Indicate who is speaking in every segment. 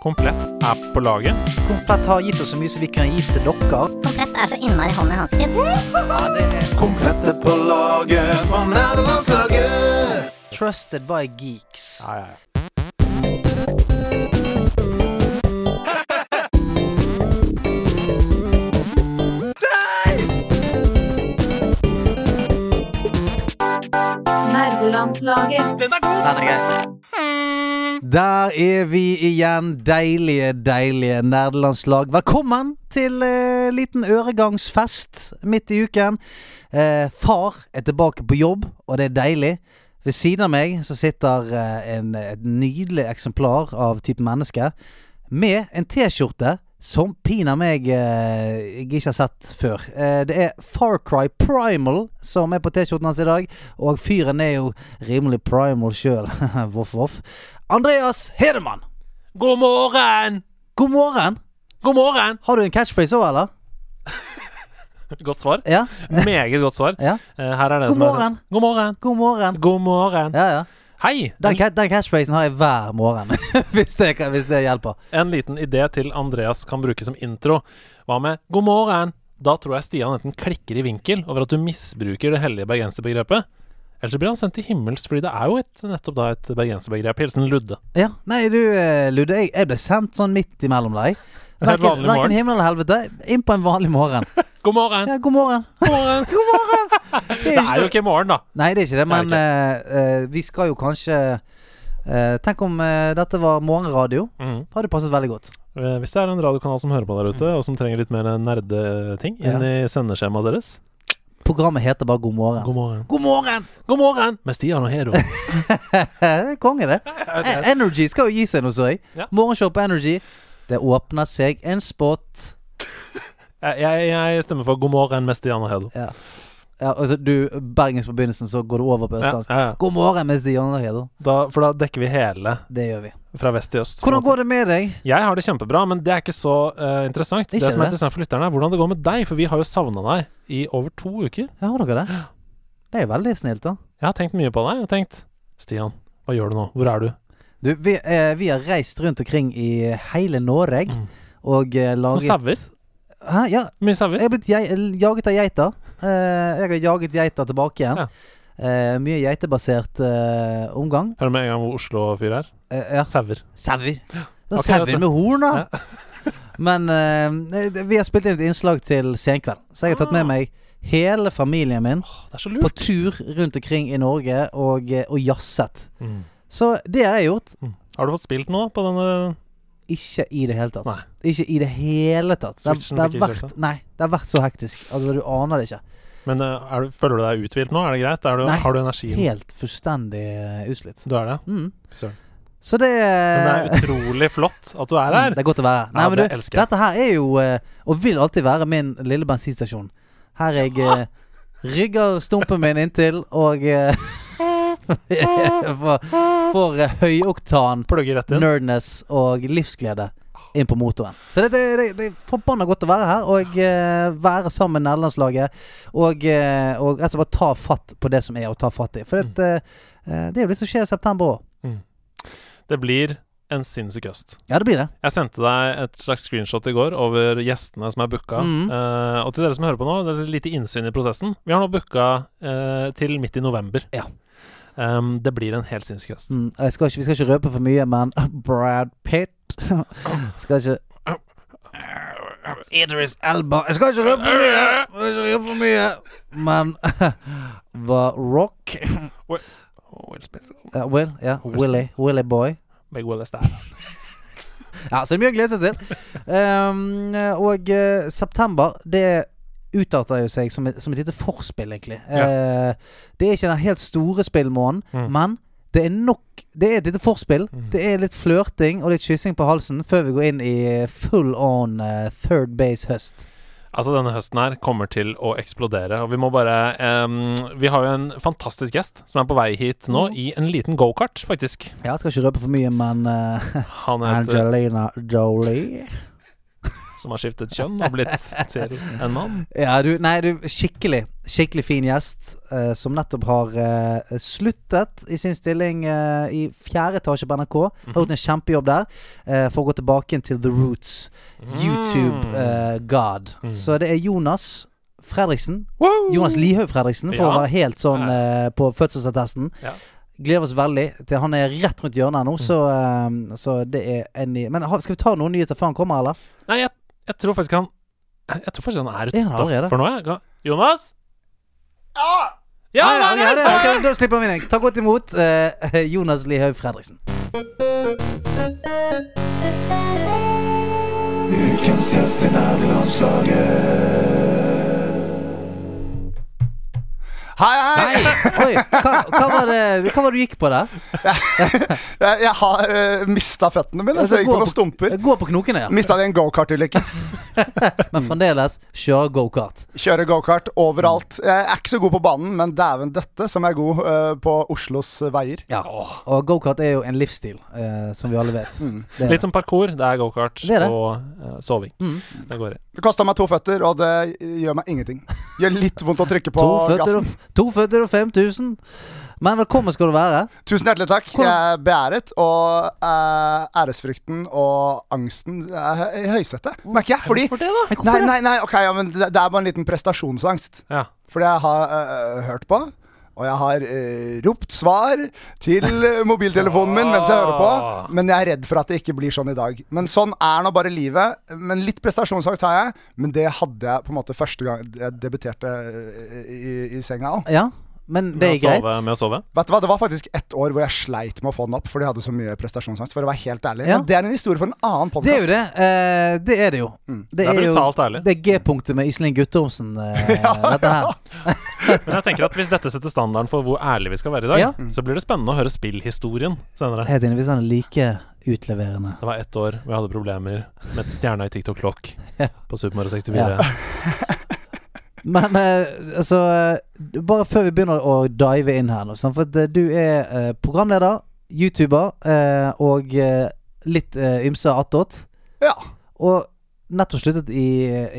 Speaker 1: Komplett er på laget.
Speaker 2: Komplett har gitt oss så mye som vi kan gi til dere.
Speaker 3: Komplett er så innmari hånd i hansken.
Speaker 4: Komplette på laget fra nederlandslaget.
Speaker 2: Trusted by geeks.
Speaker 1: Ja, ja, ja.
Speaker 5: Nerdelandslaget.
Speaker 2: Der er vi igjen, deilige, deilige nerdelandslag. Velkommen til eh, liten øregangsfest midt i uken. Eh, far er tilbake på jobb, og det er deilig. Ved siden av meg så sitter eh, en, et nydelig eksemplar av type menneske med en T-skjorte som piner meg eh, jeg ikke har sett før. Eh, det er Far Cry Primal som er på T-skjorten hans i dag, og fyren er jo rimelig primal sjøl. voff, voff. Andreas Hedemann,
Speaker 1: God morgen!
Speaker 2: god morgen!
Speaker 1: God morgen!
Speaker 2: Har du en catchphrase òg, eller?
Speaker 1: Godt svar.
Speaker 2: Ja?
Speaker 1: Meget godt svar.
Speaker 2: ja?
Speaker 1: Eh, Her er det
Speaker 2: God
Speaker 1: som er
Speaker 2: morgen.
Speaker 1: God morgen!
Speaker 2: God morgen.
Speaker 1: God morgen.
Speaker 2: Ja, ja.
Speaker 1: Hei!
Speaker 2: Den,
Speaker 1: En,
Speaker 2: ca- den catchphrasen har jeg hver morgen, hvis, det, kan- hvis det hjelper.
Speaker 1: en liten idé til Andreas kan bruke som intro. Hva med 'god morgen'? Da tror jeg Stian enten klikker i vinkel over at du misbruker det hellige bergenserbegrepet, eller så blir han sendt til himmels, fordi det er jo et, nettopp da et bergenserbegrep. Hilsen Ludde.
Speaker 2: Ja, Nei, du eh, Ludde, jeg, jeg ble sendt sånn midt imellom deg.
Speaker 1: En vanlig
Speaker 2: Verken
Speaker 1: morgen.
Speaker 2: verken himmel eller helvete. Inn på en vanlig morgen.
Speaker 1: God morgen!
Speaker 2: Ja, god morgen.
Speaker 1: God morgen!
Speaker 2: God morgen!
Speaker 1: Det er jo ikke morgen, da.
Speaker 2: Nei, det er ikke det,
Speaker 1: Det er
Speaker 2: men eh, eh, vi skal jo kanskje eh, Tenk om eh, dette var morgenradio.
Speaker 1: Mm.
Speaker 2: Hadde passet veldig godt.
Speaker 1: Eh, Hvis det er en radiokanal som hører på der
Speaker 2: Mm.
Speaker 1: ute, og som trenger litt mer nerdeting inn i sendeskjemaet deres
Speaker 2: Programmet heter bare God morgen.
Speaker 1: God morgen.
Speaker 2: God morgen!
Speaker 1: God morgen! Med Stian og Hero.
Speaker 2: Eh, Konge, det. E- Energy skal jo gi seg nå, så jeg.
Speaker 1: Ja.
Speaker 2: Morgenshow på Energy. Det åpner seg en spot.
Speaker 1: Jeg, jeg, jeg stemmer for God morgen med Stian og Hero.
Speaker 2: Ja, altså, du, Bergens på begynnelsen, så går du over på
Speaker 1: Ja,
Speaker 2: østlandsk.
Speaker 1: ja, ja.
Speaker 2: God morgen med Stian og Hedo.
Speaker 1: Da, for da dekker vi hele
Speaker 2: Det gjør vi.
Speaker 1: fra vest til øst.
Speaker 2: Hvordan går det med deg?
Speaker 1: Jeg har det kjempebra, men det er ikke så eh, interessant.
Speaker 2: Ikke
Speaker 1: det som er
Speaker 2: det?
Speaker 1: interessant for lytterne, er hvordan det går med deg, for vi har jo savna deg i over to uker.
Speaker 2: Ja, har dere det? Det er jo veldig snilt, da.
Speaker 1: Jeg har tenkt mye på deg. Jeg har tenkt Stian, hva gjør du nå? Hvor er du?
Speaker 2: Du, vi, eh, vi har reist rundt omkring i hele Norge
Speaker 1: Mm.
Speaker 2: og eh, laget
Speaker 1: sauer.
Speaker 2: Hæ? Ja.
Speaker 1: Mye sauer.
Speaker 2: Jeg er blitt jeg, jaget av geiter. Eh, jeg har jaget geiter tilbake igjen.
Speaker 1: Ja.
Speaker 2: Eh, mye geitebasert eh, omgang.
Speaker 1: Hører du med en gang hvor Oslo-fyr er?
Speaker 2: Eh, ja.
Speaker 1: Sauer.
Speaker 2: Sauer. Det
Speaker 1: Ok,
Speaker 2: var sauer
Speaker 1: dette-
Speaker 2: med horn, da. Men eh, det- vi har spilt inn et innslag til Senkveld, så jeg har
Speaker 1: Ah.
Speaker 2: tatt med meg hele familien min
Speaker 1: Åh, Det er så
Speaker 2: på
Speaker 1: lurt.
Speaker 2: tur rundt omkring i Norge og, eh, og jazzet.
Speaker 1: Mm.
Speaker 2: Så det har jeg gjort.
Speaker 1: Mm. Har du fått spilt noe på denne
Speaker 2: Ikke i det hele tatt.
Speaker 1: Nei.
Speaker 2: Ikke i det hele tatt. Det, har-
Speaker 1: Switchen
Speaker 2: det, har
Speaker 1: fikk ikke kjørt
Speaker 2: vært, nei, det har vært så hektisk. Altså, du aner det ikke.
Speaker 1: Men eh, er du, føler du deg uthvilt nå? Er det greit? Er du,
Speaker 2: Nei,
Speaker 1: har du energien?
Speaker 2: Helt fullstendig eh, utslitt.
Speaker 1: Du er det?
Speaker 2: Mm.
Speaker 1: Fy søren.
Speaker 2: Så det eh,
Speaker 1: Men det er utrolig flott at du er her.
Speaker 2: Mm, Det er godt å være her. Nei,
Speaker 1: Ja,
Speaker 2: men
Speaker 1: det
Speaker 2: du,
Speaker 1: elsker jeg.
Speaker 2: dette her er jo, eh, og vil alltid være, min lille bensinstasjon. Her jeg eh, rygger stumpen min inntil og eh, får, får eh, høyoktan
Speaker 1: Plugger rett inn.
Speaker 2: nerdness og livsglede inn på motoren. Så det, det, det, det er forbanna godt å være her og eh, være sammen med nederlandslaget. Og, eh, og rett og slett bare ta fatt på det som er å ta fatt i.
Speaker 1: Mm.
Speaker 2: For det, eh, det er jo det som skjer i september òg.
Speaker 1: Det blir en sinnssyk høst.
Speaker 2: Ja, det blir det.
Speaker 1: Jeg sendte deg et slags screenshot i går over gjestene som er booka.
Speaker 2: Mm.
Speaker 1: Eh, og til dere som hører på nå, det er et lite innsyn i prosessen. Vi har nå booka eh, til midt i november.
Speaker 2: Ja.
Speaker 1: Em, det blir en helt sinnssyk høst.
Speaker 2: Mm, jeg skal ikke, vi skal ikke røpe for mye, men Brad Pitt Skal ikke Idris Elba Jeg skal ikke røpe for mye, jeg skal ikke røpe for mye. men The Rock
Speaker 1: Will Smith,
Speaker 2: Ja, Will, ja, Willy, Willy Boy.
Speaker 1: Big Will is der.
Speaker 2: Ja, så det er mye å glede seg til. Um, og eh, september, det utarter jo seg som et, som et lite forspill, egentlig. Eh, det er ikke den helt store spillmåneden,
Speaker 1: Mm.
Speaker 2: men det er nok Det er et lite forspill.
Speaker 1: Mm.
Speaker 2: Det er litt flørting og litt kyssing på halsen før vi går inn i full on eh, third base høst.
Speaker 1: Altså, denne høsten her kommer til å eksplodere, og vi må bare em, Vi har jo en fantastisk gjest som er på vei hit nå,
Speaker 2: Mm.
Speaker 1: i en liten gokart, faktisk.
Speaker 2: Ja, jeg skal ikke røpe for mye, men eh,
Speaker 1: Han heter
Speaker 2: Angelina Jolie
Speaker 1: som har skiftet kjønn og blitt til en mann.
Speaker 2: Ja, du, nei, du, skikkelig Skikkelig fin gjest eh, som nettopp har eh, sluttet i sin stilling eh, i fjerde etasje på NRK.
Speaker 1: Mhm.
Speaker 2: Har gjort en kjempejobb der eh, for å gå tilbake igjen til The Roots,
Speaker 1: Mhm.
Speaker 2: YouTube eh, God. Så det er Jonas Fredriksen.
Speaker 1: Wow!
Speaker 2: Jonas Lihaug Fredriksen, for
Speaker 1: Ja.
Speaker 2: å være helt sånn eh, på fødselsattesten.
Speaker 1: Ja. Mhm.
Speaker 2: Gleder oss veldig til han er rett rundt hjørnet her nå, så, eh, så det er en ny Men ha- skal vi ta noen nyheter før han kommer, eller?
Speaker 1: Nei, jeg, jeg tror faktisk han Jeg tror faktisk han er
Speaker 2: Er han allerede?
Speaker 1: utafor nå, jeg. Ga- Jonas? Ja!
Speaker 2: Ja, ja,
Speaker 1: han
Speaker 2: ja,
Speaker 1: er
Speaker 2: det,
Speaker 1: der!
Speaker 2: ok, da slipper vi deg. Ta godt imot eh, Jonas Lihaug Fredriksen.
Speaker 4: Ukens gjest i nerdelandslaget.
Speaker 5: Hei, hei!
Speaker 2: Nei, oi, hva, hva, var det, hva var det du gikk på der?
Speaker 5: Jeg, jeg har uh, mista føttene mine, så jeg gikk på noen stumper.
Speaker 2: Altså, Gå på knokene, ja.
Speaker 5: Mista det i en gokart-ulykke.
Speaker 2: Men fremdeles kjøre gokart.
Speaker 5: Kjøre gokart overalt. Jeg er ikke så god på banen, men dæven døtte som jeg er god eh, på Oslos veier.
Speaker 2: Ja. Og gokart er jo en livsstil, eh, som vi alle vet.
Speaker 5: Mm.
Speaker 2: Det er
Speaker 1: Litt som parkour. Det er gokart
Speaker 2: Det Mm. er det.
Speaker 1: og eh, soving. Det går i.
Speaker 5: Det kosta meg to føtter, og det gjør meg ingenting. Gjør litt vondt å trykke på
Speaker 2: to føtter,
Speaker 5: gassen.
Speaker 2: og, to føtter og 5000. Men velkommen skal du være.
Speaker 5: Tusen hjertelig takk. Jeg er beæret, og eh, æresfrykten og angsten er hø- i høysetet, merker jeg. Fordi
Speaker 1: Hvorfor det, da?
Speaker 5: Nei, nei, nei, ok, ja, men det, det er bare en liten prestasjonsangst.
Speaker 1: Ja.
Speaker 5: Fordi jeg har øh, hørt på, og jeg har øh, ropt svar til øh, mobiltelefonen min mens jeg hører
Speaker 2: Ah.
Speaker 5: på. Men jeg er redd for at det ikke blir sånn i dag. Men sånn er nå bare livet. Men litt prestasjonsangst har jeg, men det hadde jeg på en måte første gang jeg debuterte øh, i, i senga òg.
Speaker 2: Ja, men
Speaker 1: Med
Speaker 2: det
Speaker 1: å
Speaker 2: er greit.
Speaker 1: Sove, med å sove.
Speaker 5: Vet du hva, Det var faktisk ett år hvor jeg sleit med å få den opp fordi jeg hadde så mye prestasjonsangst. For å være helt ærlig
Speaker 2: Ja.
Speaker 5: Men Det er en historie for en annen
Speaker 2: Det er jo
Speaker 5: podkast.
Speaker 2: det. eh, det er det jo.
Speaker 5: Mm.
Speaker 1: Det er
Speaker 2: jo-
Speaker 1: brutalt ærlig.
Speaker 2: Det er G-punktet med Iselin Guttormsen, eh, dette her.
Speaker 1: Men jeg tenker at hvis dette setter standarden for hvor ærlige vi skal være i dag,
Speaker 2: Ja.
Speaker 1: så blir det spennende å høre spillhistorien senere.
Speaker 2: Helt enig hvis han er sånn like utleverende.
Speaker 1: Det var ett år hvor jeg hadde problemer med et stjerna i TikTok Clock på Super Mario 64.
Speaker 2: Men eh, altså eh, Bare før vi begynner å dive inn her nå, sant, for at eh, du er eh, programleder, YouTuber eh, og eh, litt eh, ymse attåt.
Speaker 5: Ja.
Speaker 2: Og nettopp sluttet i,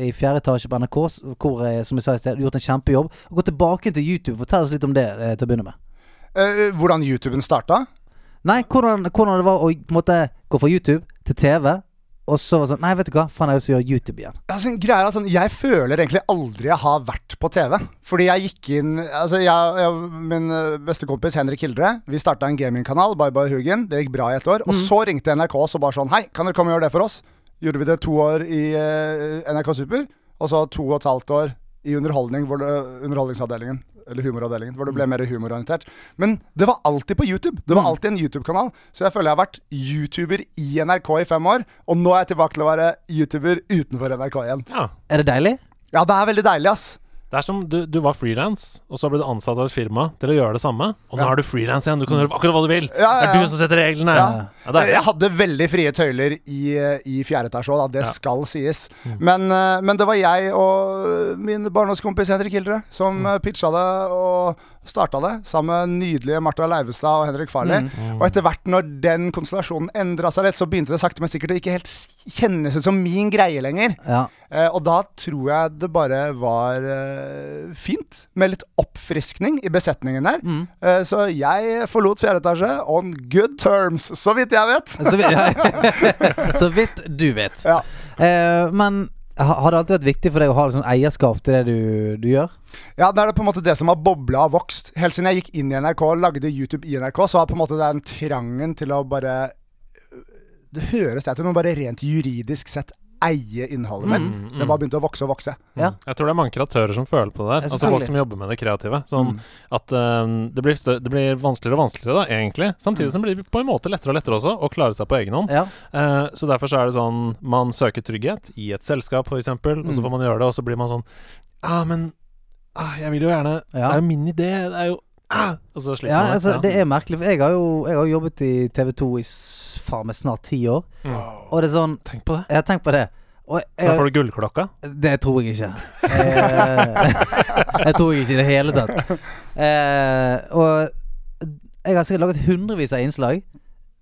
Speaker 2: i fjerde etasje på NRK, s- hvor jeg, som jeg sa i sted, du har gjort en kjempejobb. Og Gå tilbake til YouTube. Fortell oss litt om det eh, til å begynne med.
Speaker 5: Eh, hvordan YouTuben starta?
Speaker 2: Nei, hvordan, hvordan det var å på en måte gå fra YouTube til TV, og så var det sånn Nei, vet du hva, faen, jeg har lyst til å gjøre YouTube igjen.
Speaker 5: Altså, greia er at sånn, jeg føler egentlig aldri jeg har vært på TV. Fordi jeg gikk inn altså jeg, jeg, Min eh, beste kompis Henrik Hildre Vi starta en gamingkanal, Bye Bye Hugen. Det gikk bra i et år. Og så ringte NRK oss og bare sånn Hei, kan dere komme og gjøre det for oss? Gjorde vi det to år i eh, NRK Super, og så to og et halvt år i underholdning, hvor det, underholdningsavdelingen. Eller humoravdelingen, hvor det
Speaker 1: Mm.
Speaker 5: ble mer humororientert. Men det var alltid på YouTube. Det var alltid en YouTube-kanal. Så jeg føler jeg har vært YouTuber i NRK i fem år, og nå er jeg tilbake til å være YouTuber utenfor NRK igjen.
Speaker 1: Ja.
Speaker 2: Er det deilig?
Speaker 5: Ja, det er veldig deilig, ass.
Speaker 1: Det er som du, du var frilans, og så ble du ansatt av et firma til å gjøre det samme. Og nå
Speaker 5: Ja.
Speaker 1: er du frilans igjen. Du kan gjøre akkurat hva du vil.
Speaker 5: Ja, ja,
Speaker 1: Det er
Speaker 5: ja.
Speaker 1: du som setter reglene. Ja.
Speaker 2: Ja.
Speaker 1: det er,
Speaker 5: Jeg hadde veldig frie tøyler i, i fjerde etasje òg, det
Speaker 1: Ja. Mm.
Speaker 5: skal sies. Men, eh, men det var jeg og min barndomskompis Henrik Hildre som
Speaker 1: Mm.
Speaker 5: eh, pitcha det og starta det, sammen med nydelige Martha Leivestad og Henrik
Speaker 1: Mm.
Speaker 5: Farley.
Speaker 2: mm.
Speaker 5: Og etter hvert, når den konstellasjonen endra seg litt, så begynte det sakte, men sikkert å ikke helt s- kjennes ut som min greie lenger.
Speaker 2: Ja.
Speaker 5: Eh, og da tror jeg det bare var eh, fint, med litt oppfriskning i besetningen der.
Speaker 2: mm.
Speaker 5: Eh, så jeg forlot fjerde etasje on good terms, så vidt jeg vet.
Speaker 2: Så, vi, så vidt du vet.
Speaker 5: Ja.
Speaker 2: Eh, men ha- har det alltid vært viktig for deg å ha liksom eierskap til det du, du gjør?
Speaker 5: Ja, det er det på en måte det som har bobla og vokst. Helt siden jeg gikk inn i NRK og lagde YouTube i NRK, så har på en måte den trangen til å bare Det høres teit ut, men bare rent juridisk sett eie innholdet mitt. Det bare begynte å vokse og vokse.
Speaker 1: jeg tror det er mange kreatører som føler på det der.
Speaker 2: Ja,
Speaker 1: Altså folk
Speaker 2: selvfølgelig.
Speaker 1: som jobber med det kreative. Sånn at eh, det, blir stø det blir vanskeligere og vanskeligere, da, egentlig. Samtidig som det blir på en måte lettere og lettere også å klare seg på egen hånd.
Speaker 2: Ja.
Speaker 1: Eh, så derfor så er det sånn Man søker trygghet i et selskap, f.eks., og
Speaker 2: Mm.
Speaker 1: så får man gjøre det, og så blir man sånn Ja, ah, men ah, jeg vil jo gjerne Det
Speaker 2: Ja.
Speaker 1: er jo min idé. Det er jo ah! Og så sliter
Speaker 2: ja
Speaker 1: man. litt,
Speaker 2: altså,
Speaker 1: ja.
Speaker 2: det er merkelig. For jeg har jo jeg har jo jobbet i TV 2 i s- faen meg snart ti år. Og det er sånn
Speaker 1: Tenk på det.
Speaker 2: Jeg har tenkt på det. Og
Speaker 1: Så da
Speaker 2: jeg,
Speaker 1: får du gullklokka.
Speaker 2: det tror jeg ikke. Eh, jeg tror jeg ikke i det hele tatt. Eh, og
Speaker 1: Mm.
Speaker 2: jeg har sikkert laget hundrevis av innslag.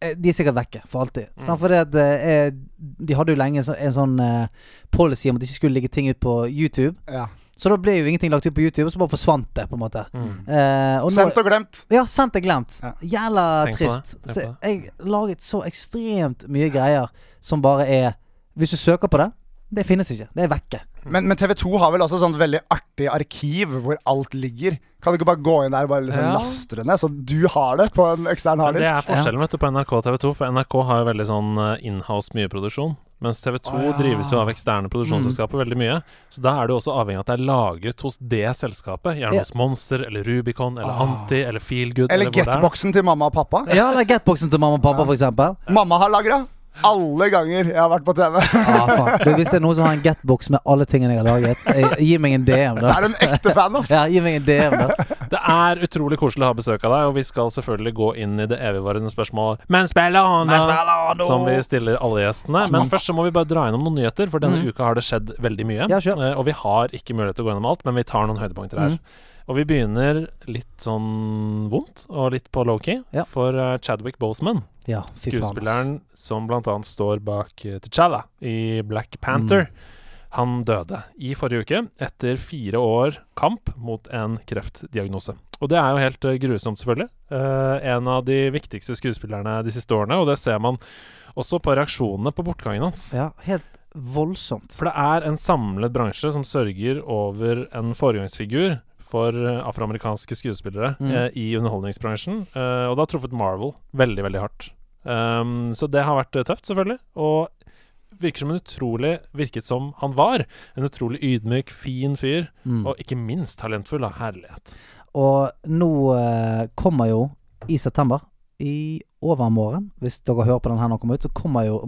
Speaker 2: Eh, De er sikkert vekke for alltid. Sant? Fordi at eh, jeg- de hadde jo lenge en så- en sånn eh, policy om at de ikke skulle legge ting ut på YouTube.
Speaker 5: Ja.
Speaker 2: Så da ble jo ingenting lagt ut på YouTube, og så bare forsvant det, på en måte.
Speaker 1: Mm.
Speaker 2: Eh, og nå-
Speaker 5: Sendt og glemt.
Speaker 2: ja, sendt er glemt.
Speaker 5: Ja.
Speaker 2: Jævla
Speaker 1: Tenk på
Speaker 2: trist.
Speaker 1: det, tenk
Speaker 2: Så
Speaker 1: på
Speaker 2: jeg laget så ekstremt mye greier som bare er Hvis du søker på det, det finnes ikke. Det er vekke.
Speaker 5: Men, men TV2 har vel også sånn veldig artig arkiv hvor alt ligger. Kan du ikke bare gå inn der og bare liksom
Speaker 1: Ja.
Speaker 5: laste det ned, så du har det på en ekstern
Speaker 1: Men det
Speaker 5: harddisk?
Speaker 1: er forskjellen vet du, på NRK og TV 2, for NRK har jo veldig sånn eh, inhouse mye produksjon. Mens TV 2 drives jo av eksterne produksjonsselskaper
Speaker 2: Mm.
Speaker 1: veldig mye. Så da er det jo også avhengig av at det er lagret hos det selskapet. Gjerne
Speaker 2: Ja.
Speaker 1: hos Monster eller Rubicon eller Anti eller Feelgood.
Speaker 5: Eller
Speaker 1: hvor det er.
Speaker 5: getboxen til mamma og pappa.
Speaker 2: Ja, eller Getboxen til mamma og pappa, for eksempel.
Speaker 5: Mamma har lagra alle ganger jeg har vært på TV.
Speaker 2: Ah, faen. Du, hvis det er noen som har en Getbox med alle tingene jeg har laget, eh, gi meg en DM,
Speaker 5: Det
Speaker 2: da.
Speaker 5: er en ekte fan, ass.
Speaker 2: Ja, gi meg en DM, da.
Speaker 1: Det er utrolig koselig å ha besøk av deg, og vi skal selvfølgelig gå inn i det evigvarende spørsmålet Men spiller han, da? Som vi stiller alle gjestene. Men først så må vi bare dra gjennom noen nyheter, for denne uka har det skjedd veldig mye.
Speaker 2: Mm. Ja, kjør. Mm.
Speaker 1: Eh, Og vi har ikke mulighet til å gå gjennom alt, men vi tar noen høydepunkter her. Og vi begynner litt sånn vondt, og litt på low-key,
Speaker 2: Ja.
Speaker 1: for eh, Chadwick Boseman.
Speaker 2: Ja, fy faen, ass.
Speaker 1: Skuespilleren som blant annet står bak eh, T'Challa i Black Panther.
Speaker 2: Mm.
Speaker 1: Han døde i forrige uke etter fire år kamp mot en kreftdiagnose. Og det er jo helt eh, grusomt, selvfølgelig. Eh, en av de viktigste skuespillerne de siste årene, og det ser man også på reaksjonene på bortgangen hans.
Speaker 2: Ja, helt voldsomt.
Speaker 1: For det er en samlet bransje som sørger over en foregangsfigur for eh, afroamerikanske skuespillere
Speaker 2: Mm.
Speaker 1: eh, i underholdningsbransjen. Eh, og det har truffet Marvel veldig, veldig hardt. Um, så det har vært eh, tøft, selvfølgelig. Og virker som en utrolig Virket som han var. En utrolig ydmyk, fin fyr.
Speaker 2: Mm.
Speaker 1: Og ikke minst talentfull av herlighet.
Speaker 2: Og nå eh, kommer jo i september, i overmorgen, hvis dere hører på den her når den kommer ut, så kommer jo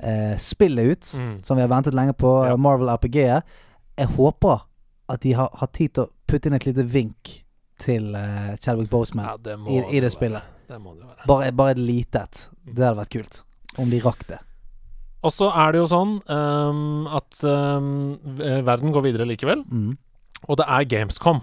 Speaker 2: Marvel-spillet ut.
Speaker 1: Mm.
Speaker 2: Som vi har ventet lenge på,
Speaker 1: Ja.
Speaker 2: eh, Marvel RPG-et. Jeg håper at de har, har tid til å putte inn et lite vink til eh, Chadwick Boseman
Speaker 1: Ja, det må
Speaker 2: i,
Speaker 1: det
Speaker 2: i
Speaker 1: være.
Speaker 2: det
Speaker 1: Mm.
Speaker 2: spillet.
Speaker 1: Det må det jo være.
Speaker 2: Bare, bare et lite et. Det hadde vært kult. Om de rakk det.
Speaker 1: Og så er det jo sånn um, at um, v- verden går videre likevel.
Speaker 2: Mm.
Speaker 1: Og det er Gamescom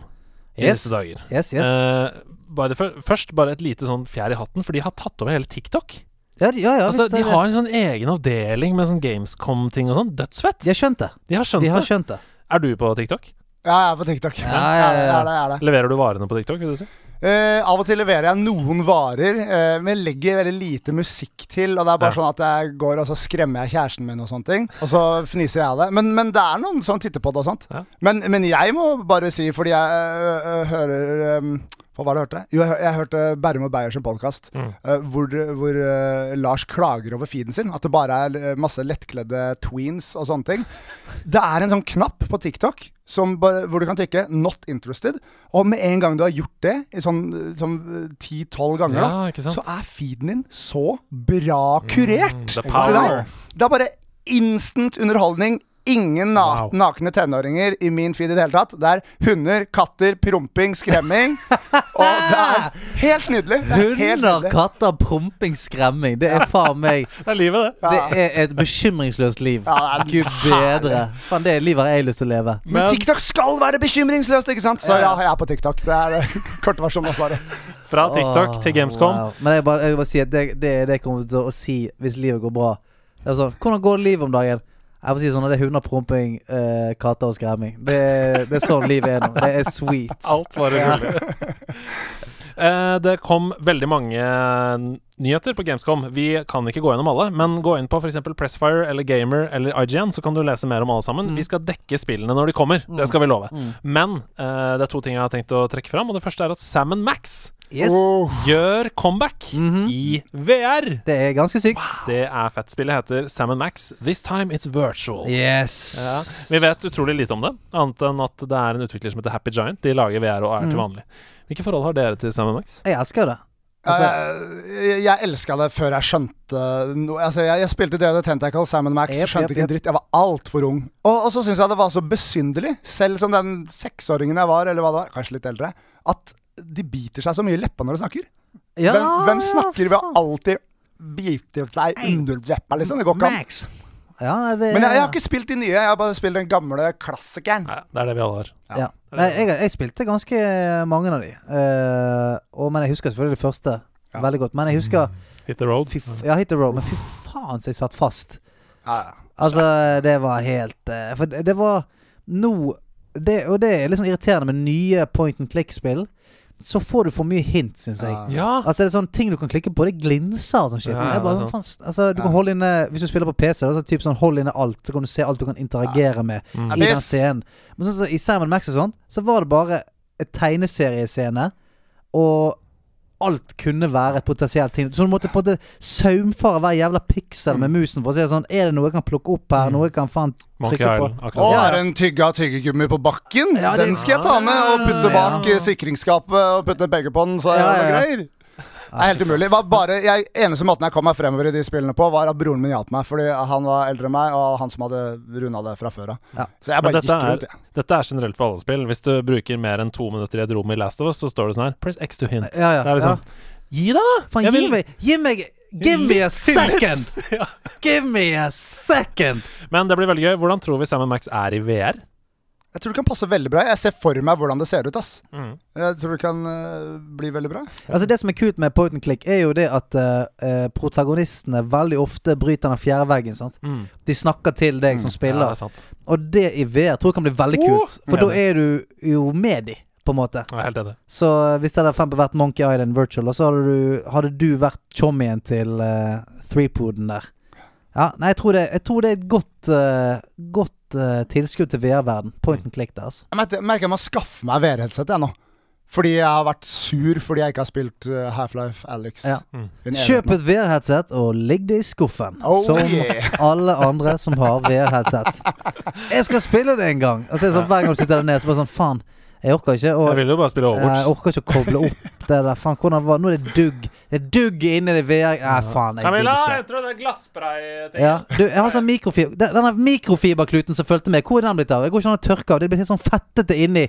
Speaker 1: i
Speaker 2: Yes.
Speaker 1: disse dager.
Speaker 2: Yes, yes.
Speaker 1: Eh, bare fø- først bare et lite sånn fjær i hatten, for de har tatt over hele TikTok.
Speaker 2: ja, de- ja, ja,
Speaker 1: altså,
Speaker 2: visst,
Speaker 1: de
Speaker 2: det-
Speaker 1: har en sånn egen avdeling med sånn Gamescom-ting og sånn. Dødsfett!
Speaker 2: de har skjønt det.
Speaker 1: De har skjønt
Speaker 2: De har
Speaker 1: det.
Speaker 2: skjønt det.
Speaker 1: Er du på TikTok?
Speaker 5: Ja, jeg er på TikTok.
Speaker 2: Ja, ja, ja.
Speaker 5: Jeg er det, jeg er det.
Speaker 1: Leverer du varene på TikTok? Vil du si?
Speaker 5: Eh, av og til leverer jeg noen varer, eh, men jeg legger veldig lite musikk til. Og det er bare
Speaker 1: Ja.
Speaker 5: sånn at jeg går og så skremmer jeg kjæresten min og sånne ting. Og så fniser jeg av det. Men, men det er noen som titter på det og sånt.
Speaker 1: Ja.
Speaker 5: Men, men jeg må bare si, fordi jeg øh, øh, hører øhm, Hva var det jeg hørte? Jo, jeg, hø- jeg hørte Bærum og Beyer sin podkast. hvor hvor øh, Lars klager over feeden sin. At det bare er øh, masse lettkledde tweens og sånne ting. Det er en sånn knapp på TikTok som, bare- hvor du kan trykke 'not interested'. Og med en gang du har gjort det, i sånn, øh, sånn øh, 10-12 ganger,
Speaker 1: Ja,
Speaker 5: da,
Speaker 1: ikke sant?
Speaker 5: så er feeden din så bra kurert.
Speaker 1: the
Speaker 5: Så det,
Speaker 1: power.
Speaker 5: er, det er bare instant underholdning. Ingen na
Speaker 1: Wow.
Speaker 5: nakne tenåringer i min feed i det hele tatt. Det er hunder, katter, promping, skremming. og det er helt nydelig. Det er helt
Speaker 2: Hunder,
Speaker 5: nydelig.
Speaker 2: katter, promping, skremming. Det er faen meg
Speaker 1: Det er livet, det.
Speaker 2: Det er et bekymringsløst liv.
Speaker 5: Ja, det er
Speaker 2: Gud bedre. Faen, det livet har jeg lyst til å leve.
Speaker 5: Men TikTok skal være bekymringsløst, ikke sant? Så ja, jeg er på TikTok. Det er eh, kortversjonen av svaret.
Speaker 1: Fra TikTok
Speaker 2: Åh,
Speaker 1: til Gamescom.
Speaker 2: Ah, wow. Men jeg bare, jeg vil bare si at det, det er det jeg kommer til å si hvis livet går bra. Det er sånn, Hvordan går livet om dagen? Jeg får si sånn at Det er hunder, promping, eh, katter og skremming. Det, er- det er sånn livet er nå. Det er sweet.
Speaker 1: Alt var rolig. Eh, det kom veldig mange nyheter på Gamescom. Vi kan ikke gå gjennom alle, men gå inn på f.eks. Pressfire eller Gamer eller IGN, så kan du lese mer om alle sammen. Vi skal dekke spillene når de kommer, det skal vi love. Men eh, det er to ting jeg har tenkt å trekke fram, og det første er at Sam Max
Speaker 2: Yes.
Speaker 5: Oh.
Speaker 1: gjør comeback i VR.
Speaker 2: Det er ganske sykt.
Speaker 1: Det er fett. Spillet heter Sam Max. This time it's virtual.
Speaker 2: Yes.
Speaker 1: Ja. Vi vet utrolig lite om det, annet enn at det er en utvikler som heter Happy Giant. De lager VR og er til vanlig. Hvilke forhold har dere til Sam Max?
Speaker 2: Jeg elsker det. Altså-
Speaker 5: Eh, jeg elska det før jeg skjønte noe. Altså, jeg, jeg spilte Day of the Tentacle, Sam Max,
Speaker 2: Jep,
Speaker 5: skjønte
Speaker 2: jep,
Speaker 5: ikke en dritt. Jeg var altfor ung. Og, og så syns jeg det var så besynderlig, selv som den seksåringen jeg var, eller hva det var, kanskje litt eldre, at de biter seg så mye i leppa når de snakker.
Speaker 2: Ja,
Speaker 5: hvem, hvem snakker ved
Speaker 2: faen.
Speaker 5: å alltid bite seg under leppa, liksom? Det går ikke an.
Speaker 2: Max. Ja, nei, det,
Speaker 5: Men jeg, jeg har ikke spilt de nye, jeg har bare spilt den gamle klassikeren.
Speaker 1: Nei, det er det vi alle har.
Speaker 2: Ja. Nei, jeg, jeg spilte ganske mange av de. Eh, og, men jeg husker selvfølgelig det første veldig godt. Men jeg husker
Speaker 1: Hit the road.
Speaker 2: fy, f- Ja, Hit the Road. Men fy faen så jeg satt fast
Speaker 5: Ja, ja.
Speaker 2: Altså, det var helt eh, For det det var nå det, Og det er litt sånn irriterende med nye point and click-spill. Så får du for mye hint, syns jeg.
Speaker 1: Ja!
Speaker 2: Altså det er sånn ting du kan klikke på, det glinser og sånn shit.
Speaker 1: Ja, ja,
Speaker 2: Jeg bare,
Speaker 1: det er
Speaker 2: sånn, faen, altså, du kan holde inne Hvis du spiller på PC, da, så er det typ sånn, hold inne alt, så kan du se alt du kan interagere med
Speaker 1: Mm.
Speaker 2: i
Speaker 5: Ja,
Speaker 2: den
Speaker 5: hvis-
Speaker 2: scenen. Men sånn som i Simon Max og sånn, så var det bare et tegneseriescene, og alt kunne være et potensielt ting. Så du måtte på en måte saumfare hver jævla piksel
Speaker 1: Mm.
Speaker 2: med musen for å se sånn Er det noe jeg kan plukke opp her? Noe jeg kan faen
Speaker 1: Monkey
Speaker 2: trykke på?
Speaker 1: Island.
Speaker 5: Å,
Speaker 1: Akkurat. sånn.
Speaker 5: er det en tygge av tyggegummi på bakken?
Speaker 2: Ja, det-
Speaker 5: Den skal jeg ta med og
Speaker 2: Ja.
Speaker 5: putte bak eh, sikringsskapet og putte penger på den, så er
Speaker 2: Ja,
Speaker 5: det
Speaker 2: ja,
Speaker 5: noe
Speaker 2: ja.
Speaker 5: greier. Det er helt umulig. Det Var bare, jeg, eneste måten jeg kom meg fremover i de spillene på, var at broren min hjalp meg, fordi han var eldre enn meg, og han som hadde runda det fra før av.
Speaker 2: Ja.
Speaker 5: Så jeg
Speaker 1: Men
Speaker 5: bare
Speaker 1: dette
Speaker 5: gikk
Speaker 1: er,
Speaker 5: rundt, jeg.
Speaker 1: dette er generelt for alle spill. Hvis du bruker mer enn to minutter i et rom i Last of Us, så står det sånn her Press X to hint.
Speaker 2: Ja, ja,
Speaker 1: Det er liksom Gi deg, da!
Speaker 2: Faen,
Speaker 1: Jeg
Speaker 2: gi
Speaker 1: vil-
Speaker 2: meg Gi meg Give me a
Speaker 1: Litt.
Speaker 2: second!
Speaker 1: Ja.
Speaker 2: Give me a second!
Speaker 1: Men det blir veldig gøy. Hvordan tror vi Sam Max er i VR?
Speaker 5: Jeg tror det kan passe veldig bra. Jeg ser for meg hvordan det ser ut, ass.
Speaker 1: Mm.
Speaker 5: Jeg tror det kan eh, bli veldig bra.
Speaker 2: Altså Det som er kult med point and click, er jo det at eh, eh, protagonistene veldig ofte bryter den fjerde veggen. sant?
Speaker 1: Mm.
Speaker 2: De snakker til deg som
Speaker 1: Ja, det
Speaker 2: spiller.
Speaker 1: er sant.
Speaker 2: Og det i VR tror jeg kan bli veldig kult.
Speaker 1: Uh,
Speaker 2: For da
Speaker 1: enig.
Speaker 2: er du jo med de, på en måte.
Speaker 1: Jeg er helt enig.
Speaker 2: Så eh, hvis det hadde for eksempel vært Monkey Island Virtual, og så hadde du, hadde du vært chommien til uh, threepoden der. Ja, nei, jeg tror det, jeg tror det er et godt, eh, godt eh, tilskudd til VR-verden. Point and click der, altså.
Speaker 5: Jeg merker- merker jeg må skaffe meg VR-headset, jeg nå. Fordi jeg har vært sur fordi jeg ikke har spilt eh, Half-Life Alex.
Speaker 2: Ja.
Speaker 1: Mm.
Speaker 5: i en evighet
Speaker 2: Kjøp
Speaker 5: nå.
Speaker 2: et VR-headset og ligg det i skuffen.
Speaker 5: Oh,
Speaker 2: som
Speaker 5: yeah.
Speaker 2: alle andre som har VR-headset. Jeg skal spille det en gang. Og så er det sånn, hver gang du sitter der nede, så bare sånn Faen, jeg orker ikke. å- eh,
Speaker 1: Jeg vil jo bare spille
Speaker 2: jeg
Speaker 1: Overwatch.
Speaker 2: orker ikke å koble opp det der. Faen, hvordan var Nå er det dugg. Det er dugg inni det VR... Nei, faen. Jeg
Speaker 1: Camilla,
Speaker 2: digger ikke.
Speaker 1: jeg tror det er glasspray-ting.
Speaker 2: Ja. Du, jeg har sånn mikrofiber den- Denne mikrofiberkluten som fulgte med, hvor er den blitt av? Jeg går ikke an å tørke av. Det er blitt helt sånn fettete inni.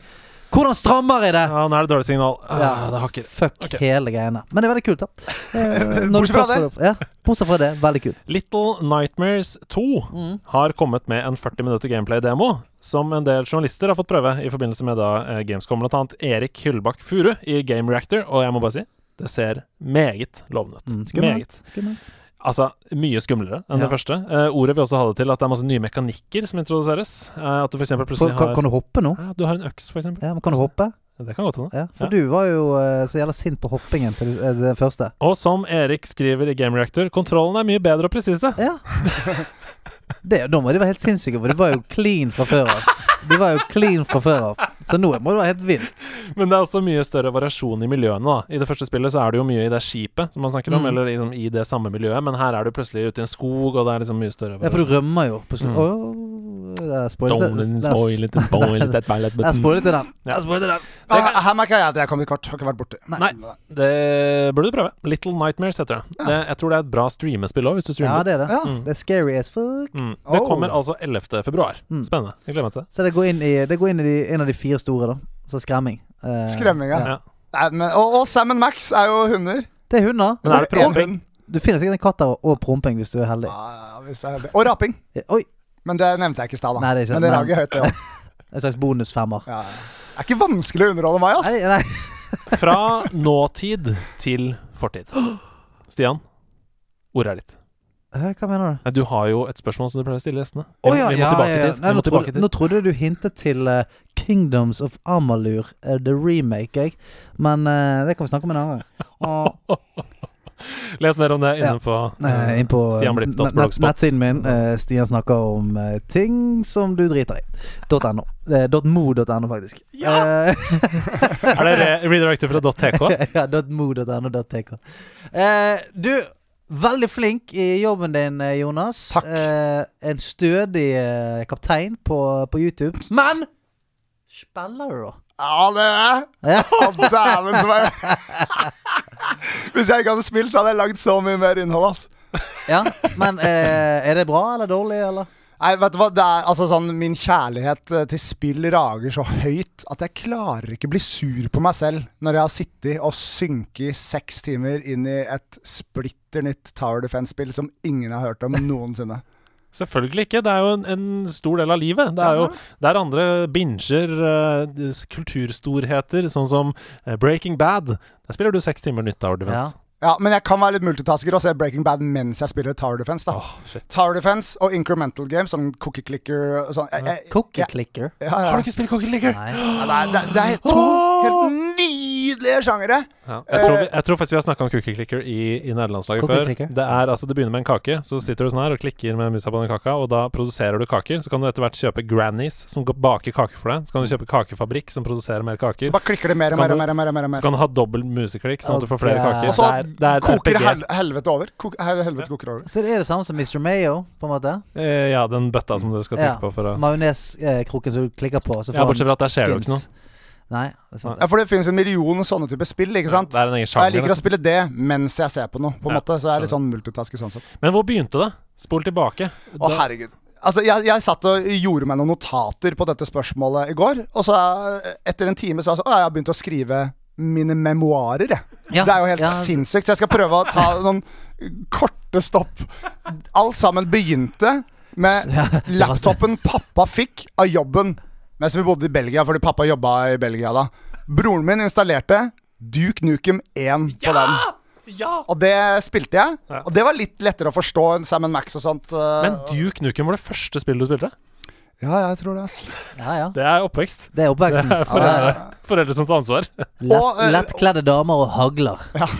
Speaker 2: Hvordan strammer jeg det?
Speaker 1: Ja, nå er det dårlig signal. Ah,
Speaker 2: Ja.
Speaker 1: det hakker.
Speaker 2: Fuck
Speaker 1: Ok.
Speaker 2: hele greiene. Men det er veldig kult, da. Eh, når du
Speaker 5: Bortsett fra
Speaker 2: først får det opp. Ja, bortsett fra det. Veldig kult.
Speaker 1: Little Nightmares 2 har kommet med en 40 minutter gameplay-demo som en del journalister har fått prøve i forbindelse med da eh, Gamescom, blant annet Erik Hyllbakk Furu i Game Reactor, og jeg må bare si det ser meget lovende ut.
Speaker 2: Mm, skummelt.
Speaker 1: meget.
Speaker 2: Skummelt.
Speaker 1: Altså mye skumlere enn
Speaker 2: Ja.
Speaker 1: det første. Eh, ordet vil også ha det til at det er masse nye mekanikker som introduseres. Eh, at du for eksempel
Speaker 2: Så,
Speaker 1: plutselig
Speaker 2: kan,
Speaker 1: har
Speaker 2: kan du hoppe nå?
Speaker 1: Ja, Du har en øks, for eksempel.
Speaker 2: Ja, men kan du hoppe?
Speaker 1: Det kan godt hende.
Speaker 2: Ja, for
Speaker 1: Ja.
Speaker 2: du var jo eh, så jævla sint på hoppingen til eh, det første.
Speaker 1: Og som Erik skriver i Game Reactor, kontrollen er mye bedre og presise.
Speaker 2: Ja. Det, da må de være helt sinnssyke, for de var jo clean fra før av. De var jo clean fra før av. Så nå må det være helt vilt.
Speaker 1: Men det er også mye større variasjon i miljøene, da. I det første spillet så er det jo mye i det skipet som man snakker om,
Speaker 2: Mm.
Speaker 1: eller liksom i det samme miljøet, men her er du plutselig ute i en skog, og det er liksom mye større
Speaker 2: Ja, for du
Speaker 1: variasjon.
Speaker 2: rømmer jo på
Speaker 1: Mm.
Speaker 2: slutten. Åh, Der spoilet jeg-
Speaker 1: Don't
Speaker 2: der-
Speaker 1: spoil it, spoil it, spoil it,
Speaker 2: der spoilet jeg den.
Speaker 1: Ja.
Speaker 2: Der spoilet jeg den.
Speaker 5: Ja, her- her merker jeg at jeg kom litt kort. Har ikke vært borti.
Speaker 1: Nei. Det burde du prøve. Little Nightmares heter det. det. Jeg tror det er et bra streamespill òg, hvis du
Speaker 2: Ja,
Speaker 1: streamer.
Speaker 2: det er det.
Speaker 5: Ja.
Speaker 1: Mm.
Speaker 2: Det er scary as fuck.
Speaker 1: Mm. Det
Speaker 5: Oh.
Speaker 1: kommer altså 11. februar.
Speaker 2: Mm.
Speaker 1: Spennende. Jeg gleder meg til det.
Speaker 2: Så det går inn i, det går inn i de, en av de fire store, da. Så skremming. Eh,
Speaker 5: Skremming, ja.
Speaker 1: Ja.
Speaker 5: Nei, men, og, og Sam Max er jo hunder.
Speaker 2: Det er hunder.
Speaker 1: Men er det
Speaker 5: Og- og
Speaker 1: promping?
Speaker 5: hund.
Speaker 2: Du finner sikkert en katt der, og promping, hvis du er heldig.
Speaker 5: Ja, ja, hvis det er- Og raping.
Speaker 2: Eh, Oi!
Speaker 5: Men det nevnte jeg ikke i stad, da.
Speaker 2: Nei, det er ikke-
Speaker 5: men det
Speaker 2: men-
Speaker 5: laget høyt, det òg.
Speaker 2: En slags bonusfemmer.
Speaker 5: Ja. ja. Det er ikke vanskelig å underholde meg, ass.
Speaker 2: Nei, nei.
Speaker 1: Fra nåtid til fortid. Stian, ordet er ditt.
Speaker 2: Hæ, Hva mener du?
Speaker 1: Nei, Du har jo et spørsmål som du pleier å stille gjestene. Vi,
Speaker 2: Å
Speaker 1: må-
Speaker 2: ja,
Speaker 1: vi må
Speaker 2: ja,
Speaker 1: tilbake
Speaker 2: ja, ja.
Speaker 1: til.
Speaker 2: Nei,
Speaker 1: Vi
Speaker 2: nå,
Speaker 1: må tilbake
Speaker 2: trodde, nå
Speaker 1: til.
Speaker 2: trodde du hintet til eh, Kingdoms of Amalur, eh, the remake, jeg. Men eh, det kan vi snakke om en annen gang. Og,
Speaker 1: Les mer om det inne
Speaker 2: Ja.
Speaker 1: på
Speaker 2: eh, inn på eh, nett- nett-
Speaker 1: stianblipp.blogspot.
Speaker 2: nettsiden min. eh, Stian snakker om eh, ting som du driter i. .no. Eh, .mo.no, faktisk. Eh, Ja!
Speaker 1: Er det re redirector fra .tk?
Speaker 2: ja, .mo.no.tk. Eh, du, veldig flink i jobben din, eh, Jonas.
Speaker 5: Takk.
Speaker 2: Eh, en stødig eh, kaptein på, på YouTube. Men spiller du, da?
Speaker 5: Ja, det er
Speaker 2: Ja.
Speaker 5: Å, dæven som er Hvis jeg ikke hadde spilt, så hadde jeg lagd så mye mer innhold, ass.
Speaker 2: ja. Men eh, er det bra eller dårlig, eller?
Speaker 5: Nei, vet du hva, det er altså sånn Min kjærlighet eh, til spill rager så høyt at jeg klarer ikke bli sur på meg selv når jeg har sittet og synket i seks timer inn i et splitter nytt Tower Defense-spill som ingen har hørt om noensinne.
Speaker 1: Selvfølgelig ikke. Det er jo en, en stor del av livet. Det er jo der andre binger eh, s- kulturstorheter, sånn som eh, Breaking Bad. Der spiller du seks timer nytt av Defense.
Speaker 5: Ja, men jeg kan være litt multitasker og se Breaking Bad mens jeg spiller Tower Defense. da
Speaker 1: Åh, shit.
Speaker 5: Tower Defense og Incremental Games, sånn cookie clicker og sånn. Jeg- jeg-
Speaker 2: Cookie
Speaker 5: jeg-
Speaker 2: clicker?
Speaker 5: Ja, ja.
Speaker 1: Har du ikke spilt Cookie Clicker?
Speaker 2: Nei.
Speaker 5: Ja, det, er, det, det er to
Speaker 1: Åh!
Speaker 5: helt nydelige sjangere.
Speaker 1: Ja. Jeg, tror vi, jeg tror faktisk vi har snakka om cookie clicker i, i nederlandslaget
Speaker 2: Eh, Cookie
Speaker 1: før.
Speaker 2: clicker.
Speaker 1: Det, er, altså, det begynner med en kake, så sitter du sånn her og klikker med musa på den kaka, og da produserer du kaker. Så kan du etter hvert kjøpe Grannies, som går- baker kaker for deg. Så kan du kjøpe kakefabrikk, som produserer mer
Speaker 5: Så
Speaker 1: kaker.
Speaker 5: bare klikker det mer og mer og mer. og mer, og mer,
Speaker 1: Så
Speaker 5: og mer.
Speaker 1: kan du ha dobbel museklikk, sånn at du får flere
Speaker 2: Ok.
Speaker 1: kaker.
Speaker 5: Og så
Speaker 1: Det er, det er et
Speaker 5: koker
Speaker 1: RPG.
Speaker 5: hel helvete over. Kok hel helvete koker over.
Speaker 2: Så det er det samme som Mr. Mayo, på en måte?
Speaker 1: Eh, ja, den bøtta som du skal trykke
Speaker 2: Ja.
Speaker 1: på for å
Speaker 2: Majoneskroken eh, som du klikker på, så får
Speaker 1: Ja, bortsett fra at der skjer det jo ikke
Speaker 2: Nei, det er sant.
Speaker 5: Ja,
Speaker 2: det.
Speaker 5: for det finnes en million sånne typer spill, ikke sant?
Speaker 1: Det er en egen
Speaker 5: Og jeg
Speaker 1: sjanger.
Speaker 5: liker å
Speaker 1: nesten.
Speaker 5: spille det mens jeg ser på noe, på en
Speaker 1: Ja,
Speaker 5: måte. Så jeg er litt
Speaker 1: skjønner.
Speaker 5: sånn multitasker sånn sett.
Speaker 1: Men hvor begynte det? Spol tilbake.
Speaker 5: Å, herregud. Altså, jeg, jeg satt og gjorde meg noen notater på dette spørsmålet i går, og så eh, etter en time så altså, å, jeg har begynt å skrive mine memoarer, jeg.
Speaker 2: Ja,
Speaker 5: det er jo helt
Speaker 2: ja.
Speaker 5: sinnssykt. Så jeg skal prøve å ta noen korte stopp. Alt sammen begynte med
Speaker 2: Ja, det var-
Speaker 5: laptopen pappa fikk av jobben mens vi bodde i Belgia, fordi pappa jobba i Belgia da. Broren min installerte Duke Nukem 1 på den.
Speaker 1: Ja!
Speaker 5: Og det spilte jeg.
Speaker 1: Ja.
Speaker 5: Og det var litt lettere å forstå enn Sam Max og sånt. eh,
Speaker 1: Men Duke Nukem var det første spillet du spilte?
Speaker 5: Ja, jeg tror det. ass.
Speaker 2: Ja, ja.
Speaker 1: Det er oppvekst.
Speaker 2: Det er oppveksten.
Speaker 1: Det er
Speaker 2: Ja, ja.
Speaker 1: foreldre, foreldre som tar ansvar.
Speaker 2: Lett,
Speaker 5: Og, eh,
Speaker 2: lettkledde damer og hagler.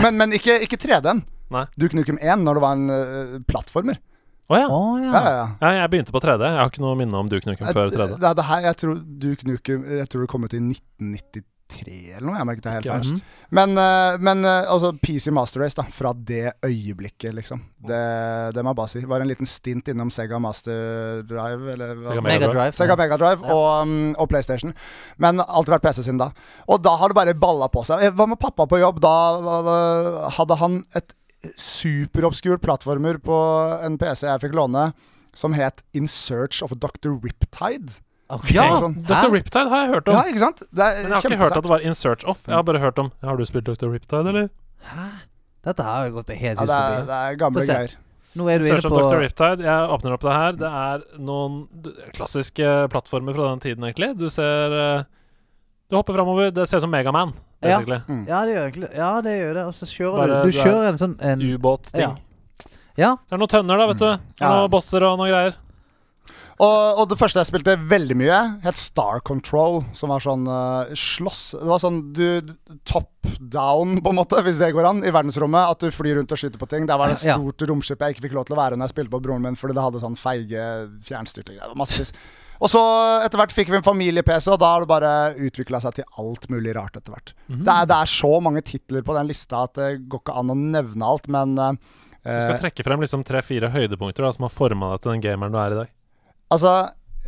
Speaker 5: Men, men ikke, ikke 3D-en.
Speaker 1: Nei.
Speaker 5: Du Nukem 1 når det var en eh, plattformer.
Speaker 1: Å ja.
Speaker 2: Å
Speaker 5: Ja, ja,
Speaker 2: ja.
Speaker 5: ja.
Speaker 1: Ja, jeg begynte på 3D. Jeg har ikke noe minne om Duke Nukem før 3D.
Speaker 5: Det, det her, jeg tror Duke Nukem Jeg tror det kom ut i 1993 eller noe. Jeg merket det helt
Speaker 1: Ikke
Speaker 5: ferskt. Men, eh, men eh, altså PC Master Race, da. Fra det øyeblikket, liksom. Det, det må jeg bare si. Var en liten stint innom Sega Master Drive, eller hva
Speaker 1: Sega Mega
Speaker 2: Megadrive.
Speaker 5: Sega Mega Drive
Speaker 2: Ja.
Speaker 5: og, um, og PlayStation. Men alltid vært PC siden da. Og da har det bare balla på seg. Eh, Hva med pappa på jobb? Da eh, hadde han et superobskur plattformer på en PC jeg fikk låne, som het In Search of Dr. Riptide.
Speaker 2: Ok.
Speaker 1: Ja,
Speaker 5: Sånn.
Speaker 1: Dr.
Speaker 2: Hæ?
Speaker 1: Riptide har jeg hørt om.
Speaker 5: Ja, ikke sant? Det er
Speaker 1: Men jeg har ikke hørt at det var In Search Of. Jeg har bare hørt om Har du spilt Dr. Riptide, eller?
Speaker 2: Dette har jo gått meg helt
Speaker 5: ja,
Speaker 2: ut
Speaker 5: det, er,
Speaker 2: forbi.
Speaker 5: det er
Speaker 2: Få
Speaker 5: gamle
Speaker 2: se.
Speaker 5: greier.
Speaker 2: Nå er du
Speaker 1: Search
Speaker 2: inne
Speaker 1: of
Speaker 2: på
Speaker 1: Dr. Riptide. Jeg åpner opp det her. Det er noen d- klassiske plattformer fra den tiden, egentlig. Du ser eh, Du hopper framover. Det ser ut som Megaman,
Speaker 2: Ja.
Speaker 1: basically.
Speaker 2: Ja, det gjør egentlig ja, det. Gjør det. Og så kjører
Speaker 1: Bare
Speaker 2: du Du
Speaker 1: du er-
Speaker 2: kjører en sånn en,
Speaker 1: Ubåt-ting.
Speaker 2: Ja. Ja.
Speaker 1: Det er noen tønner, da, vet du. Det er
Speaker 5: Ja.
Speaker 1: Noen bosser og noen greier.
Speaker 5: Og, og det første jeg spilte veldig mye, het Star Control, som var sånn eh, slåss Det var sånn du du- top down, på en måte, hvis det går an, i verdensrommet. At du flyr rundt og skyter på ting. Der var det et
Speaker 2: Ja.
Speaker 5: stort romskip jeg ikke fikk lov til å være når jeg spilte på broren min, fordi det hadde sånn feige fjernstyrte greier. Massevis. Og så etter hvert fikk vi en familie-PC, og da har det bare utvikla seg til alt mulig rart etter hvert. Det, er, det er så mange titler på den lista at det går ikke an å nevne alt, men eh,
Speaker 1: Du
Speaker 5: eh,
Speaker 1: skal trekke frem liksom tre-fire høydepunkter da, som har forma deg til den gameren du er i dag.
Speaker 5: Altså,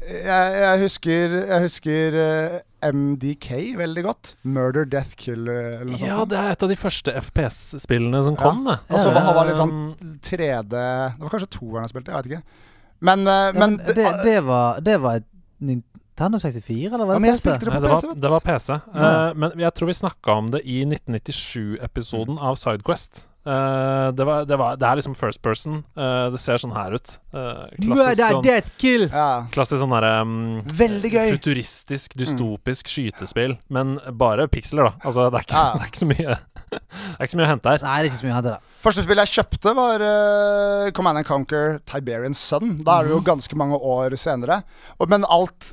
Speaker 5: jeg, jeg husker, jeg husker eh, MDK veldig godt. Murder, Death, Kill eh, eller noe
Speaker 1: Ja,
Speaker 5: sånt.
Speaker 1: det er et av de første FPS-spillene som kom. det.
Speaker 5: Og så
Speaker 1: Ja,
Speaker 5: Altså, var- var litt
Speaker 1: um,
Speaker 5: sånn 3D Det var kanskje toeren jeg spilte, jeg vet ikke. Men, eh,
Speaker 2: Ja,
Speaker 5: men,
Speaker 2: men det, det var Det var et Nintendo 64, eller
Speaker 5: ja,
Speaker 2: var
Speaker 5: men
Speaker 2: det
Speaker 5: jeg
Speaker 2: PC?
Speaker 5: spilte det
Speaker 1: Nei,
Speaker 5: på
Speaker 1: det
Speaker 5: PC,
Speaker 1: var,
Speaker 5: vet
Speaker 1: det
Speaker 5: du.
Speaker 1: var PC. Eh,
Speaker 2: Ja.
Speaker 1: men jeg tror vi snakka om det i 1997-episoden av Sidequest. Eh, det, var, det, var, det er liksom first person. Eh, det ser sånn her ut. Eh, klassisk,
Speaker 2: Murder,
Speaker 1: sånn,
Speaker 2: death, kill!
Speaker 5: Ja.
Speaker 1: klassisk sånn derre um,
Speaker 5: Veldig gøy. Mm.
Speaker 1: Futuristisk, dystopisk skytespill. Men bare piksler, da. Altså, det er ikke,
Speaker 5: Ja.
Speaker 1: det er ikke så mye Det er ikke så mye å hente her.
Speaker 2: Nei, det er ikke så mye å hente der.
Speaker 5: Første spill jeg kjøpte, var eh, Command and Conquer Tiberian Sun. Da er det jo ganske mange år senere. Og, men alt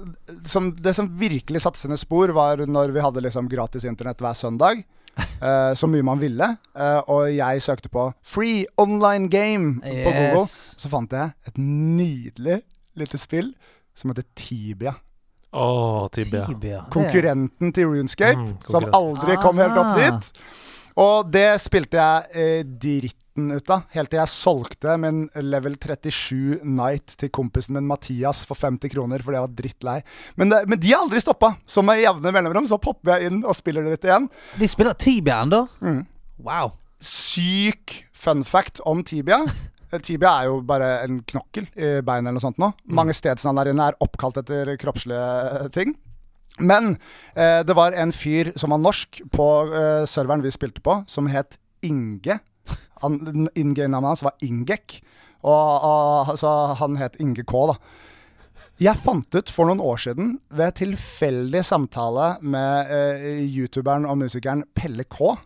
Speaker 5: som, Det som virkelig satte sine spor, var når vi hadde liksom gratis internett hver søndag. eh, så mye man ville. Eh, og jeg søkte på 'Free Online Game' på Google.
Speaker 2: Yes.
Speaker 5: Så fant jeg et nydelig lite spill som heter Tibia.
Speaker 1: Å, Tibia.
Speaker 2: Tibia.
Speaker 5: Konkurrenten til Runescape,
Speaker 1: Mm,
Speaker 5: som
Speaker 1: konkurrent.
Speaker 5: aldri kom helt opp
Speaker 2: Ah.
Speaker 5: dit. Og det spilte jeg eh, dritten ut av, helt til jeg solgte min level 37 Night til kompisen min Mathias for 50 kroner, fordi jeg var drittlei. Men, det, men de har aldri stoppa. Så med jevne mellomrom så popper jeg inn og spiller det litt igjen.
Speaker 2: De spiller Tibia ennå?
Speaker 5: Mm.
Speaker 2: Wow.
Speaker 5: syk fun fact om tibia. Eh, Tibia er jo bare en knokkel i beinet eller noe sånt nå. Mange stedsnavn der inne er oppkalt etter kroppslige eh, ting. Men eh, det var en fyr som var norsk på eh, serveren vi spilte på, som het Inge. Han- Inge-navnet hans var Ingek. Og, og, så han het Inge K, da. Jeg fant ut for noen år siden, ved
Speaker 1: Mhm.
Speaker 5: tilfeldig samtale med eh, youtuberen og musikeren Pelle K,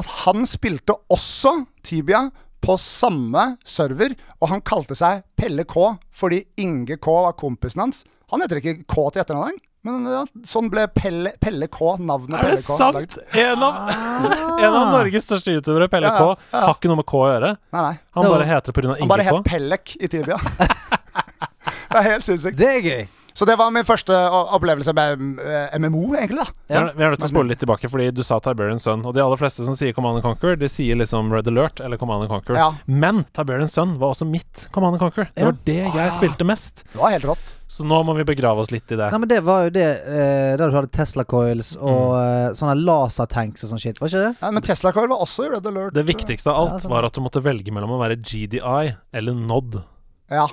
Speaker 5: at han spilte også Tibia på samme server, og han kalte seg Pelle K fordi Inge K var kompisen hans. Han heter ikke K til etternavn, men ja, sånn ble Pelle, Pelle K navnet
Speaker 1: Er det
Speaker 5: Pelle K. Ah.
Speaker 1: sant? En av, en av Norges største youtubere, Pelle K,
Speaker 5: Ja, ja.
Speaker 1: har ikke noe med K å gjøre.
Speaker 5: Nei, nei.
Speaker 1: Han
Speaker 2: Ja.
Speaker 1: bare heter det pga.
Speaker 5: Han bare
Speaker 1: Inge
Speaker 5: het
Speaker 1: K.
Speaker 5: Pellek i Tibia. det er helt sinnssykt.
Speaker 2: Det er gøy.
Speaker 5: Så det var min første o- opplevelse med mm, eh, MMO, egentlig. da
Speaker 1: Vi er vi er nødt til å spole litt tilbake, fordi du sa Tiberian Sun. Og de aller fleste som sier Command and Conquer, de sier liksom Red Alert eller Command and Conquer.
Speaker 5: Ja.
Speaker 1: Men Tiberian Sun var også mitt Command and Conquer. Det var det jeg spilte mest.
Speaker 5: Det var helt rått.
Speaker 1: Så nå må vi begrave oss litt i det.
Speaker 2: Nei, men det var jo det eh, der du hadde Tesla coils
Speaker 1: Mm.
Speaker 2: og eh, sånne lasertanks og sånn shit, var ikke det?
Speaker 5: Ja, men Tesla Coil var også i Red Alert.
Speaker 1: Det viktigste av
Speaker 2: Ja,
Speaker 1: alt
Speaker 2: sånn.
Speaker 1: var at du måtte velge mellom å være GDI eller Nod.
Speaker 5: Ja.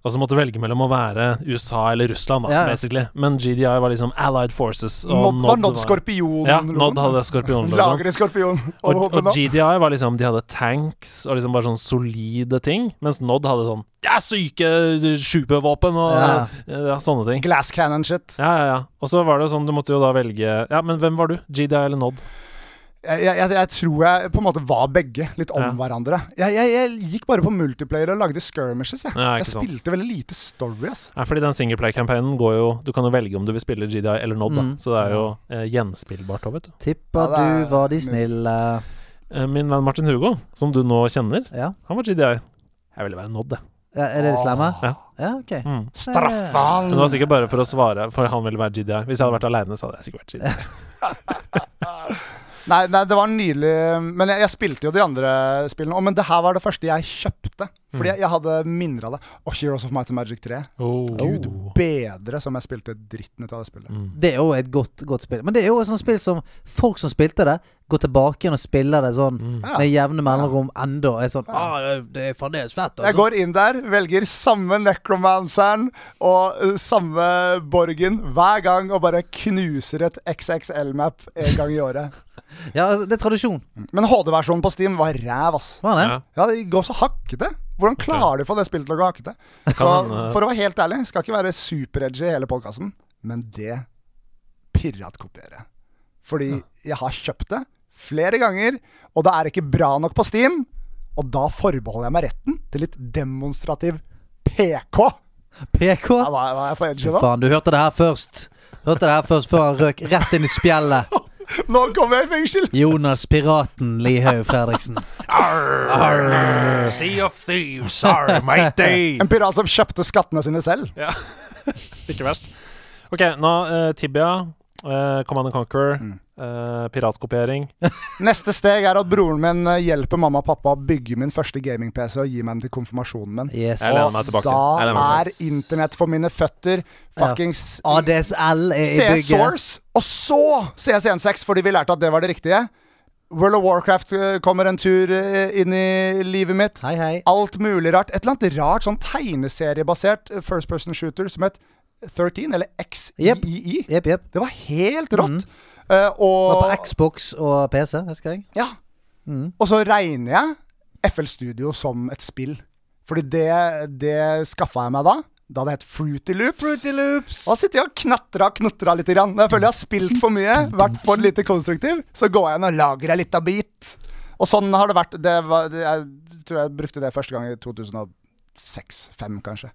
Speaker 1: Altså måtte velge mellom å være USA eller Russland, da,
Speaker 2: Ja, ja.
Speaker 1: basically. Men GDI var liksom Allied Forces. Og
Speaker 5: Nod, var Nod Skorpion.
Speaker 1: Ja, Nod hadde skorpionlogoen.
Speaker 5: Lagre skorpion over
Speaker 1: Og,
Speaker 5: hodet
Speaker 1: og
Speaker 5: nå.
Speaker 1: GDI var liksom De hadde tanks og liksom bare sånn solide ting. Mens Nod hadde sånn Ja, syke supervåpen og ja.
Speaker 2: Ja.
Speaker 1: sånne ting.
Speaker 5: Glass cannon shit.
Speaker 1: Ja, ja, ja. Og så var det jo sånn, du måtte jo da velge Ja, men hvem var du? GDI eller Nod?
Speaker 5: Jeg, jeg, jeg tror jeg på en måte var begge, litt om
Speaker 1: Ja.
Speaker 5: hverandre. Jeg, jeg, jeg gikk bare på multiplayer og lagde skirmishes, jeg.
Speaker 1: Ja, ikke
Speaker 5: jeg
Speaker 1: sant.
Speaker 5: spilte veldig lite story, ass.
Speaker 1: Ja, fordi den singleplay-campaignen går jo Du kan jo velge om du vil spille GDI eller Nod, da. Så det er jo eh, gjenspillbart òg, vet du.
Speaker 2: Tipper
Speaker 5: Ja, det er-
Speaker 2: du var de snille.
Speaker 1: Eh, Min venn Martin Hugo, som du nå kjenner,
Speaker 2: Ja.
Speaker 1: han var GDI. Jeg ville være Nod, jeg.
Speaker 2: ja er det de slemme?
Speaker 1: Ja.
Speaker 2: Ja, ok.
Speaker 1: Mm.
Speaker 5: Straffa
Speaker 1: Men det var sikkert bare for å svare, for han ville være GDI. Hvis jeg hadde vært aleine, så hadde jeg sikkert vært GDI.
Speaker 5: Nei, nei, det var nydelig Men jeg, jeg spilte jo de andre spillene også, Men det her var det første jeg kjøpte Fordi jeg, jeg hadde mindre av det Og Heroes of Might and Magic 3
Speaker 1: Oh.
Speaker 5: Gud bedre som jeg spilte dritten ut av det spillet
Speaker 2: Det er jo et godt, godt spill. Men det er jo et sånt spill som folk som spilte det, går tilbake igjen og spiller det sånn
Speaker 5: Ja.
Speaker 2: med jevne mellomrom enda. og Er sånn ah, det- det er fremdeles fett.
Speaker 5: Jeg
Speaker 2: Altså.
Speaker 5: går inn der, velger samme Necromanceren Og eh, samme Borgen Hver gang og bare knuser et XXL-map En gang i året
Speaker 2: Ja, altså, det er tradisjon.
Speaker 5: Men HD-versjonen på Steam var ræv ass
Speaker 2: Var det?
Speaker 1: Ja.
Speaker 5: Ja, det går så hakkete hvordan klarer du for det spillet til å gå hakkete? Så
Speaker 1: hende-
Speaker 5: for å være helt ærlig, skal ikke være super-edgy i hele podkasten, men det piratkopierer jeg. Fordi jeg har kjøpt det flere ganger, og det er ikke bra nok på Steam. Og da forbeholder jeg meg retten til litt demonstrativ PK.
Speaker 2: PK?
Speaker 5: Ja, hva, hva er jeg for edgy nå?
Speaker 2: Faen, du hørte det her først. Hørte det her først før han røk rett inn i spjeldet.
Speaker 5: Nå kommer jeg i fengsel!
Speaker 2: Jonas Piraten Lihaug Fredriksen.
Speaker 1: Sea of thieves, sorry, matey!
Speaker 5: En pirat som kjøpte skattene sine selv.
Speaker 1: Ikke verst. OK, nå eh, Tibia, eh, Command and Conquer,
Speaker 5: Mm.
Speaker 1: eh, piratkopiering.
Speaker 5: Neste steg er at broren min eh, hjelper mamma og pappa å bygge min første gaming-PC og gi meg den til konfirmasjonen min.
Speaker 2: Yes.
Speaker 1: Jeg lener meg tilbake. Jeg lener
Speaker 5: Da
Speaker 1: meg
Speaker 5: er internett for mine føtter. Fuckings
Speaker 2: ADSL er i
Speaker 5: CS
Speaker 2: bygget.
Speaker 5: Source, og så CS16, fordi vi lærte at det var det riktige. World of Warcraft eh, kommer en tur eh, inn i livet mitt.
Speaker 2: Hei, hei.
Speaker 5: Alt mulig rart. Et eller annet rart sånn tegneseriebasert eh, first person shooter som het 13, eller
Speaker 2: Jep.
Speaker 5: XII.
Speaker 2: Jepp, jepp.
Speaker 5: Det var helt rått. Eh, og
Speaker 2: Var på Xbox og PC, husker jeg.
Speaker 5: ja. Og så regner jeg FL Studio som et spill. Fordi det, det skaffa jeg meg da. Da det het Fruity Loops.
Speaker 2: Loops.
Speaker 5: Da sitter jeg og knatrer og knotrer litt. Grann. Når jeg føler jeg har spilt for mye, vært for lite konstruktiv, så går jeg inn og lager en liten bit. Og sånn har det vært. Det var, det, jeg tror jeg brukte det første gang i 2006-2005, kanskje.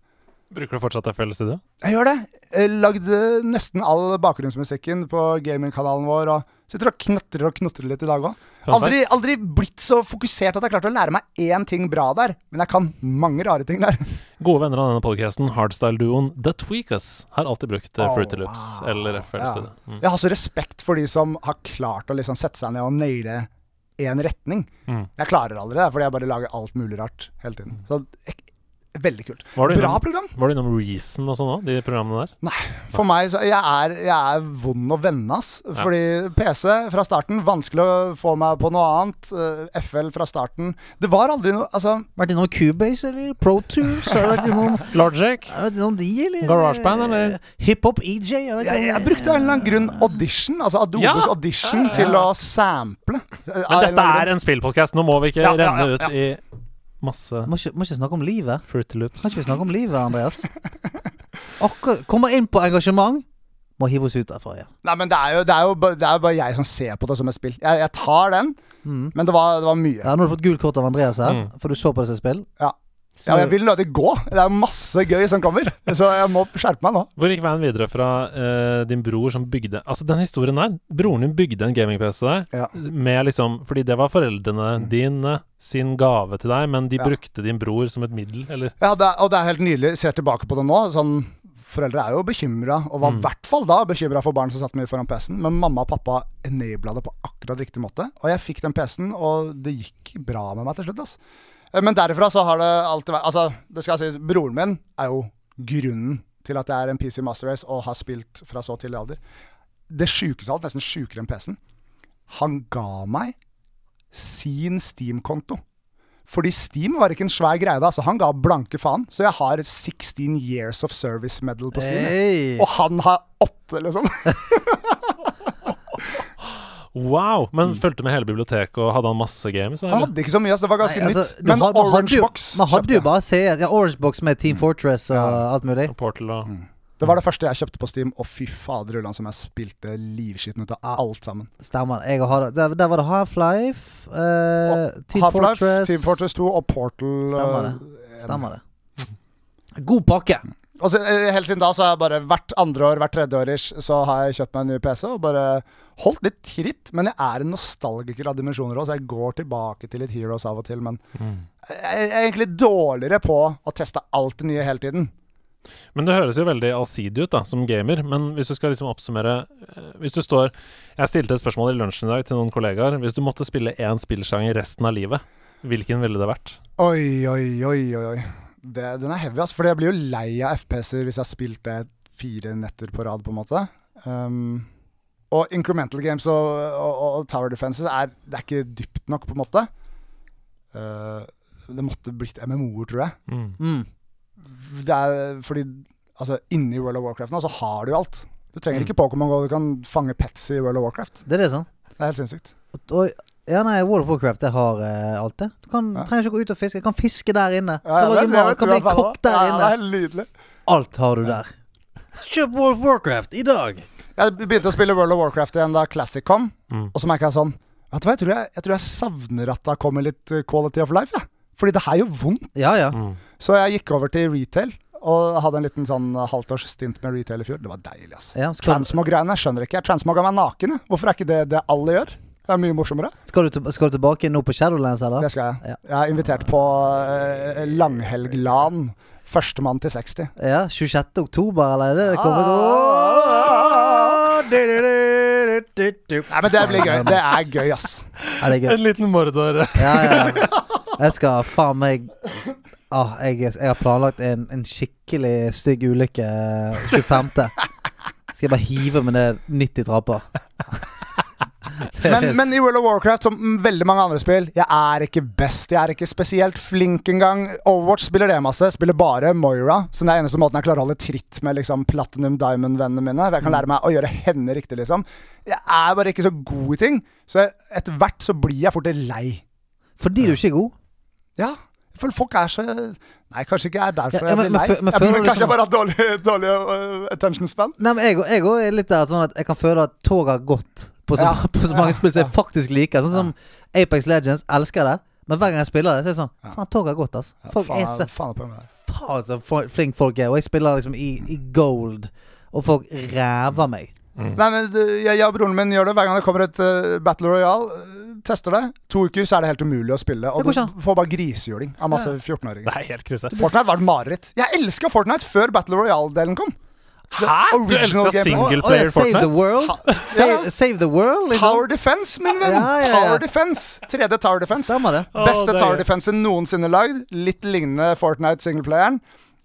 Speaker 1: Bruker du fortsatt FL Studio?
Speaker 5: Jeg gjør det. Jeg lagde nesten all bakgrunnsmusikken på gamingkanalen vår. Og sitter og knatrer og knotrer litt i dag òg.
Speaker 1: Fun
Speaker 5: Aldri, aldri blitt så fokusert at jeg klarte å lære meg én ting bra der. Men jeg kan mange rare ting der.
Speaker 1: Gode venner av denne podcasten, hardstyle-duoen The Tweakers, har alltid brukt eh,
Speaker 5: Oh,
Speaker 1: Fruity Loops eller FL
Speaker 5: Ja.
Speaker 1: Studio. Mm.
Speaker 5: Jeg har så respekt for de som har klart å liksom sette seg ned og naile én retning.
Speaker 1: Mm.
Speaker 5: Jeg klarer aldri det, fordi jeg bare lager alt mulig rart hele tiden. Så ek- Veldig kult.
Speaker 1: Var du
Speaker 5: Bra
Speaker 1: innom-
Speaker 5: program.
Speaker 1: Var du innom Reason og sånn òg, de programmene der?
Speaker 5: For meg så Jeg er, jeg er vond å vende, ass. Fordi PC fra starten, vanskelig å få meg på noe annet. Eh, FL fra starten. Det var aldri noe Altså,
Speaker 2: Vært innom Cubase eller Pro Tools? Har du vært innom,
Speaker 1: Logic?
Speaker 2: har du vært innom de, eller?
Speaker 1: GarageBand, eller?
Speaker 2: Hiphop E EJ? har du vært
Speaker 5: jeg, jeg
Speaker 2: innom-
Speaker 5: brukte av en eller annen grunn audition, altså Adobes
Speaker 1: Ja.
Speaker 5: audition, til å sample. Eh,
Speaker 1: Men dette er en spillpodkast, nå må vi ikke
Speaker 5: Ja, ja,
Speaker 1: renne
Speaker 5: ja,
Speaker 1: ut i masse
Speaker 2: Må ikke, må ikke snakke om livet.
Speaker 1: Fruity Loops.
Speaker 2: Kan ikke vi snakke om livet, Andreas? Akkurat Kommer inn på engasjement, må hive oss ut derfra igjen.
Speaker 5: Nei, men det er jo, det er jo, ba- det er jo bare jeg som ser på det som et spill. Jeg, jeg tar den,
Speaker 2: Mm.
Speaker 5: Men det var, det var mye.
Speaker 2: Ja, nå har du fått gult kort av Andreas her,
Speaker 1: Mm.
Speaker 2: for du så på det som et spill.
Speaker 5: Ja. Ja, jeg vil nødig gå. Det er masse gøy som kommer. Så jeg må skjerpe meg nå.
Speaker 1: Hvor gikk veien videre fra eh, din bror som bygde Altså, den historien der Broren din bygde en gaming-PC der,
Speaker 5: Ja.
Speaker 1: med liksom Fordi det var foreldrene dine sin gave til deg, men de
Speaker 5: Mm. Ja.
Speaker 1: brukte din bror som et middel, eller
Speaker 5: Ja, det er, og det er helt nydelig. Ser tilbake på det nå. Sånn, foreldre er jo bekymra, og var i hvert fall da bekymra for barn som satt mye foran PC-en. Men mamma og pappa enabla det på akkurat riktig måte. Og jeg fikk den PC-en, og det gikk bra med meg til slutt. Ass. Eh, Men derifra så har det alltid vært Altså, det skal sies, broren min er jo grunnen til at jeg er en PC Master Race og har spilt fra så tidlig alder. Det sjukeste av alt, nesten sjukere enn PC-en, han ga meg sin Steam-konto. Fordi Steam var ikke en svær greie da, så han ga blanke faen. Så jeg har 16 years of service medal på Steam. jeg.
Speaker 2: Hey.
Speaker 5: Og han har åtte, liksom.
Speaker 1: Wow! Men fulgte med hele biblioteket, og hadde han masse games?
Speaker 5: Han
Speaker 1: Eller?
Speaker 5: Mm. hadde ikke så mye, så det var ganske
Speaker 2: Nei, altså,
Speaker 5: nytt. Men
Speaker 2: du har- man hadde
Speaker 5: Orange
Speaker 2: jo-
Speaker 5: Box
Speaker 2: Man hadde jo
Speaker 5: kjøpte jeg. Mm.
Speaker 2: bare CS. Ja, Orange Box med Team Fortress og alt mulig.
Speaker 1: Portal og
Speaker 5: Det var det første jeg kjøpte på Steam, og fy fader ullan som jeg spilte livskiten ut av alt sammen.
Speaker 2: Stemmer. Jeg har, der, der var det Half-Life, eh, Team
Speaker 5: Half-Life,
Speaker 2: Fortress
Speaker 5: Team Fortress 2 og Portal.
Speaker 2: Stemmer
Speaker 5: eh, en.
Speaker 2: Stemmer det. God pakke.
Speaker 5: Og så, eh, helt siden da så har jeg bare hvert andre år, hvert tredje år ish, så har jeg kjøpt meg en ny PC og bare holdt litt tritt. Men jeg er en nostalgiker av dimensjoner òg, så jeg går tilbake til litt Heroes av og til. Men jeg er egentlig dårligere på å teste alt det nye hele tiden.
Speaker 1: Men det høres jo veldig allsidig ut da, som gamer. Men hvis du skal liksom oppsummere eh, Hvis du står Jeg stilte et spørsmål i lunsjen i dag til noen kollegaer. Hvis du måtte spille én spillsjanger resten av livet, hvilken ville det vært?
Speaker 5: Oi, oi, oi, oi. oi. Det, den er heavy, altså. For jeg blir jo lei av FPS-er hvis jeg har spilt det fire netter på rad, på en måte. Um, og incremental games og, og, og tower defenses er, det er ikke dypt nok, på en måte. Uh, det måtte blitt MMO-er, tror jeg.
Speaker 2: Mm.
Speaker 5: Det er fordi altså, inni World of Warcraft nå så har du jo alt. Du trenger ikke Pokémon GO, du kan fange pets i World of Warcraft.
Speaker 2: Det er det, sånn.
Speaker 5: Det er helt sinnssykt.
Speaker 2: Og- Og, ja, nei, World of Warcraft det har eh, alt det. Du kan,
Speaker 5: Ja.
Speaker 2: trenger ikke gå ut og fiske. Du kan fiske der inne. Du kan
Speaker 5: Ja,
Speaker 2: lage
Speaker 5: det- det
Speaker 2: mat.
Speaker 5: vet
Speaker 2: Du kan
Speaker 5: du
Speaker 2: bli
Speaker 5: i hvert fall.
Speaker 2: kokk der
Speaker 5: Ja, det
Speaker 2: inne.
Speaker 5: er helt nydelig.
Speaker 2: Alt har du der. Kjøp World of Warcraft i dag.
Speaker 5: Jeg begynte å spille World of Warcraft igjen da Classic kom,
Speaker 1: Mm.
Speaker 5: og så merka jeg sånn Vet du hva, jeg tror jeg, jeg tror jeg savner at det har kommet litt eh, quality of life, jeg. Fordi det her gjør vondt.
Speaker 2: Ja, ja.
Speaker 5: Så jeg gikk over til retail, og hadde en liten sånn eh, halvtårs stint med retail i fjor. Det var deilig, ass.
Speaker 2: ja skal,
Speaker 5: Transmog-greiene jeg skjønner ikke. Transmog kan være naken, jeg. Hvorfor er ikke det det alle gjør? Det er mye morsommere.
Speaker 2: skal, du, til- skal du tilbake nå på Shadowlands, eller?
Speaker 5: Det skal jeg.
Speaker 2: Ja.
Speaker 5: Jeg er invitert på eh, langhelg-LAN. Førstemann til 60.
Speaker 2: Ja, 26. oktober, eller er det det kommer
Speaker 5: Ah.
Speaker 2: Du, du, du, du, du, du.
Speaker 5: Nei, men det blir gøy. Det er gøy, ass.
Speaker 2: Ja, det er gøy.
Speaker 1: liten mordor.
Speaker 2: Ja, ja. Jeg skal faen meg ah, jeg, jeg har planlagt en, en skikkelig stygg ulykke eh, 25. Skal jeg bare hive meg ned 90 trapper.
Speaker 5: men, men i World of Warcraft, som mm, veldig mange andre spill, jeg er ikke best. Jeg er ikke spesielt flink engang. Overwatch spiller det masse. Spiller bare Moira. Så det er eneste måten jeg klarer å holde tritt med liksom, Platinum Diamond-vennene mine. Jeg
Speaker 2: Mm.
Speaker 5: kan lære meg å gjøre henne riktig, liksom. Jeg er bare ikke så god i ting. Så etter hvert så blir jeg fort litt lei.
Speaker 2: Fordi du ikke er god.
Speaker 5: Ja. Jeg føler folk er så Nei, kanskje ikke jeg er derfor
Speaker 2: Ja, ja,
Speaker 5: jeg
Speaker 2: men-
Speaker 5: blir
Speaker 2: men
Speaker 5: lei.
Speaker 2: fø- men
Speaker 5: jeg,
Speaker 2: føler du
Speaker 5: kanskje
Speaker 2: sånn-
Speaker 5: jeg bare har dårlig, dårlig øh, attention span.
Speaker 2: Nei, men jeg, jeg også er litt der sånn at jeg kan føle at toget har gått på så,
Speaker 5: Ja.
Speaker 2: på så mange spill som jeg faktisk liker. Sånn som Apex Legends. Elsker det. Men hver gang jeg spiller det, så er det sånn Faen, toget har gått, altså. Folk er så
Speaker 5: Faen, faen på meg.
Speaker 2: faen så for- flink folk er. Og jeg spiller liksom i, i gold, og folk ræver meg.
Speaker 5: Nei, men det- jeg, jeg og broren min gjør det hver gang det kommer et eh, Battle Royale. eh, Tester det. To uker så er det helt umulig å spille. Og
Speaker 2: Det går
Speaker 5: du
Speaker 2: ikke an.
Speaker 5: får bare grisehjuling av masse 14-åringer.
Speaker 1: Det er helt krise.
Speaker 5: Fortnite var et mareritt. Jeg elska Fortnite før Battle Royale-delen kom.
Speaker 1: Hæ?! Du
Speaker 5: original
Speaker 1: elska
Speaker 5: game.
Speaker 2: Å,
Speaker 1: single
Speaker 2: å, ja,
Speaker 1: player
Speaker 2: save
Speaker 1: Fortnite?
Speaker 2: the world? Save, save the world, liksom?
Speaker 5: Tower Defense, min venn!
Speaker 2: Ja, ja, ja.
Speaker 5: Tower Defense. Tredje Tower Defense.
Speaker 2: Stemmer det.
Speaker 1: Å,
Speaker 5: Beste
Speaker 1: det er
Speaker 5: Tower
Speaker 1: gøy.
Speaker 5: Defense noensinne lagd. Litt lignende Fortnite singleplayeren.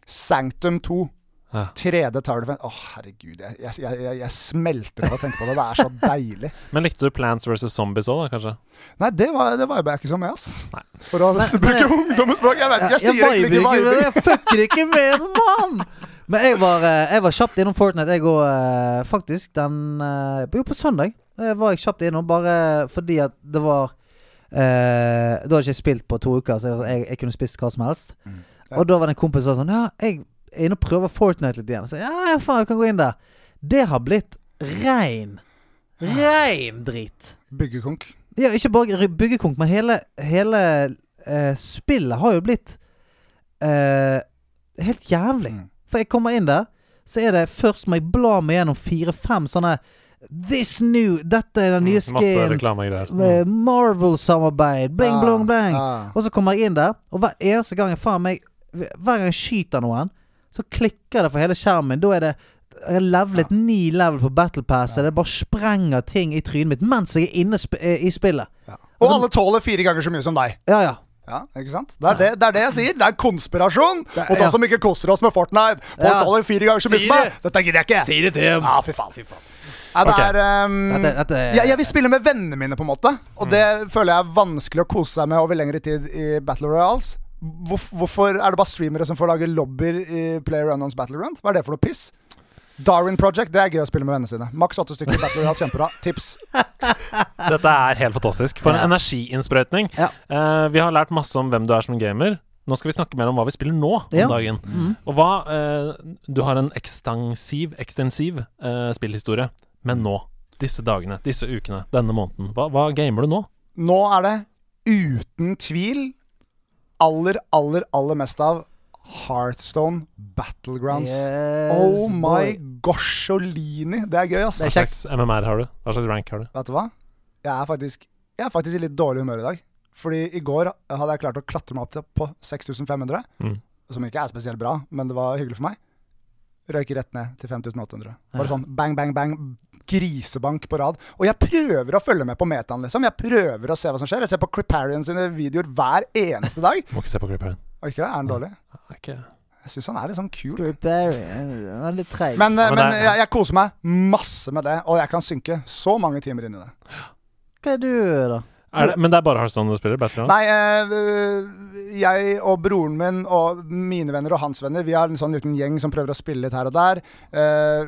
Speaker 5: Sanctum 2.
Speaker 1: Ja.
Speaker 5: Tredje Tower Defense. Å, herregud. Jeg, jeg, jeg, jeg smelter av å tenke på det. Det er så deilig.
Speaker 1: Men likte du Plants vs. Zombies òg, da, kanskje?
Speaker 5: Nei, det var, det var jeg bare ikke så med, ass.
Speaker 1: Nei.
Speaker 5: For å bruke ungdommens språk. Jeg vet ikke, jeg sier
Speaker 2: viber
Speaker 5: egentlig ikke
Speaker 2: ikke med det.
Speaker 5: viber.
Speaker 2: Jeg fucker ikke med det, mann! Men jeg var, eh, jeg var kjapt innom Fortnite, jeg òg, eh, faktisk. Den eh, Jo, på søndag eh, var jeg kjapt innom, bare fordi at det var eh, Da hadde jeg ikke spilt på to uker, så jeg, jeg, jeg kunne spist hva som helst. Og da var det en kompis som sa sånn Ja, jeg er inne og prøver Fortnite litt igjen. Så ja, ja, faen, jeg kan gå inn der. Det har blitt rein. Rein drit.
Speaker 5: Byggekonk.
Speaker 2: Ja, ikke bare ry- byggekonk, men hele, hele eh, spillet har jo blitt eh, helt jævlig.
Speaker 5: Mm.
Speaker 2: For jeg kommer inn der, så er det først må jeg bla meg gjennom fire-fem sånne This new Dette er den nye
Speaker 1: Mm, Masse
Speaker 2: skin.
Speaker 1: reklamegreier.
Speaker 2: eh, Marvel-samarbeid. Bling,
Speaker 5: Ja,
Speaker 2: blong, bling.
Speaker 5: ja.
Speaker 2: Og så kommer jeg inn der, og hver eneste gang jeg, faen meg, hver gang jeg skyter noen, så klikker det for hele skjermen. Da er det jeg har levelet
Speaker 5: Ah.
Speaker 2: ni level på Battle Pass. og Det bare sprenger ting i trynet mitt mens jeg er inne sp eh, i spillet.
Speaker 5: Ja. Og alle tåler fire ganger så mye som deg.
Speaker 2: Ja, ja.
Speaker 5: Ja, ikke sant? Det er det, det, er det jeg sier. Det er konspirasjon mot
Speaker 2: ja.
Speaker 5: oss som ikke koser oss med Fortnite. Folk
Speaker 2: Ja.
Speaker 5: tåler fire ganger så mye
Speaker 2: Si
Speaker 5: som meg.
Speaker 2: det.
Speaker 5: Dette gidder jeg ikke.
Speaker 2: det til
Speaker 5: Ja, fy faen. Nei, det
Speaker 1: Ok.
Speaker 5: er um,
Speaker 2: Dette- dette er-
Speaker 5: jeg, jeg vil spille med vennene mine, på en måte. Og det
Speaker 2: Mm.
Speaker 5: føler jeg er vanskelig å kose seg med over lengre tid i Battle Royals. Hvorf, hvorfor er det bare streamere som får lage lobbyer i Player Unknowns Battleground? Hva er det for noe piss? Darwin Project, det er gøy å spille med vennene sine. Maks åtte stykker i Battle Royals, kjempebra. Tips.
Speaker 1: Mm. Dette er helt fantastisk. For en energiinnsprøytning.
Speaker 2: Ja.
Speaker 1: Eh, vi har lært masse om hvem du er som gamer. Nå skal vi snakke mer om hva vi spiller nå om
Speaker 2: Ja. Mm.
Speaker 1: dagen. Og hva eh, Du har en ekstensiv, ekstensiv eh, spillhistorie, men nå. Disse dagene, disse ukene, denne måneden. Hva, hva gamer du nå?
Speaker 5: Nå er det uten tvil aller, aller, aller mest av Heartstone Battlegrounds.
Speaker 2: Yes,
Speaker 5: oh my
Speaker 2: boy.
Speaker 5: gorsjolini. Det er gøy, ass.
Speaker 1: Hva slags MMR har du? Hva slags rank har du?
Speaker 5: Vet du hva? Jeg er faktisk, jeg er faktisk i litt dårlig humør i dag. Fordi i går hadde jeg klart å klatre meg opp til, på 6500,
Speaker 1: Mm.
Speaker 5: som ikke er spesielt bra, men det var hyggelig for meg. Røyker rett ned til 5800. Bare sånn bang, bang, bang. Grisebank på rad. Og jeg prøver å følge med på metaen, liksom. Jeg prøver å se hva som skjer. Jeg ser på Cliparion sine videoer hver eneste dag.
Speaker 1: Må ikke se på klipperen.
Speaker 5: Og ikke det? Er han dårlig?
Speaker 1: Er ikke-
Speaker 5: Jeg syns han er litt sånn kul.
Speaker 2: Barry, han er litt treig.
Speaker 5: Men, eh,
Speaker 1: men
Speaker 5: men
Speaker 1: det er-
Speaker 5: jeg, jeg koser meg masse med det, og jeg kan synke så mange timer inn i det.
Speaker 2: Hva er du, da?
Speaker 1: Er det, men det er bare Hearthstone du spiller? Battlegrounds?
Speaker 5: Nei, eh, jeg og broren min og mine venner og hans venner, vi er en sånn liten gjeng som prøver å spille litt her og der. Eh,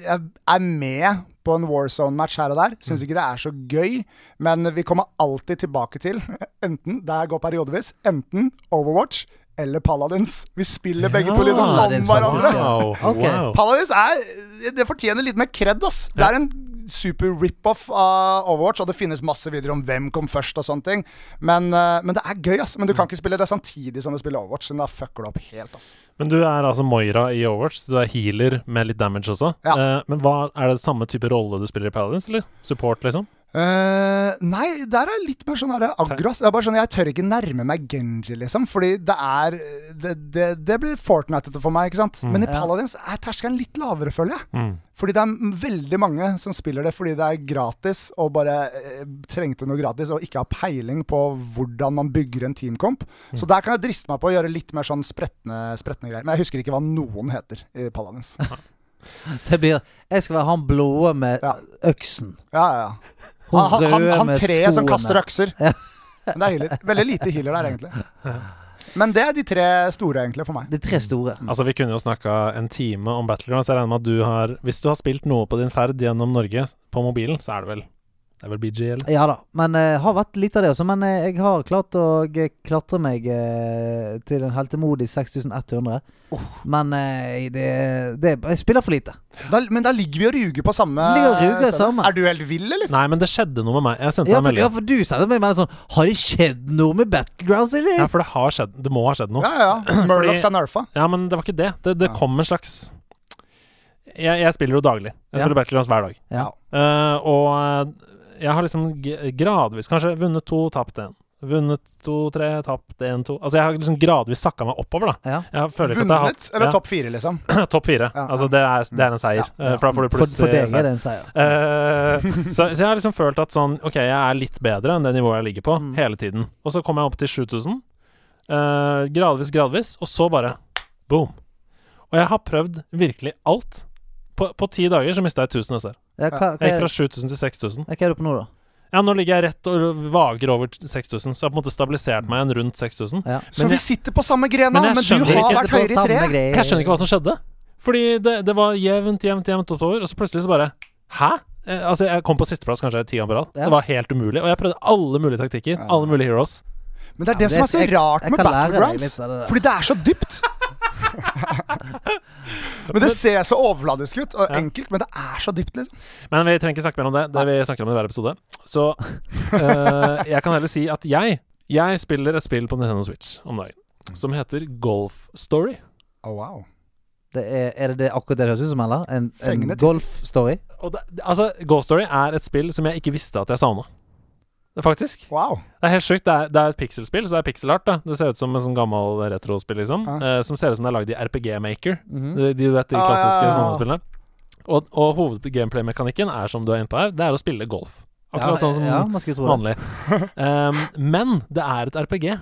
Speaker 5: jeg er med på en Warzone-match her og der. Syns ikke det er så gøy, men vi kommer alltid tilbake til enten det her går periodevis, enten Overwatch eller Paladins. Vi spiller begge to litt sånn om
Speaker 2: Paladins, faktisk,
Speaker 5: hverandre.
Speaker 2: ja.
Speaker 1: Wow.
Speaker 2: Ok.
Speaker 1: wow.
Speaker 5: Paladins er Det fortjener litt mer kred, ass. Det er en super rip-off av Overwatch, og det finnes masse videoer om hvem kom først og sånne ting. Men, eh, men det er gøy, ass. Men du kan ikke spille det samtidig som du spiller Overwatch, så da fucker du opp helt, ass.
Speaker 1: Men du er altså Moira i Overwatch, så du er healer med litt damage også.
Speaker 5: Ja.
Speaker 1: Eh, men hva, er det samme type rolle du spiller i Paladins, eller? Support, liksom?
Speaker 5: Eh, nei, der er jeg litt mer sånn her aggros. Det er bare sånn, Jeg tør ikke nærme meg Genji, liksom. Fordi det er Det, det, det blir Fortnite-ete for meg, ikke sant. Men i
Speaker 2: Ja.
Speaker 5: Paladins er terskelen litt lavere, føler jeg.
Speaker 1: Mm.
Speaker 5: Fordi det er m- veldig mange som spiller det fordi det er gratis, og bare eh, trengte noe gratis, og ikke har peiling på hvordan man bygger en teamcomp.
Speaker 2: Mm.
Speaker 5: Så der kan jeg driste meg på å gjøre litt mer sånn spretne, spretne greier. Men jeg husker ikke hva noen heter i Paladins. Ja,
Speaker 2: Det blir Jeg skal være han blåe med
Speaker 5: Ja.
Speaker 2: øksen.
Speaker 5: ja, ja.
Speaker 2: Hun
Speaker 5: Han, han, han,
Speaker 2: røde
Speaker 5: han
Speaker 2: med skoene.
Speaker 5: treet som kaster økser. Men det er healer. Veldig lite healer der, egentlig. Men det er de tre store, egentlig, for meg.
Speaker 2: De tre store.
Speaker 5: Mm.
Speaker 1: Altså, vi kunne jo snakka en time om Battlegrounds. Jeg regner med at du har Hvis du har spilt noe på din ferd gjennom Norge på mobilen, så er det vel Det er vel BGL?
Speaker 2: Ja da. Men uh, har vært lite av det også. Men eh, jeg har klart å g- klatre meg eh, til en heltemodig 6100. Men eh, det, det Jeg spiller for lite.
Speaker 5: Da, men da ligger vi og ruger på samme
Speaker 2: Ligger og ruger
Speaker 5: stedet.
Speaker 2: sammen.
Speaker 5: Er du helt vill, eller?
Speaker 1: Nei, men det skjedde noe med meg. Jeg sendte deg
Speaker 2: Ja,
Speaker 1: en
Speaker 2: for, ja,
Speaker 1: melding.
Speaker 2: for du sendte meg en melding sånn Har det skjedd noe med Battlegrounds, eller?
Speaker 1: Ja, for det har skjedd. Det må ha skjedd noe.
Speaker 5: Ja, ja. ja. Murlocs er nerfa.
Speaker 1: Ja, men det var ikke det. Det, det kom en slags jeg, jeg spiller jo daglig. Jeg
Speaker 2: Ja.
Speaker 1: spiller Battlegrounds hver dag.
Speaker 2: Ja.
Speaker 1: Eh, og eh, jeg har liksom g gradvis kanskje vunnet to, tapt én. Vunnet to, tre, tapt én, to Altså jeg har liksom gradvis sakka meg oppover, da.
Speaker 2: Ja.
Speaker 1: Jeg føler ikke at jeg har
Speaker 5: Vunnet?
Speaker 1: hatt
Speaker 5: Eller
Speaker 1: ja,
Speaker 5: topp fire, liksom?
Speaker 1: topp fire.
Speaker 5: Ja,
Speaker 1: Altså det er, det er en seier.
Speaker 5: Ja, ja.
Speaker 1: Eh, For da får du
Speaker 2: For,
Speaker 1: pluss
Speaker 2: for
Speaker 1: i
Speaker 2: deg
Speaker 1: seier.
Speaker 2: er det en seier.
Speaker 1: Eh, så, så jeg har liksom følt at sånn OK, jeg er litt bedre enn det nivået jeg ligger på,
Speaker 2: Mm.
Speaker 1: hele tiden. Og så kom jeg opp til 7000. eh, gradvis, gradvis. Og så bare boom. Og jeg har prøvd virkelig alt. På, på ti dager så mista jeg 1000 SR.
Speaker 2: Ja, hva, hva,
Speaker 1: Jeg gikk
Speaker 2: er,
Speaker 1: fra 7000 til 6000.
Speaker 2: ja, hva er du på nå, da?
Speaker 1: Ja, nå ligger jeg rett og vager over 6000, så jeg har på en måte stabilisert meg igjen rundt 6000.
Speaker 2: Ja.
Speaker 5: Så
Speaker 1: Men
Speaker 5: vi
Speaker 1: jeg-
Speaker 5: sitter på samme grena,
Speaker 1: Men jeg
Speaker 5: men,
Speaker 1: skjønner
Speaker 5: du
Speaker 1: ikke-
Speaker 5: har vært høyere i tre.
Speaker 2: Eh,
Speaker 1: Jeg skjønner ikke hva som skjedde. Fordi det, det var jevnt, jevnt, jevnt oppover, og så plutselig så bare Hæ? Eh, altså, jeg kom på sisteplass kanskje ti ganger på rad.
Speaker 2: Ja.
Speaker 1: Det var helt umulig. Og jeg prøvde alle mulige taktikker. Alle mulige heroes.
Speaker 5: Men det er
Speaker 2: Ja,
Speaker 5: det som
Speaker 2: det
Speaker 5: er så
Speaker 2: skal- jeg-
Speaker 5: rart
Speaker 2: jeg
Speaker 5: med
Speaker 2: kan lære deg
Speaker 5: Battlegrounds.
Speaker 2: litt av det der.
Speaker 5: Fordi det er så dypt. Men det ser så overfladisk ut og enkelt, men det er så dypt, liksom.
Speaker 1: Men vi trenger ikke snakke mer om det. Det vi snakker om i hver episode. Så eh, jeg kan heller si at jeg Jeg spiller et spill på Nintendo Switch om dagen som heter Golf Story.
Speaker 5: Oh, wow.
Speaker 2: Det er, er det det akkurat det det høres ut som, eller? En, en
Speaker 5: Fengende tittel.
Speaker 2: golfstory?
Speaker 1: Og det, altså, Golf Story er et spill som jeg ikke visste at jeg savna. Faktisk.
Speaker 5: wow.
Speaker 1: Det er helt sjukt. Det er, det er et pikselspill, så det er pixelart. da Det ser ut som en sånn gammel retrospill, liksom.
Speaker 5: Ja.
Speaker 1: eh, som ser ut som det er lagd i RPG Maker.
Speaker 2: Mhm.
Speaker 1: De, de vet de
Speaker 5: Ah,
Speaker 1: klassiske
Speaker 5: ja, ja,
Speaker 1: sånne
Speaker 5: ja.
Speaker 1: spillene. Og, og hovedgameplay-mekanikken er, som du er inne på her, det er å spille golf. Akkurat sånn som
Speaker 2: ja, man skulle tro det.
Speaker 1: vanlig. Ehm, men det er et RPG.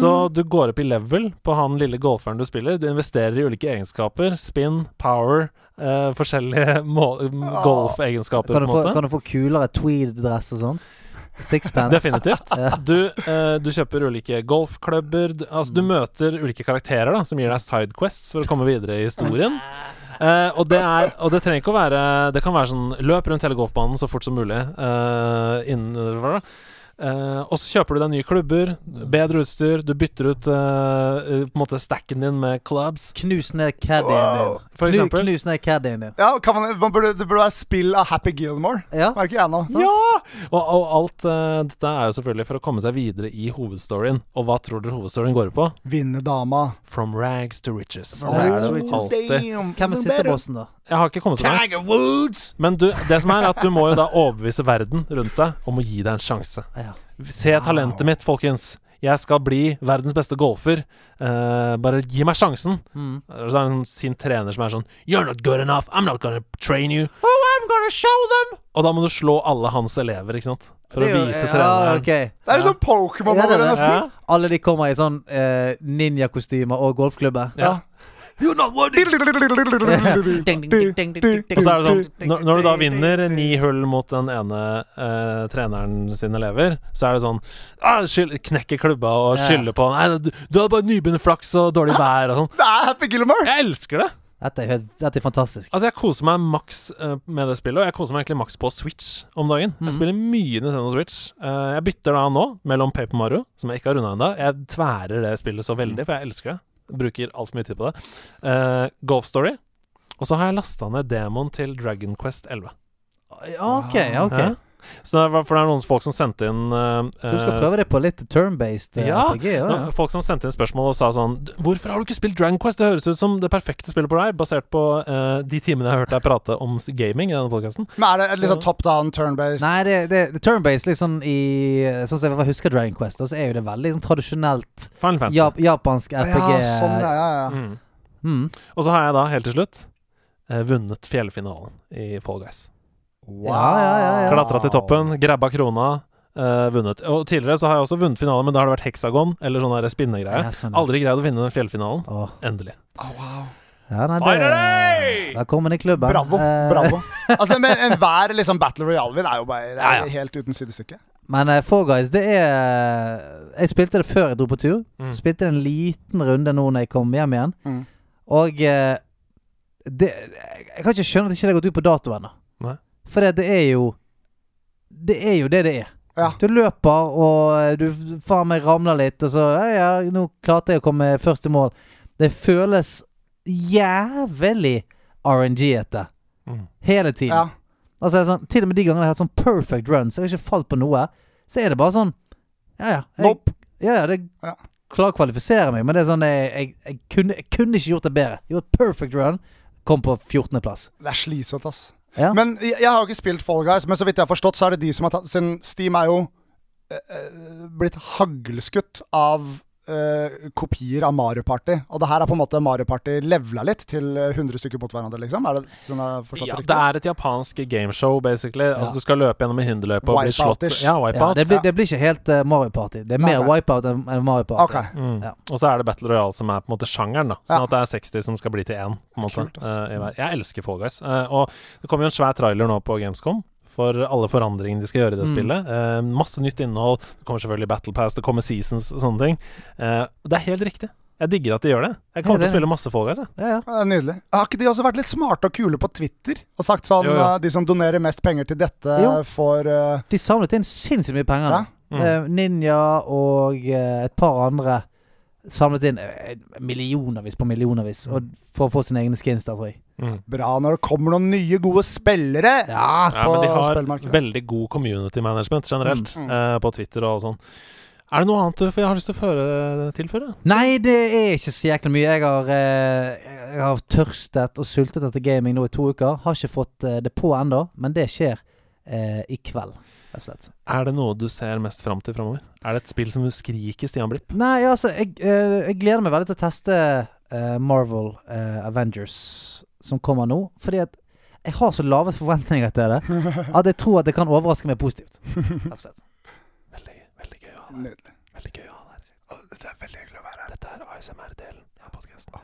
Speaker 1: Så du går opp i level på han lille golferen du spiller. Du investerer i ulike egenskaper. Spin, power, eh, forskjellige må- golfegenskaper, på
Speaker 2: Kan
Speaker 1: en
Speaker 2: du, få,
Speaker 1: måte.
Speaker 2: kan du få kulere tweed-dress og sånt? Sixpence.
Speaker 1: Definitivt.
Speaker 2: Ja.
Speaker 1: Du, eh, du kjøper ulike golfklubber. Du, altså, du møter ulike karakterer da som gir deg sidequests for å komme videre i historien. Eh, og, det er, og det trenger ikke å være Det kan være sånn løp rundt hele golfbanen så fort som mulig. eh, innenfor, da. Eh, og så kjøper du deg nye klubber, bedre utstyr, du bytter ut eh, eh, på en måte stacken din med clubs.
Speaker 2: Knus ned caddien din.
Speaker 1: For
Speaker 2: Knu,
Speaker 1: eksempel.
Speaker 2: knus ned caddien din.
Speaker 5: Ja, kan man, man burde, det burde være spill av Happy Gilmore,
Speaker 2: Ja.
Speaker 5: merker jeg nå.
Speaker 1: Ja! Og, og alt eh, dette er jo selvfølgelig for å komme seg videre i hovedstoryen. Og hva tror dere hovedstoryen går ut på?
Speaker 5: Vinne dama.
Speaker 1: From rags to riches.
Speaker 2: From
Speaker 1: Det er
Speaker 5: Oh,
Speaker 2: rags
Speaker 1: det
Speaker 2: to riches.
Speaker 1: alltid.
Speaker 2: Hvem er siste bossen, da?
Speaker 1: Jeg har ikke kommet så langt.
Speaker 2: Woods!
Speaker 1: Men du, det som er at du må jo da overbevise verden rundt deg om å gi deg en sjanse.
Speaker 2: Ja.
Speaker 1: Se talentet mitt, folkens. Jeg skal bli verdens beste golfer. Eh, bare gi meg sjansen.
Speaker 2: Mm.
Speaker 1: Og Så er det en sånn sint trener som er sånn You're not good enough. I'm not gonna train you.
Speaker 2: Oh, I'm gonna show them!
Speaker 1: Og da må du slå alle hans elever, ikke sant? For å
Speaker 2: Det er jo-
Speaker 1: vise
Speaker 2: Ja,
Speaker 1: treneren.
Speaker 2: ok.
Speaker 5: Det er litt sånn Pokémon
Speaker 2: Ja, det er
Speaker 5: over det,
Speaker 2: det.
Speaker 5: nesten.
Speaker 1: Ja.
Speaker 2: Alle de kommer i sånn eh, ninjakostymer og golfklubber.
Speaker 1: Ja.
Speaker 5: You're not worthy.
Speaker 1: Og så er det sånn Når, når du da vinner ni hull mot den ene eh, treneren sine elever, så er det sånn ah, skyld, Knekker klubba og
Speaker 2: Ja.
Speaker 1: skylder på Nei, du, du har bare nybegynnerflaks og dårlig vær og sånn.
Speaker 5: Det er Happy Gilmore!
Speaker 1: Jeg elsker det!
Speaker 2: Dette er, helt- dette er fantastisk.
Speaker 1: Altså, jeg koser meg maks eh, med det spillet, og jeg koser meg egentlig maks på Switch om dagen.
Speaker 2: Mhm.
Speaker 1: Jeg spiller mye Nintendo Switch. Eh, jeg bytter da nå mellom Paper Mario, som jeg ikke har runda ennå. Jeg tværer det spillet så
Speaker 2: Mhm.
Speaker 1: veldig, for jeg elsker det. Bruker altfor mye tid på det. Eh, Golf Story. Og så har jeg lasta ned demoen til Dragon Quest 11.
Speaker 2: OK, OK.
Speaker 1: Ja. Så det var, for det er noen folk som sendte inn eh,
Speaker 2: Så du skal prøve det på litt turn-based eh,
Speaker 1: Ja.
Speaker 2: RPG? Ja, ja.
Speaker 1: Nå- Folk som sendte inn spørsmål og sa sånn "D- Hvorfor har du ikke spilt Dragon Quest? Det høres ut som det perfekte spillet på deg, basert på eh, de timene jeg har hørt deg prate om s- gaming i denne podkasten.
Speaker 5: Men er det et litt sånn top down, turn-based
Speaker 2: Nei, det, det, det er turn-based litt sånn i Sånn som jeg i hvert fall husker Dragon Quest, og så er jo det veldig sånn tradisjonelt
Speaker 1: Final Fantasy.
Speaker 2: jap japansk RPG.
Speaker 5: Ja, sånn, ja, ja, ja.
Speaker 1: Mm.
Speaker 2: Mm.
Speaker 1: Og så har jeg da, helt til slutt, eh, vunnet fjellfinalen i Fall Guys.
Speaker 2: Ja, ja, ja, ja.
Speaker 1: Klatra til toppen, grabba krona, eh, vunnet. Og tidligere så har jeg også vunnet finalen, men da har det vært heksagon eller sånn der spinnegreie.
Speaker 2: Ja, sånn, ja.
Speaker 1: Aldri greid å vinne den fjellfinalen.
Speaker 2: Åh.
Speaker 1: Endelig.
Speaker 5: Å, wow.
Speaker 2: Ja, nou, nei,
Speaker 1: Finally!
Speaker 2: det Velkommen i klubben.
Speaker 5: Bravo.
Speaker 2: Eh,
Speaker 5: bravo Altså, men Enhver liksom Battle Royale-vin er jo bare det
Speaker 2: Ja,
Speaker 5: er
Speaker 2: ja.
Speaker 5: helt uten sidestykke.
Speaker 2: Men uh, Fall Guys, det er Jeg spilte det før jeg dro på tur.
Speaker 1: Mm.
Speaker 2: Spilte en liten runde nå når jeg kom hjem igjen.
Speaker 5: Mm.
Speaker 2: Og eh, det, Jeg kan ikke skjønne at det ikke har gått ut på dato ennå.
Speaker 1: Nei.
Speaker 2: For det, det er jo Det er jo det det er.
Speaker 5: Ja.
Speaker 2: Du løper, og eh, du faen meg ramler litt, og så ja, ja, 'Nå klarte jeg å komme først i mål'. Det føles jævlig RNG-ete
Speaker 1: Mm.
Speaker 2: hele tiden.
Speaker 5: Ja.
Speaker 2: Altså, jeg er sånn, til og med de gangene jeg har hatt sånn perfect runs, jeg har ikke falt på noe, så er det bare sånn Ja, ja. Jeg,
Speaker 5: Nope.
Speaker 2: Ja, ja, det
Speaker 5: Ja.
Speaker 2: klarer å kvalifisere meg, men det er sånn Jeg, jeg, jeg, kunne, jeg kunne ikke gjort det bedre. Jeg gjorde et perfect run, kom på 14.-plass.
Speaker 5: Det er slitsomt, ass.
Speaker 2: Ja.
Speaker 5: Men jeg, jeg har jo ikke spilt Fall Guys, men så vidt jeg har forstått, så er det de som har tatt Siden Steam er jo eh, eh, blitt haglskutt av eh, kopier av Mario Party. Og det her er på en måte Mario Party levela litt til eh, 100 stykker mot hverandre, liksom? Er det sånn jeg har forstått
Speaker 1: Ja,
Speaker 5: det
Speaker 1: det
Speaker 5: riktig?
Speaker 1: er et japansk gameshow, basically. Altså,
Speaker 2: Ja.
Speaker 1: du skal løpe gjennom en hinderløype og bli slått
Speaker 5: Wipeout-ish.
Speaker 1: Ja,
Speaker 2: Ja,
Speaker 1: wipeout.
Speaker 2: det, blir,
Speaker 5: Ja.
Speaker 2: det blir ikke helt eh, Mario Party. Det er
Speaker 5: Nei,
Speaker 2: mer
Speaker 5: nei.
Speaker 2: wipeout enn enn Mario Party.
Speaker 5: Ok.
Speaker 1: Mm.
Speaker 2: Ja.
Speaker 1: Og så er det Battle Royale som er på en måte sjangeren, da. Sånn
Speaker 5: Ja.
Speaker 1: at det er 60 som skal bli til én, på en måte.
Speaker 5: Kult, ass.
Speaker 1: eh, i hver. jeg elsker Fall Guys. Eh, og det kommer jo en svær trailer nå på Gamescom. For alle forandringene de skal gjøre i det
Speaker 2: Mm.
Speaker 1: spillet. Eh, masse nytt innhold. Det kommer selvfølgelig Battle Pass, det kommer Seasons og sånne ting. Eh, det er helt riktig. Jeg digger at de gjør det. Jeg kommer
Speaker 2: Ja,
Speaker 1: til
Speaker 2: det
Speaker 1: å
Speaker 2: er-
Speaker 1: spille masse Fall Guys, jeg.
Speaker 2: Ja, ja.
Speaker 5: Ja, det er Nydelig. Har ikke de også vært litt smarte og kule på Twitter? Og sagt sånn
Speaker 1: Jo, jo.
Speaker 5: eh, De som donerer mest penger til dette,
Speaker 2: Jo.
Speaker 5: får eh,
Speaker 2: De
Speaker 1: Mm.
Speaker 5: Mm.
Speaker 2: samlet inn sinnssykt mye penger.
Speaker 5: Ja.
Speaker 2: nå. Eh, Ninja og eh, et par andre samlet inn eh, millionervis på millionervis
Speaker 5: Mm.
Speaker 2: og for å få sine egne skins der, tror jeg.
Speaker 1: Mm.
Speaker 5: Bra når det kommer noen nye, gode spillere
Speaker 2: Ja,
Speaker 1: Ja, men de
Speaker 5: på
Speaker 1: har
Speaker 5: spillmarkedet. Mm.
Speaker 1: veldig god community management generelt, eh, på Twitter og sånn. Er det noe annet du for jeg har lyst til å føre, tilføre?
Speaker 2: Nei, det er ikke så jækla mye. Jeg har, eh, jeg har tørstet og sultet etter gaming nå i to uker. Har ikke fått eh, det på ennå, men det skjer eh, i kveld, rett og slett.
Speaker 1: Er det noe du ser mest fram til framover? Er det et spill som skriker Stian Blipp?
Speaker 2: Nei, altså, jeg, eh, jeg gleder meg veldig til å teste eh, Marvel eh, Avengers som kommer nå. Fordi at jeg har så lave forventninger til det at jeg tror at det kan overraske meg positivt. Rett og slett.
Speaker 1: Veldig, veldig gøy å ha deg.
Speaker 5: Nydelig.
Speaker 1: Veldig gøy å ha deg.
Speaker 5: Det er veldig hyggelig å være her.
Speaker 1: Dette er ASMR-delen av podkasten.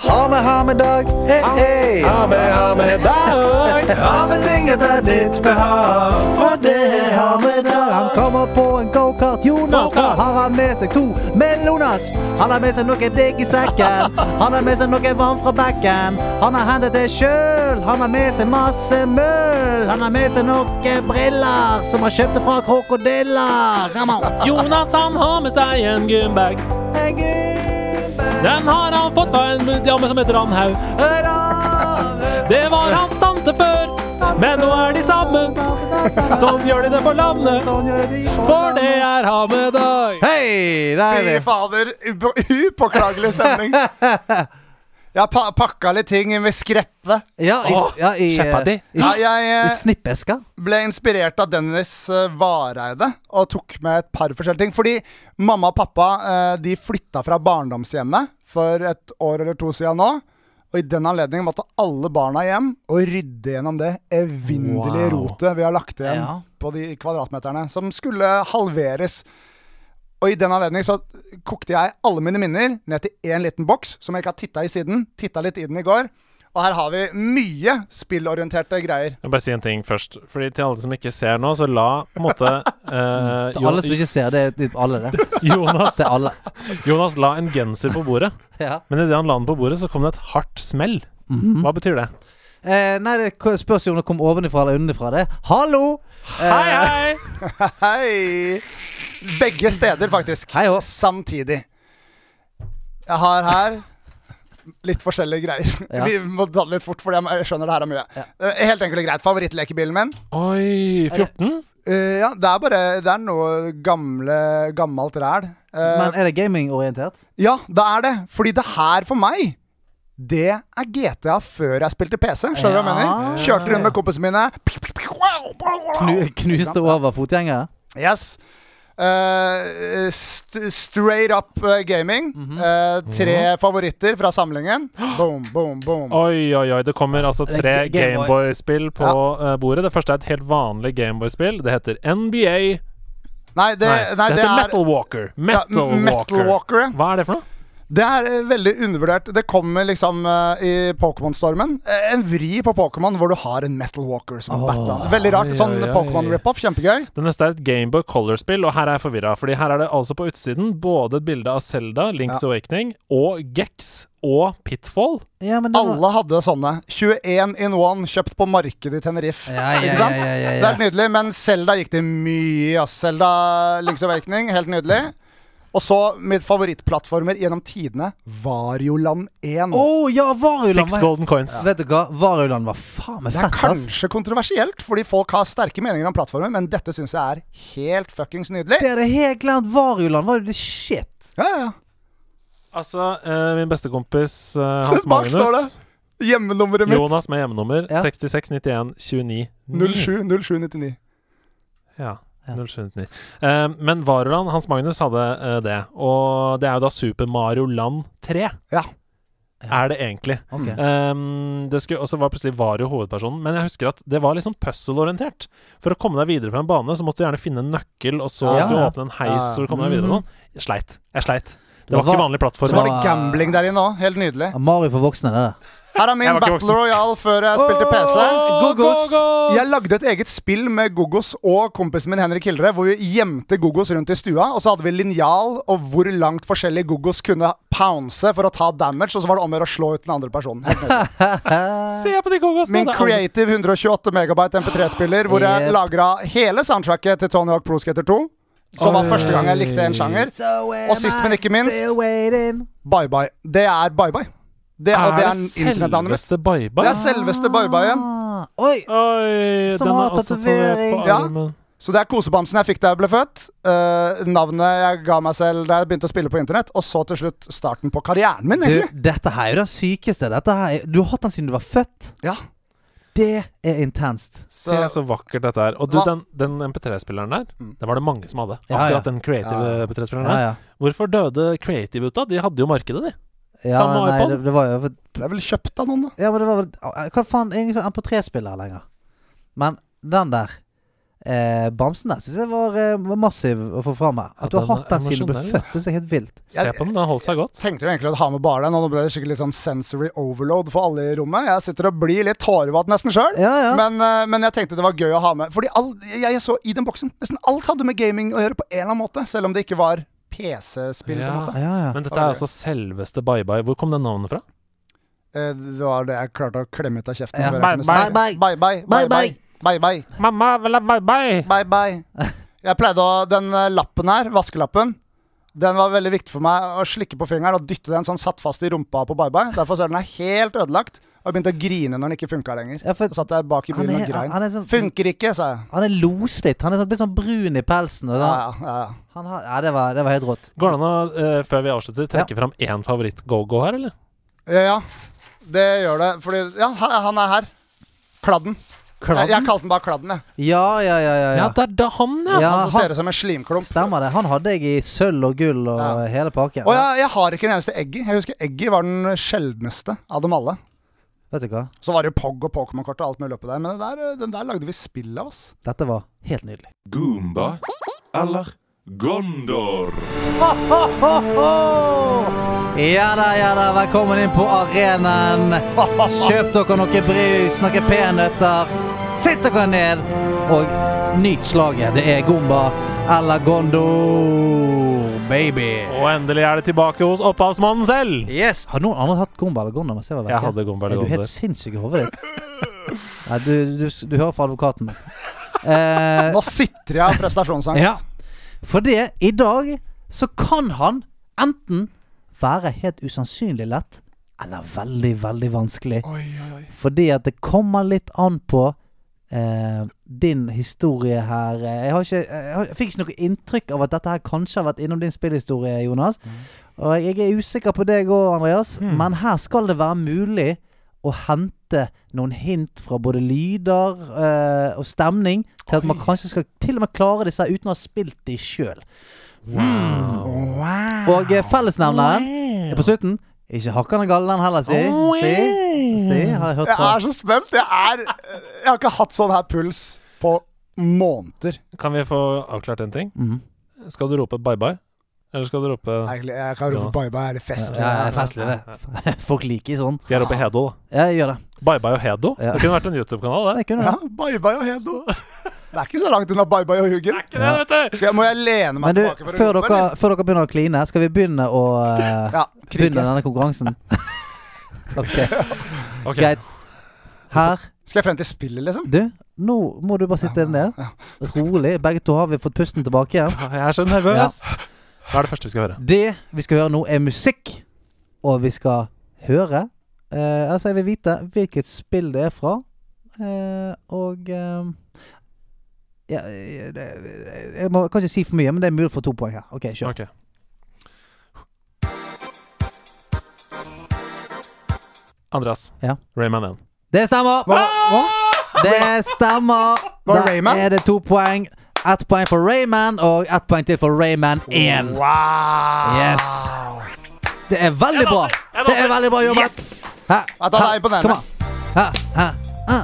Speaker 2: Ha med, ha med dag. Hey, hey.
Speaker 4: Ha med, ha med dag. Ha med ting etter ditt behag. For det
Speaker 2: Ha med dag. Han kommer på en gokart. Jonas
Speaker 1: Go-kart.
Speaker 2: har han med seg to melonas. Han har med seg noe digg i sekken. Han har med seg noe vann fra bekken. Han har hentet det sjøl. Han har med seg masse møll. Han har med seg noen briller som han kjøpte fra krokodiller. Come on.
Speaker 1: Jonas han har med seg en gymbag.
Speaker 2: Hey, Gud.
Speaker 1: Den har han fått fra en dame som heter Randhaug. Det var hans tante før, men nå er de sammen. Sånn gjør de det på landet,
Speaker 2: Sånn
Speaker 1: for det er ha med dag.
Speaker 2: Hei, der er
Speaker 5: Fy
Speaker 2: vi.
Speaker 5: fader, upo- upåklagelig stemning. Jeg har pa pakka litt ting med skreppe.
Speaker 2: Ja, i,
Speaker 1: Åh,
Speaker 2: ja, i, eh,
Speaker 1: Shepherdie.
Speaker 2: i,
Speaker 5: Ja, jeg
Speaker 2: i
Speaker 5: eh,
Speaker 2: snippeska.
Speaker 5: ble inspirert av Dennis eh, Vareide og tok med et par forskjellige ting. Fordi mamma og pappa eh, de flytta fra barndomshjemmet for et år eller to siden nå. Og i den anledningen måtte alle barna hjem og rydde gjennom det evinnelige
Speaker 1: Wow.
Speaker 5: rotet vi har lagt igjen
Speaker 2: Ja.
Speaker 5: på de kvadratmeterne, som skulle halveres. Og i den anledning så kokte jeg alle mine minner ned til én liten boks som jeg ikke har titta i siden. Titta litt i den i går. Og her har vi mye spillorienterte greier.
Speaker 1: Jeg vil bare si en ting først. Fordi Til alle som ikke ser nå, så la på en måte eh,
Speaker 2: Til alle som ikke ser, det er til alle, det.
Speaker 1: Jonas,
Speaker 2: Til alle.
Speaker 1: Jonas la en genser på bordet,
Speaker 2: Ja.
Speaker 1: men idet han la den på bordet, så kom det et hardt smell.
Speaker 5: Mhm.
Speaker 1: Hva betyr det?
Speaker 2: Eh, nei, det k- spørs jo om det kom ovenifra eller underfra. det Hallo!
Speaker 1: Hei, hei!
Speaker 5: Eh, Hei! Begge steder, faktisk.
Speaker 2: Hei hå.
Speaker 5: Samtidig. Jeg har her litt forskjellige greier.
Speaker 2: Ja.
Speaker 5: Vi må ta det litt fort, for jeg skjønner det her er mye. Eh, Helt enkelt og greit. Favorittlekebilen min?
Speaker 1: Oi, 14?
Speaker 5: Eh, ja, det er bare Det er noe gamle, gammelt ræl. Eh,
Speaker 2: Men er det gamingorientert?
Speaker 5: ja, det er det. Fordi det her for meg det er GTA før jeg spilte PC. Skjønner du hva jeg
Speaker 2: Ja.
Speaker 5: mener? Kjørte rundt med kompisene mine.
Speaker 2: Knu, knuste over fotgjengere?
Speaker 5: Yes. Eh, st straight up eh, gaming.
Speaker 1: Mhm.
Speaker 5: Eh, tre favoritter fra samlingen.
Speaker 1: Oh.
Speaker 5: Boom, boom, boom.
Speaker 1: Oi, oi, oi. Det kommer altså
Speaker 2: Det er
Speaker 1: tre
Speaker 2: Ga- Game Boy.
Speaker 1: Gameboy-spill på eh, bordet. Det første er et helt vanlig Gameboy-spill. Det heter NBA.
Speaker 5: Nei, det,
Speaker 1: Nei,
Speaker 5: Eh, nei,
Speaker 1: det,
Speaker 5: det
Speaker 1: heter
Speaker 5: er
Speaker 1: Metal Walker.
Speaker 5: ja,
Speaker 1: Metal,
Speaker 5: m-
Speaker 1: Walker.
Speaker 5: Metal Walker. ja.
Speaker 1: Hva er det for noe?
Speaker 5: Det er eh, veldig undervurdert. Det kommer liksom eh, i Pokémon-stormen. Eh, en vri på Pokémon hvor du har en Metal Walker som
Speaker 2: Åh.
Speaker 5: battler. Veldig rart.
Speaker 1: Oi,
Speaker 5: Sånn
Speaker 1: oi, oi.
Speaker 5: Pokémon-rip-off. Kjempegøy.
Speaker 1: Det neste er et Gameboy Color-spill, og her er jeg forvirra. Fordi her er det altså på utsiden både et bilde av Selda, Links Awakening, og Gex og Pitfall.
Speaker 2: Ja, men det var-
Speaker 5: Alle hadde sånne. 21 in one kjøpt på markedet i Tenerife.
Speaker 2: Ja, ja,
Speaker 5: Ikke sant?
Speaker 2: ja, ja, ja.
Speaker 5: Det er liksom nydelig, men Selda gikk det mye. ass. Selda Links Awakening, helt nydelig. Og så mitt favorittplattformer gjennom tidene, Varioland 1.
Speaker 2: Å ja, Varulland!
Speaker 1: Six
Speaker 2: var-
Speaker 1: golden coins.
Speaker 2: Vet du hva, Varulland var faen meg
Speaker 5: Det er
Speaker 2: fett, ass.
Speaker 5: kanskje kontroversielt, fordi folk har sterke meninger om plattformer, men dette syns jeg er helt fuckings
Speaker 2: Det
Speaker 5: nydelig.
Speaker 2: hadde jeg helt glemt. Varulland var jo det shit.
Speaker 5: Ja, ja.
Speaker 1: Altså, eh, min bestekompis eh, Hans
Speaker 5: bak står
Speaker 1: Magnus
Speaker 5: Hjemmenummeret mitt.
Speaker 1: Jonas med hjemmenummer
Speaker 2: Ja.
Speaker 1: 66 91 29 ni.
Speaker 5: 07 0799.
Speaker 1: Ja.
Speaker 2: Ja.
Speaker 1: 0799. Eh, men Varuland, Hans Magnus, hadde eh, det. Og det er jo da Super Mario Land 3.
Speaker 5: Ja.
Speaker 1: Er det egentlig.
Speaker 2: Ok.
Speaker 5: Mm.
Speaker 1: Um, det skulle, og så var plutselig Vario hovedpersonen. Men jeg husker at det var liksom puzzle-orientert. For å komme deg videre fra en bane, så måtte du gjerne finne en nøkkel, og så
Speaker 5: Ja,
Speaker 1: skulle du
Speaker 5: ja.
Speaker 1: åpne en
Speaker 5: Ja,
Speaker 1: heis,
Speaker 5: ja.
Speaker 1: så du kom deg videre og sånn. Jeg sleit. Jeg sleit. Det var
Speaker 2: var-
Speaker 1: ikke vanlig
Speaker 5: Så
Speaker 1: plattform.
Speaker 5: var det gambling der inne òg. Helt nydelig.
Speaker 2: Mario for voksne, det der.
Speaker 5: Her er min
Speaker 1: Jeg var ikke
Speaker 5: Battle
Speaker 1: voksen.
Speaker 5: Royale før jeg spilte PC.
Speaker 2: Gogos.
Speaker 5: Jeg lagde et eget spill med Gogos og kompisen min Henrik Hildre, hvor vi gjemte Gogos rundt i stua, og så hadde vi linjal og hvor langt forskjellige Gogos kunne pounce for å ta damage, og så var det om å gjøre å slå ut den andre personen. Helt nydelig.
Speaker 1: Se på de gogosene!
Speaker 5: Min
Speaker 1: det er aldri-
Speaker 5: creative 128 megabyte MP3-spiller, hvor jeg
Speaker 2: Yep.
Speaker 5: lagra hele soundtracket til Tony Hawk Pro Skater 2. Som var
Speaker 1: Oi.
Speaker 5: første gang jeg likte en sjanger. Og sist, men ikke minst Bye Bye. Det er Bye Bye. Det er,
Speaker 1: Er
Speaker 5: det
Speaker 1: det
Speaker 5: er internettnavnet mitt.
Speaker 1: selveste Bye
Speaker 5: Det
Speaker 1: Bye?
Speaker 5: er selveste Bye Bye-en.
Speaker 2: Ah, oi!
Speaker 1: Oi,
Speaker 2: Som
Speaker 1: den
Speaker 2: har
Speaker 1: er også
Speaker 2: tatovering.
Speaker 1: tatovert på
Speaker 5: Ja.
Speaker 1: armen.
Speaker 5: Så det er kosebamsen jeg fikk da jeg ble født. eh, navnet jeg ga meg selv da jeg begynte å spille på internett. Og så til slutt starten på karrieren min,
Speaker 2: Du,
Speaker 5: egentlig.
Speaker 2: dette her er jo det sykeste. Dette her, er- du har hatt den siden du var født.
Speaker 5: Ja.
Speaker 2: Det er intenst.
Speaker 1: Se så vakkert dette er. Og du,
Speaker 5: Hva- Mm.
Speaker 1: den, den MP3-spilleren der, den var det mange som hadde.
Speaker 2: Ja, ja.
Speaker 1: Akkurat den creative
Speaker 5: Ja, ja.
Speaker 1: MP3-spilleren
Speaker 2: Ja,
Speaker 1: der.
Speaker 2: ja.
Speaker 1: Hvorfor døde creative ut da? De hadde jo markedet, de.
Speaker 2: ja
Speaker 1: Samme
Speaker 2: nei,
Speaker 1: iPod?
Speaker 2: det, det var jo
Speaker 5: Det er vel kjøpt av noen, da.
Speaker 2: Ja, men det var vel Hva faen? Ingen sånn MP3-spiller lenger. Men den der eh, bamsen der syns jeg var, eh, var massiv å få fram her.
Speaker 1: Ja,
Speaker 2: At du har
Speaker 1: den
Speaker 2: hatt den
Speaker 1: er
Speaker 2: siden du ble
Speaker 1: emosjonell,
Speaker 2: født, syns jeg er helt vilt.
Speaker 1: Se
Speaker 5: Jeg-
Speaker 1: på den, den holdt seg godt.
Speaker 5: Tenkte jo egentlig å ha med bare den, og nå ble det sikkert litt sånn sensory overload for alle i rommet. Jeg sitter og blir litt tårevatt nesten sjøl.
Speaker 2: Ja, ja.
Speaker 5: Men, eh, men jeg tenkte det var gøy å ha med. Fordi all, jeg, jeg så i den boksen Nesten alt hadde med gaming å gjøre på en eller annen måte. Selv om det ikke var PC-spill. på en
Speaker 1: Ja.
Speaker 5: måte
Speaker 2: ja, ja.
Speaker 1: Men dette
Speaker 5: Ja,
Speaker 1: er
Speaker 5: det
Speaker 1: altså
Speaker 5: er
Speaker 1: selveste Bye Bye. Hvor kom det navnet fra?
Speaker 5: Eh, Det var det jeg klarte å klemme ut av kjeften.
Speaker 2: Ja.
Speaker 5: før jeg
Speaker 1: Bye,
Speaker 5: kunne
Speaker 1: bye.
Speaker 5: snakke. bye, bye, bye, bye, bye, bye.
Speaker 1: Mamma vil ha Bye Bye!
Speaker 5: Bye, bye. Jeg pleide å Den eh, lappen her, vaskelappen, den var veldig viktig for meg å slikke på fingeren og dytte den sånn satt fast i rumpa på bye-bye. Derfor ser den er helt ødelagt. Og jeg begynte å grine når den ikke funka lenger.
Speaker 2: Ja, for-
Speaker 5: Så satt jeg bak i
Speaker 2: Han
Speaker 5: bilen
Speaker 2: er-
Speaker 5: og grein.
Speaker 2: han er sånn-
Speaker 5: Funker ikke, sa jeg.
Speaker 2: Han er loslitt. Han er sånn, blitt sånn brun i pelsen. Og
Speaker 5: Ja,
Speaker 2: da-
Speaker 5: ja, ja.
Speaker 2: han har, ja, det var, det var helt rått.
Speaker 1: Går det an å, eh, før vi avslutter, trekke fram én favoritt-go-go her, eller?
Speaker 5: ja. ja. Det gjør det. Fordi Ja, han han er her. Kladden. Jeg, jeg kalte den bare Kladden, jeg.
Speaker 2: Ja, ja, ja. ja,
Speaker 1: Ja,
Speaker 2: ja.
Speaker 1: det er da han, ja!
Speaker 2: Ja,
Speaker 5: Han som
Speaker 2: han,
Speaker 5: ser ut som en slimklump.
Speaker 2: stemmer det. Han hadde jeg i sølv og gull og
Speaker 5: Ja.
Speaker 2: hele pakken.
Speaker 5: Og jeg, jeg har ikke en eneste Eggy. Jeg husker Eggy var den sjeldneste av dem alle.
Speaker 2: Vet du hva?
Speaker 5: Så var det jo Pog og Pokémon-kort og alt mulig oppi der, men den der, den der lagde vi spill av, ass.
Speaker 2: Dette var helt nydelig.
Speaker 4: Goomba eller Gondor?
Speaker 2: Ho, ho, ho, ho! Ja da, ja da. Velkommen inn på arenaen. Kjøp dere noe brus, noen peanøtter. Sitt dere ned og nyt slaget. Det er Gomba eller Gondor, baby.
Speaker 1: Og endelig er det tilbake hos opphavsmannen selv!
Speaker 2: Yes! Har noen andre hatt Gomba eller Gondor? mens Jeg, var
Speaker 1: Jeg
Speaker 2: vekke?
Speaker 1: hadde Gomba eller
Speaker 2: Er du
Speaker 1: Gondor.
Speaker 2: helt sinnssyk i hodet ditt? Nei, du, du, du hører fra advokaten min. Eh,
Speaker 5: Nå sitrer jeg av prestasjonsangst.
Speaker 2: Ja. For det, i dag så kan han enten være helt usannsynlig lett, eller veldig, veldig vanskelig.
Speaker 5: Oi, oi, oi.
Speaker 2: Fordi at det kommer litt an på eh, din historie her. Eh, Jeg, har ikke, jeg, har, jeg fikk ikke noe inntrykk av at dette her kanskje har vært innom din spillhistorie, Jonas. Og jeg er usikker på deg òg, Andreas, men her skal det være mulig å hente noen hint fra både lyder eh, og stemning til at man kanskje skal til og med klare disse her uten å ha spilt de sjøl. Og eh, fellesnevneren er på slutten. Ikke hakkan og gallen heller, si. si. si. Har jeg hørt
Speaker 5: Jeg
Speaker 2: fra
Speaker 5: er så spent. Jeg er Jeg har ikke hatt sånn her puls på måneder.
Speaker 1: Kan vi få avklart en ting?
Speaker 2: Mhm.
Speaker 1: Skal du rope Bye Bye? Eller skal du rope
Speaker 5: Egentlig, jeg kan rope
Speaker 1: Ja.
Speaker 5: bye bye eller fest.
Speaker 2: Ja, det er Eh, festlig, det. Folk liker sånn.
Speaker 1: Skal jeg rope Hedo, da?
Speaker 2: Ja, jeg gjør det.
Speaker 1: Bye Bye og Hedo?
Speaker 2: Ja.
Speaker 1: Det kunne vært en YouTube-kanal, det.
Speaker 2: Jeg kunne
Speaker 5: Ja,
Speaker 2: det.
Speaker 5: bye bye og Hedo. Det er ikke så langt unna bye bye og Huggen.
Speaker 1: Ikke det, vet du!
Speaker 5: Skal jeg, må jeg lene meg
Speaker 2: Men du,
Speaker 5: tilbake for
Speaker 2: før
Speaker 5: å rope?
Speaker 2: dere, før dere begynner å kline, skal vi begynne å eh,
Speaker 5: eller? Ja,
Speaker 2: begynne
Speaker 5: krike.
Speaker 2: denne konkurransen? ok,
Speaker 1: Ok.
Speaker 2: greit. Her
Speaker 5: Skal jeg frem til spillet, liksom?
Speaker 2: Du, nå må du bare sitte ned. Rolig. Begge to har vi fått pusten tilbake igjen.
Speaker 1: Jeg er så nervøs! Hva er det første vi skal høre?
Speaker 2: Det vi skal høre nå, er musikk. Og vi skal høre eh, Altså, jeg vil vite hvilket spill det er fra. Eh, og eh, ja, eh, det- Jeg må kanskje si for mye, men det er mulig for to poeng her. OK, kjør.
Speaker 1: Ok. Andreas.
Speaker 2: Ja.
Speaker 1: Rayman 1.
Speaker 2: Det stemmer!
Speaker 5: Hva? Hva?
Speaker 2: Det stemmer!
Speaker 5: Var det
Speaker 2: Da
Speaker 5: Rayman?
Speaker 2: er det to poeng. Ett poeng for Rayman, og ett poeng til for Rayman 1.
Speaker 5: Wow!
Speaker 2: Yes. Det er veldig bra. Det er veldig bra jobba. Hæ?
Speaker 5: Ja, da er jeg imponerende.
Speaker 2: Kom an. Hæ? Hæ? Hæ?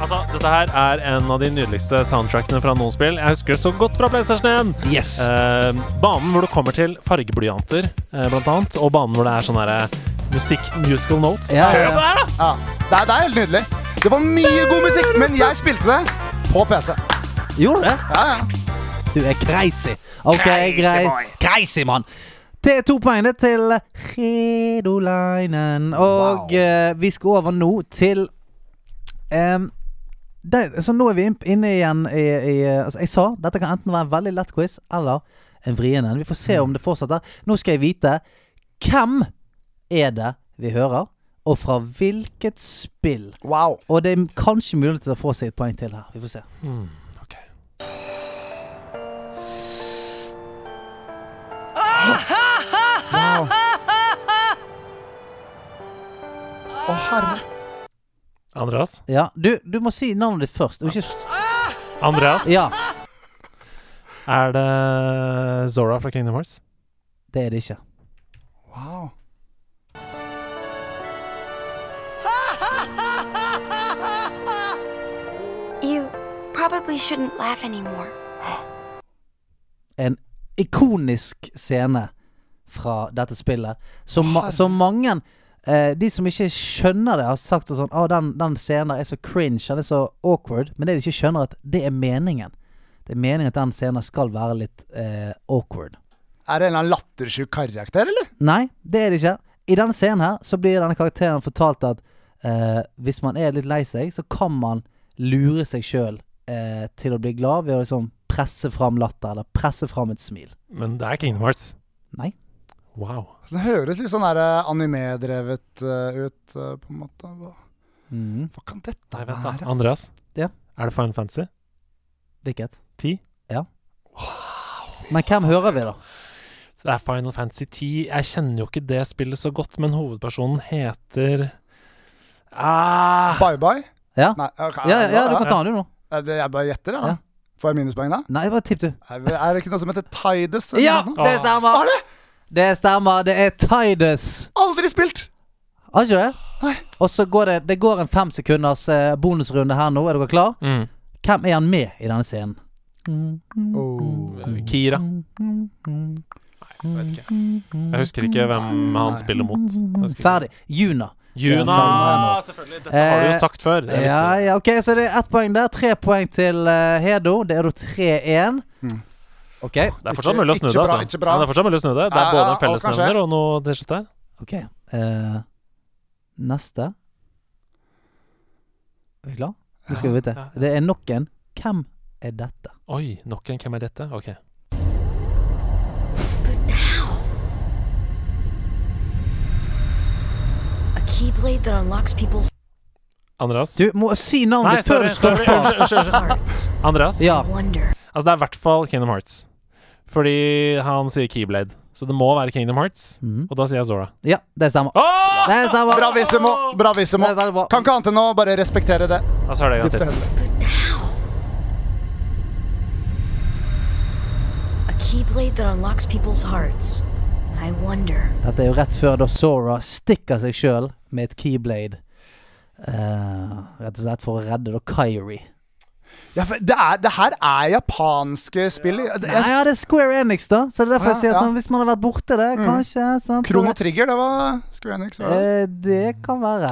Speaker 1: Altså, dette her er en av de nydeligste soundtrackene fra noen spill. Jeg husker det så godt fra PlayStation 1.
Speaker 2: Yes.
Speaker 1: Eh, banen hvor du kommer til fargeblyanter, eh, blant annet, og banen hvor det er sånne her, eh, musikk, musical notes.
Speaker 2: Ja, ja,
Speaker 1: Hør
Speaker 2: ja.
Speaker 1: på det her, da!
Speaker 5: Ja. Det, er, det er helt nydelig. Det var mye god musikk, men jeg spilte det på PC.
Speaker 2: Gjorde du det?
Speaker 5: Ja, ja.
Speaker 2: Du er crazy. Ok,
Speaker 5: Crazy
Speaker 2: greit.
Speaker 5: boy.
Speaker 2: Crazy, mann. Det er to poeng det til Redolainen. Og
Speaker 5: Wow.
Speaker 2: eh, vi skal over nå til em, det, så nå er vi inn- inne igjen i, i altså Jeg sa dette kan enten være en veldig lett quiz eller en vrien en. Vi får
Speaker 5: Mm.
Speaker 2: se om det fortsetter. Nå skal jeg vite hvem er det vi hører, og fra hvilket spill.
Speaker 5: Wow.
Speaker 2: Og det er kanskje mulig til å få seg et poeng til her. Vi får se.
Speaker 1: Ok.
Speaker 5: wow. Å, herre
Speaker 1: Andreas?
Speaker 2: Ja, du, du må si navnet ditt først. Og ikke,
Speaker 1: Andreas?
Speaker 2: ja,
Speaker 1: Er det Zora fra Kingdom Hearts?
Speaker 2: det er det ikke.
Speaker 5: Wow.
Speaker 6: You probably shouldn't laugh anymore.
Speaker 2: en ikonisk scene fra dette spillet. Som, ma som mange eh, De som ikke skjønner det, har sagt sånn Å, den, den scenen er så cringe, den er så awkward. Men det de ikke skjønner, er at det er meningen. Det er meningen at den scenen skal være litt eh, awkward.
Speaker 5: Er det en eller annen lattersjuk karakter, eller?
Speaker 2: Nei, det er det ikke. I denne scenen her så blir denne karakteren fortalt at eh, hvis man er litt lei seg, så kan man lure seg sjøl eh, til å bli glad ved å liksom presse fram latter, eller presse fram et smil.
Speaker 1: Men det er Kingdom Hearts.
Speaker 2: Nei.
Speaker 1: Wow.
Speaker 5: Så Det høres litt sånn der, eh, anime-drevet eh, ut, eh, på en måte. Hva,
Speaker 2: Mm.
Speaker 5: hva kan dette
Speaker 1: Nei, vent da.
Speaker 5: være?
Speaker 1: Andreas?
Speaker 2: Ja.
Speaker 1: Er det Final Fantasy?
Speaker 2: Hvilket?
Speaker 1: 10?
Speaker 2: Men hvem hører vi, da?
Speaker 1: Det er Final Fantasy 10. Jeg kjenner jo ikke det spillet så godt, men hovedpersonen heter ah,
Speaker 5: Bye bye?
Speaker 2: Ja,
Speaker 5: Nei, ok,
Speaker 2: ja, ja, du
Speaker 5: ja,
Speaker 2: kan ta den, du, nå.
Speaker 5: ja. Eh, Det- Jeg bare gjetter, jeg, da.
Speaker 2: Ja.
Speaker 5: Får jeg minuspoeng da?
Speaker 2: Nei, bare tipp, du.
Speaker 5: Er er det ikke noe som heter Tides? eller
Speaker 2: Ja,
Speaker 5: noe sånt?
Speaker 2: det stemmer!
Speaker 5: Var det?
Speaker 2: Det stemmer, det er Tidus.
Speaker 5: Aldri spilt!
Speaker 2: Har ikke det? Og så går det Det går en fem sekunders eh, bonusrunde her nå. Er dere klar?
Speaker 1: mm.
Speaker 2: Hvem er han med i denne scenen? Oh.
Speaker 1: Kira. Nei, jeg vet ikke. Jeg husker ikke hvem han spiller mot. Jeg husker ikke.
Speaker 2: Ferdig. Juna.
Speaker 1: Juna!
Speaker 2: Ja,
Speaker 1: Selvfølgelig. Dette har du jo
Speaker 2: Eh,
Speaker 1: sagt før. Jeg visste
Speaker 2: Ja,
Speaker 1: det.
Speaker 2: ja, ok, så det er ett poeng der. Tre poeng til eh, Hedo. Det er da 3-1.
Speaker 1: Mm.
Speaker 2: Ok.
Speaker 1: Det er fortsatt mulig å snu
Speaker 5: Ikke-
Speaker 1: det,
Speaker 5: ikke bra,
Speaker 1: altså.
Speaker 5: ikke bra.
Speaker 1: Ja, det er fortsatt mulig å snu det. Det
Speaker 5: Ja,
Speaker 1: er både
Speaker 5: ja,
Speaker 1: en
Speaker 5: alt kan skje.
Speaker 1: fellesnevner og noe til slutt der.
Speaker 2: Ok. eh, neste. Er vi klar? Nå skal vi vite.
Speaker 1: ja, ja.
Speaker 2: Det er nok en. Hvem er dette?
Speaker 1: Oi, nok en. Hvem er dette? Ok.
Speaker 6: But how? A keyblade that unlocks people's
Speaker 1: Andreas?
Speaker 2: Du må si
Speaker 1: Nei,
Speaker 2: navnet ditt før
Speaker 1: sorry.
Speaker 2: du
Speaker 1: sorry.
Speaker 2: stopper.
Speaker 1: Unnskyld. unnskyld.
Speaker 6: hearts.
Speaker 1: Andreas?
Speaker 2: Ja.
Speaker 6: Wonder.
Speaker 1: Altså, det er i hvert fall Kingdom Hearts. Fordi han sier Keyblade. Så det må være Kingdom Hearts. Og da sier jeg Zora.
Speaker 2: ja, det stemmer.
Speaker 1: Åh!
Speaker 2: Det stemmer.
Speaker 5: Bravissimo! Bravissimo.
Speaker 2: Det er veldig bra.
Speaker 5: Kan ikke annet enn å bare respektere det.
Speaker 1: Altså, hør det en
Speaker 5: Dypt og
Speaker 1: gang til.
Speaker 5: hederlig.
Speaker 6: But how? A keyblade that unlocks people's hearts. I wonder.
Speaker 2: Dette er jo rett før da Sora stikker seg sjøl med et keyblade. Eh, rett og slett for å redde da Kairi.
Speaker 5: Ja, for det, er, det her er japanske spill. Det-
Speaker 2: Nei,
Speaker 5: Jeg,
Speaker 2: ja, det er Square Enix, da. Så det er derfor jeg
Speaker 5: Ja,
Speaker 2: sier
Speaker 5: ja. Mm.
Speaker 2: sånn, hvis man har vært borti det, kanskje. Sant? Så
Speaker 5: Krono
Speaker 2: det-
Speaker 5: Trigger, det var Square Enix. var det?
Speaker 2: Eh, det kan være.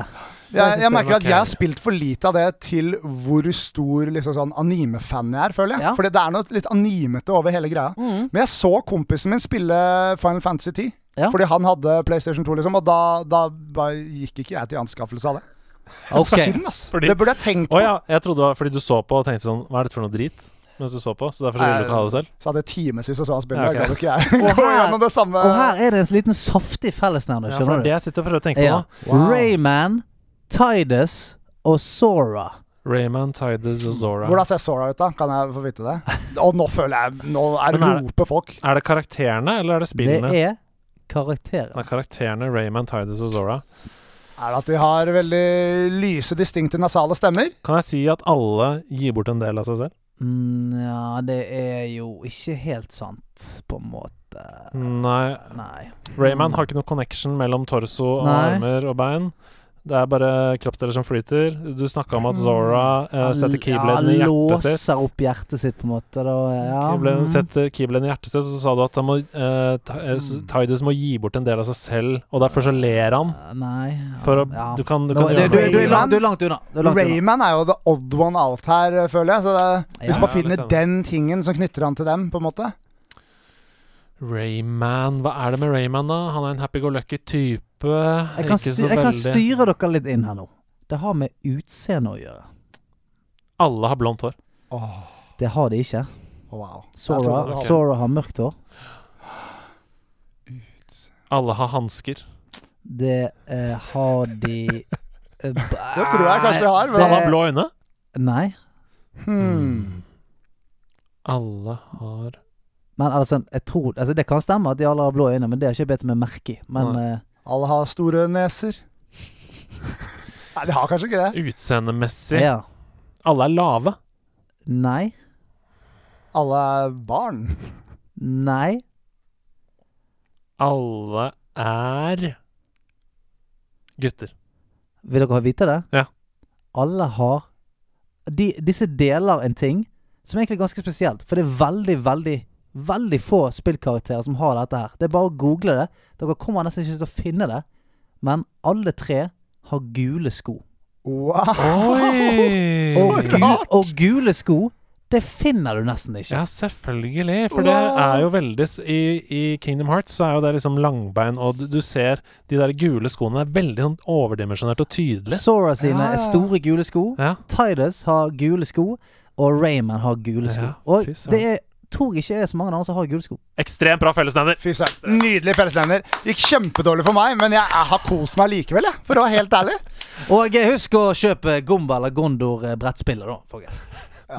Speaker 5: Jeg, jeg merker
Speaker 1: ok.
Speaker 5: at jeg har spilt for lite av det til hvor stor liksom, sånn anime-fan jeg er, føler jeg.
Speaker 2: Ja. Mm.
Speaker 5: Fordi det er noe litt animete over hele greia. Men jeg så kompisen min spille Final Fantasy 10.
Speaker 2: Ja.
Speaker 5: Fordi han hadde PlayStation 2, liksom, og da, da bare gikk ikke jeg til anskaffelse av det.
Speaker 2: Ok.
Speaker 5: Synd, ass.
Speaker 1: Fordi-
Speaker 5: Det burde jeg tenkt på.
Speaker 1: Å ja, jeg trodde det var fordi du så på og tenkte sånn Hva er dette for noe drit? Mens du så på. Så derfor så ville du ikke ha det selv.
Speaker 5: Så hadde jeg timevis og så han
Speaker 1: Ja,
Speaker 5: spille.
Speaker 1: ok.
Speaker 5: Da gadd ikke jeg
Speaker 2: Og
Speaker 5: gå
Speaker 2: her-
Speaker 5: gjennom det samme.
Speaker 2: Og her er det en liten saftig fellesnevner,
Speaker 1: Ja, for det
Speaker 2: skjønner
Speaker 1: er det jeg sitter og prøver å
Speaker 2: du?
Speaker 1: tenke på.
Speaker 2: Ja.
Speaker 1: nå.
Speaker 5: Wow.
Speaker 2: Rayman, Tidus og Sora.
Speaker 1: Rayman, Tidus og Zora.
Speaker 5: Hvordan ser Sora ut, da? Kan jeg få vite det? Og nå føler jeg Nå er
Speaker 1: Men er det-
Speaker 5: roper folk.
Speaker 1: Er det karakterene, eller er det
Speaker 2: Det
Speaker 1: spillene? Det er,
Speaker 2: er karakterer.
Speaker 1: karakterene Rayman, Tidus og Zora.
Speaker 5: Er det at de har veldig lyse, distinkte nasale stemmer?
Speaker 1: Kan jeg si at alle gir bort en del av seg selv?
Speaker 2: Mm, ja, det er jo ikke helt sant, på en måte.
Speaker 1: Nei.
Speaker 2: Nei.
Speaker 1: Rayman har ikke noe connection mellom torso og
Speaker 2: Mm. Nei.
Speaker 1: armer og bein. Det er bare kroppsdeler som flyter. Du snakka om at Zora eh, setter keybladen i
Speaker 2: Mm. Ja,
Speaker 1: hjertet sitt.
Speaker 2: Låser opp hjertet sitt, på en måte. Da. Ja.
Speaker 1: Keybladen
Speaker 2: mm.
Speaker 1: setter keybladen i hjertet sitt, så sa du at han må, eh, Ti- eh, s-
Speaker 2: Mm.
Speaker 1: Tidus må gi bort en del av seg selv, og derfor så ler han.
Speaker 2: Mm. Nei ja.
Speaker 1: For å,
Speaker 2: Ja.
Speaker 1: du kan, du kan
Speaker 2: Nå, du,
Speaker 1: gjøre
Speaker 2: du,
Speaker 1: noe.
Speaker 2: du, er langt, du er langt unna. Du er langt unna.
Speaker 5: Rayman er jo the odd one out her, eh, føler jeg. Så det,
Speaker 2: Ja,
Speaker 5: hvis man
Speaker 1: ja,
Speaker 5: finner
Speaker 1: litt
Speaker 5: den tingen som knytter han til dem, på en måte
Speaker 1: Rayman Hva er det med Rayman, da? Han er en happy-go-lucky type.
Speaker 2: Jeg kan,
Speaker 1: ikke
Speaker 2: styr,
Speaker 1: så
Speaker 2: jeg kan
Speaker 1: veldig-
Speaker 2: styre dere litt inn her nå. Det har med utseende å gjøre.
Speaker 1: Alle har blondt hår.
Speaker 2: Det har de ikke.
Speaker 5: Wow. Jeg
Speaker 2: Sora,
Speaker 5: trodde det var-
Speaker 2: Sora har mørkt hår.
Speaker 1: Alle har hansker.
Speaker 2: Det eh, har de eh, Det
Speaker 5: Det tror jeg kanskje de har,
Speaker 2: Eh.
Speaker 5: men
Speaker 1: Alle har blå øyne.
Speaker 2: Nei.
Speaker 5: hmm.
Speaker 1: Alle har
Speaker 2: Men altså, jeg tror, altså, det kan stemme at de alle har blå øyne, men det har ikke jeg bedt meg merke i. Men
Speaker 1: Nei.
Speaker 2: eh,
Speaker 5: Alle har store neser. Nei, de har kanskje ikke det.
Speaker 1: utseendemessig
Speaker 2: eh, ja.
Speaker 1: Alle er lave.
Speaker 2: Nei.
Speaker 5: Alle er barn.
Speaker 2: Nei.
Speaker 1: Alle er gutter.
Speaker 2: Vil dere vite det?
Speaker 1: Ja.
Speaker 2: Alle har de, Disse deler en ting som egentlig er ganske spesielt. For det er veldig, veldig Veldig få spillkarakterer som har dette her. Det er bare å google det. Dere kommer nesten ikke til å finne det. Men alle tre har gule sko.
Speaker 5: Wow.
Speaker 1: Oi!
Speaker 2: Og, gu, og gule sko, det finner du nesten ikke.
Speaker 1: Ja, selvfølgelig. For det er jo veldig s- I, i Kingdom Hearts så er jo det liksom langbein, og du, du ser de der gule skoene er veldig sånn overdimensjonert og tydelig.
Speaker 2: Sora sine er store gule sko.
Speaker 1: Ah. Ja.
Speaker 2: Tidus har gule sko. Og Raymond har gule sko.
Speaker 1: Ja,
Speaker 2: og
Speaker 1: fy søren.
Speaker 2: det er, tror jeg ikke er så mange andre som har gule sko.
Speaker 1: Ekstremt bra fellesnevner!
Speaker 5: Fy søren. Nydelig fellesnevner. Gikk kjempedårlig for meg, men jeg, jeg har kost meg likevel, jeg. For å være helt ærlig.
Speaker 2: Og eh, husk å kjøpe Gomba eller Gondor eh, brettspiller, da, folkens.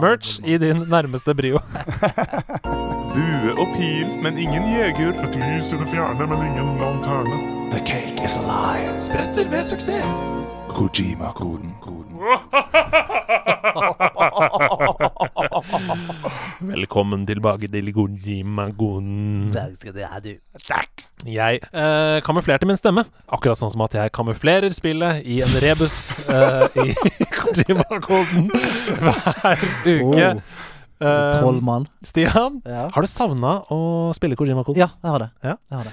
Speaker 1: Merch i din nærmeste brio.
Speaker 7: Bue og pil, men ingen jeger.
Speaker 8: Et lys i det fjerne, men ingen lanterne.
Speaker 4: The cake is a lie.
Speaker 7: Spretter ved suksess.
Speaker 4: Kojima-koden.
Speaker 1: Velkommen tilbake til Gojimagon.
Speaker 2: Der skal det er du.
Speaker 1: Jeg eh, kamuflerte min stemme, akkurat sånn som at jeg kamuflerer spillet i en rebus eh, i Kojima-koden hver uke.
Speaker 2: Oh,
Speaker 1: Eh,
Speaker 2: Trollmann.
Speaker 1: Stian,
Speaker 2: Ja.
Speaker 1: har du savna å spille Kojima-koden?
Speaker 2: ja, jeg har det.
Speaker 1: Ja.
Speaker 2: Jeg har det.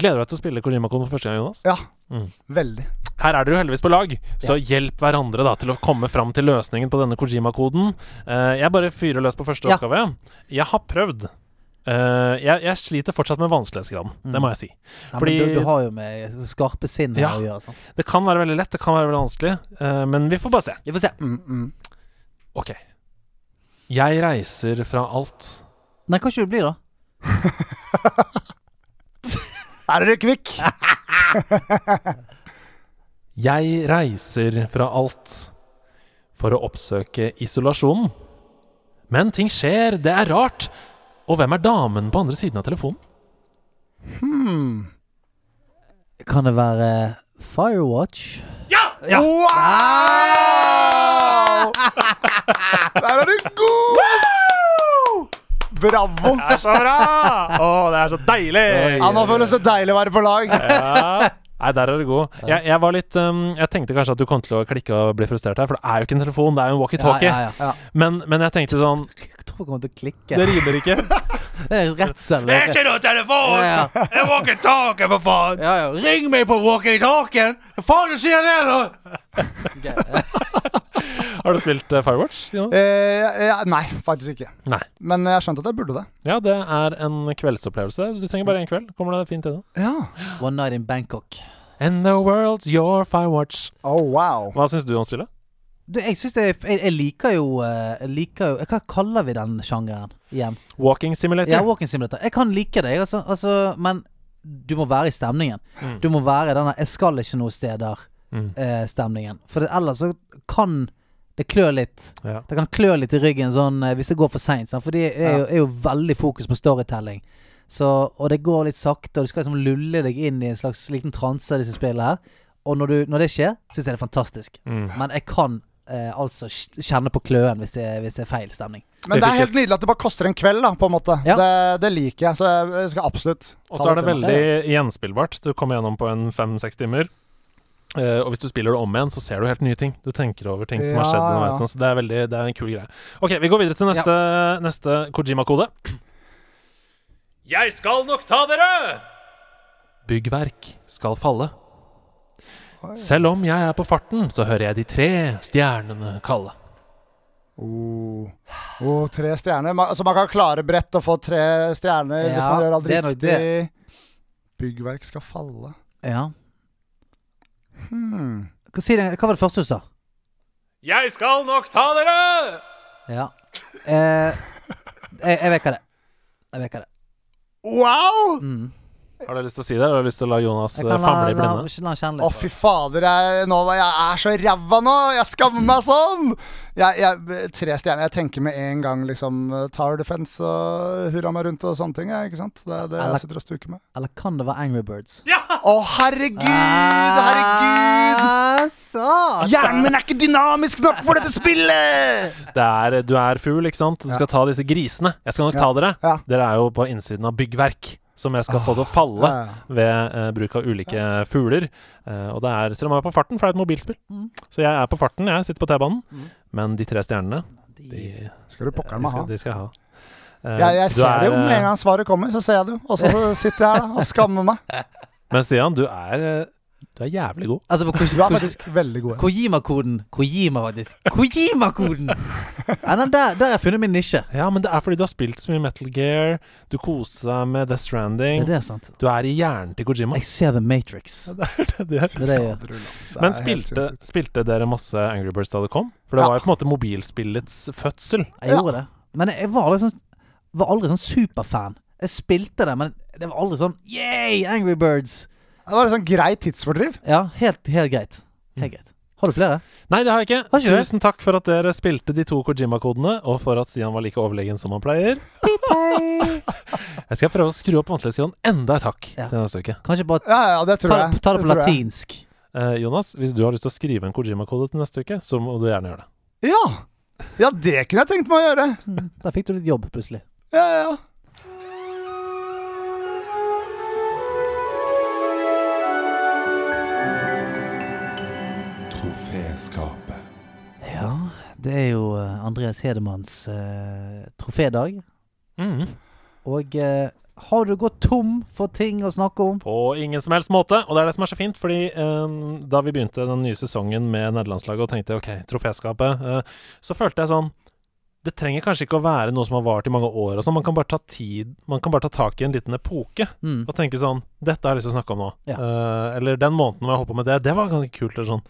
Speaker 1: Gleder du deg til å spille Kojima-koden for første gang, Jonas?
Speaker 5: Ja.
Speaker 1: Mm.
Speaker 5: Veldig.
Speaker 1: Her er dere jo heldigvis på lag, så hjelp hverandre da til å komme fram til løsningen på denne Kojima-koden. Eh, jeg bare fyrer løs på første
Speaker 2: Ja.
Speaker 1: oppgave. Jeg har prøvd. Eh, jeg, jeg sliter fortsatt med vanskelighetsgraden,
Speaker 2: Mm.
Speaker 1: det må jeg si.
Speaker 2: Ja,
Speaker 1: Fordi-
Speaker 2: men du, du har jo med skarpe sinn her
Speaker 1: Ja.
Speaker 2: å gjøre, sant.
Speaker 1: Det kan være veldig lett, det kan være veldig vanskelig, eh, men vi får bare se.
Speaker 2: Vi får se.
Speaker 5: Mm, mm.
Speaker 1: Ok. Jeg reiser fra alt.
Speaker 2: Nei, kan ikke du bli, da?
Speaker 5: Er dere kvikk?
Speaker 1: Jeg reiser fra alt for å oppsøke isolasjonen. Men ting skjer, det er rart. Og hvem er damen på andre siden av telefonen?
Speaker 2: Kan det være Firewatch?
Speaker 5: Wow! Der er du god! Bravo.
Speaker 1: Det er så bra! Å, det er så deilig!
Speaker 5: Ja, nå føles det deilig å være på lag.
Speaker 1: Ja. Nei, der er du god. Jeg, jeg var litt um, Jeg tenkte kanskje at du kom til å klikke og bli frustrert her, for det er jo ikke en telefon, det er jo en walkietalkie.
Speaker 2: ja, ja.
Speaker 1: men, men jeg tenkte sånn
Speaker 2: Jeg tror jeg kommer til å klikke.
Speaker 1: Det rimer ikke.
Speaker 2: Det er redsel. Det er ikke noe telefon! Ja, ja.
Speaker 1: En walkietalkie, for faen!
Speaker 2: Ja, ja. Ring meg på walkietalkien! Hva faen du sier det, da?!
Speaker 1: Har du spilt eh, Firewatch? Jonas?
Speaker 5: Eh, ja, nei, faktisk ikke.
Speaker 1: Nei.
Speaker 5: Men jeg skjønte at jeg burde det.
Speaker 1: Ja, det er en kveldsopplevelse. Du trenger bare én kveld. Kommer det fint gjennom.
Speaker 5: Ja.
Speaker 2: One night in Bangkok.
Speaker 1: And the world's your Firewatch.
Speaker 5: Oh, wow.
Speaker 1: Hva syns du om spillet?
Speaker 2: Du, jeg syns jeg, jeg, jeg liker jo eh, Jeg liker jo Hva kaller vi den sjangeren igjen?
Speaker 1: Walking Simulator.
Speaker 2: Ja, walking simulator. Jeg kan like det, jeg, altså, altså, men du må være i stemningen. Du må være i denne 'jeg skal ikke noe
Speaker 1: Mm.
Speaker 2: steder'-stemningen. For det, ellers så kan det klø litt.
Speaker 1: Ja.
Speaker 2: Det kan klø litt i ryggen sånn, eh, hvis det går for seint. For det er, jo- er jo veldig fokus på storytelling. Så, og det går litt sakte, og du skal liksom lulle deg inn i en slags liten transe, disse spillene her. Og når, du, når det skjer, syns jeg det er fantastisk.
Speaker 1: Mm.
Speaker 2: Men jeg kan eh, altså kjenne på kløen hvis det, er- hvis det er feil stemning.
Speaker 5: Men det er helt nydelig at det bare koster en kveld, da, på en måte.
Speaker 2: Ja.
Speaker 5: Det, det liker jeg, så jeg skal absolutt
Speaker 1: Og så er det
Speaker 5: til meg.
Speaker 1: veldig gjenspillbart. Du kommer gjennom på en fem-seks timer. Eh, og hvis du spiller det om igjen, så ser du helt nye ting. Du tenker over ting som har
Speaker 5: Ja,
Speaker 1: skjedd
Speaker 5: ja.
Speaker 1: underveis. sånn, Så det er, veldig, det er en kul greie. Ok, vi går videre til neste, neste Kojima-kode. Jeg skal nok ta dere! Byggverk skal falle. Selv om jeg er på farten, så hører jeg de tre stjernene kalle.
Speaker 5: Åh, Oh. tre stjerner. Man, altså, man kan klare brett og få tre stjerner hvis
Speaker 2: Ja,
Speaker 5: man gjør alt
Speaker 2: det er nok
Speaker 5: riktig. Byggverk skal falle. Hmm.
Speaker 2: Ja. Hva, si det, hva var det første du sa?
Speaker 1: Jeg skal nok ta dere!
Speaker 2: Ja. Eh, jeg, jeg vet hva det er. Jeg vet hva det er.
Speaker 5: Wow!
Speaker 1: Har du lyst til å si det? eller Har du lyst til å la Jonas eh,
Speaker 2: Jeg kan la,
Speaker 1: famle i
Speaker 2: la,
Speaker 1: blinde?
Speaker 2: la han kjenne
Speaker 5: Å,
Speaker 2: litt.
Speaker 5: fy fader. Jeg, nå, var- jeg er så ræva nå! Jeg skammer meg sånn! Jeg, jeg, tre stjerner. Jeg tenker med en gang liksom Tar defense og hurra meg rundt og sånne ting. jeg, Ikke sant? Det er det jeg sitter og stuker med.
Speaker 2: Eller kan det være Angry Birds?
Speaker 5: Å, herregud!
Speaker 2: Ah.
Speaker 5: Herregud!
Speaker 2: Så.
Speaker 5: Hjernen min er ikke dynamisk nok for dette spillet!
Speaker 1: Det er, du er fugl, ikke sant? Du skal ta disse grisene. Jeg skal nok ta dere.
Speaker 5: Ja.
Speaker 1: Dere er jo på innsiden av byggverk. Som jeg skal få til å falle
Speaker 5: Ah, ja, ja.
Speaker 1: ved eh, bruk av ulike fugler. Eh, og det er, selv om jeg er på farten, for det er et mobilspill.
Speaker 5: Mm.
Speaker 1: Så jeg er på farten, jeg sitter på T-banen. Men de tre stjernene, de,
Speaker 5: Skal du pokkeren
Speaker 1: de,
Speaker 5: meg ha?
Speaker 1: skal, de skal jeg ha. Eh,
Speaker 5: Jeg, jeg
Speaker 1: du
Speaker 5: ser det jo
Speaker 1: eh,
Speaker 5: med en gang svaret kommer, så ser jeg det jo. Og så sitter jeg her da, og skammer meg.
Speaker 1: Men Stian, du er, eh, du er jævlig god.
Speaker 2: Altså, på hvordan-
Speaker 5: Du er
Speaker 2: hvordan-
Speaker 5: faktisk veldig god.
Speaker 2: Kojima-koden. Kojima, faktisk. Kojima-koden! Ja, den der, der har jeg funnet min nisje.
Speaker 1: Ja, men det er fordi du har spilt så mye Metal Gear. Du koser deg med Death
Speaker 2: Er
Speaker 1: Stranding.
Speaker 2: det sant?
Speaker 1: Du er i hjernen til Kojima.
Speaker 2: Jeg ser The Matrix. Det
Speaker 1: Det er det jeg
Speaker 2: er det jeg gjør.
Speaker 5: Det
Speaker 1: Men
Speaker 5: er helt
Speaker 1: spilte,
Speaker 5: sinnssykt.
Speaker 1: spilte dere masse Angry Birds da det kom? For det
Speaker 5: Ja.
Speaker 1: var jo på en måte mobilspillets fødsel.
Speaker 2: Jeg gjorde det. Men jeg var liksom Var aldri sånn superfan. Jeg spilte det, men det var aldri sånn Yeah, Angry Birds!
Speaker 5: Det var et sånn greit tidsfordriv.
Speaker 2: Ja, helt, helt greit. Helt greit. Har du flere?
Speaker 1: Nei, det har jeg ikke.
Speaker 2: Har ikke det?
Speaker 1: Tusen takk for at dere spilte de to Kojima-kodene, og for at Stian var like overlegen som han pleier. jeg skal prøve å skru opp vanskelighetsgraden enda et hakk
Speaker 2: Ja.
Speaker 1: til neste uke.
Speaker 2: Kanskje bare
Speaker 5: Ja, ja, det tror
Speaker 2: ta
Speaker 5: jeg.
Speaker 2: det, ta det på
Speaker 5: tror jeg.
Speaker 2: latinsk.
Speaker 1: Eh, Jonas, hvis du har lyst til å skrive en Kojima-kode til neste uke, så må du gjerne gjøre det.
Speaker 5: Ja. ja, det kunne jeg tenkt meg å gjøre.
Speaker 2: Der fikk du litt jobb, plutselig.
Speaker 5: Ja, ja, ja.
Speaker 7: Troféskapet.
Speaker 2: Ja, det er jo eh, Andreas Hedemanns eh, trofédag.
Speaker 5: Mm.
Speaker 1: Mhm.
Speaker 2: Og eh, har du gått tom for ting å snakke om?
Speaker 1: På ingen som helst måte. Og det er det som er så fint, fordi eh, da vi begynte den nye sesongen med nederlandslaget og tenkte OK, troféskapet, eh, så følte jeg sånn Det trenger kanskje ikke å være noe som har vart i mange år og sånn. Man kan bare ta tid Man kan bare ta tak i en liten epoke
Speaker 2: Mm.
Speaker 1: og tenke sånn Dette har jeg lyst til å snakke om nå.
Speaker 2: Ja.
Speaker 1: Eh, eller den måneden hvor jeg holdt på med det, det var ganske kult, eller sånn.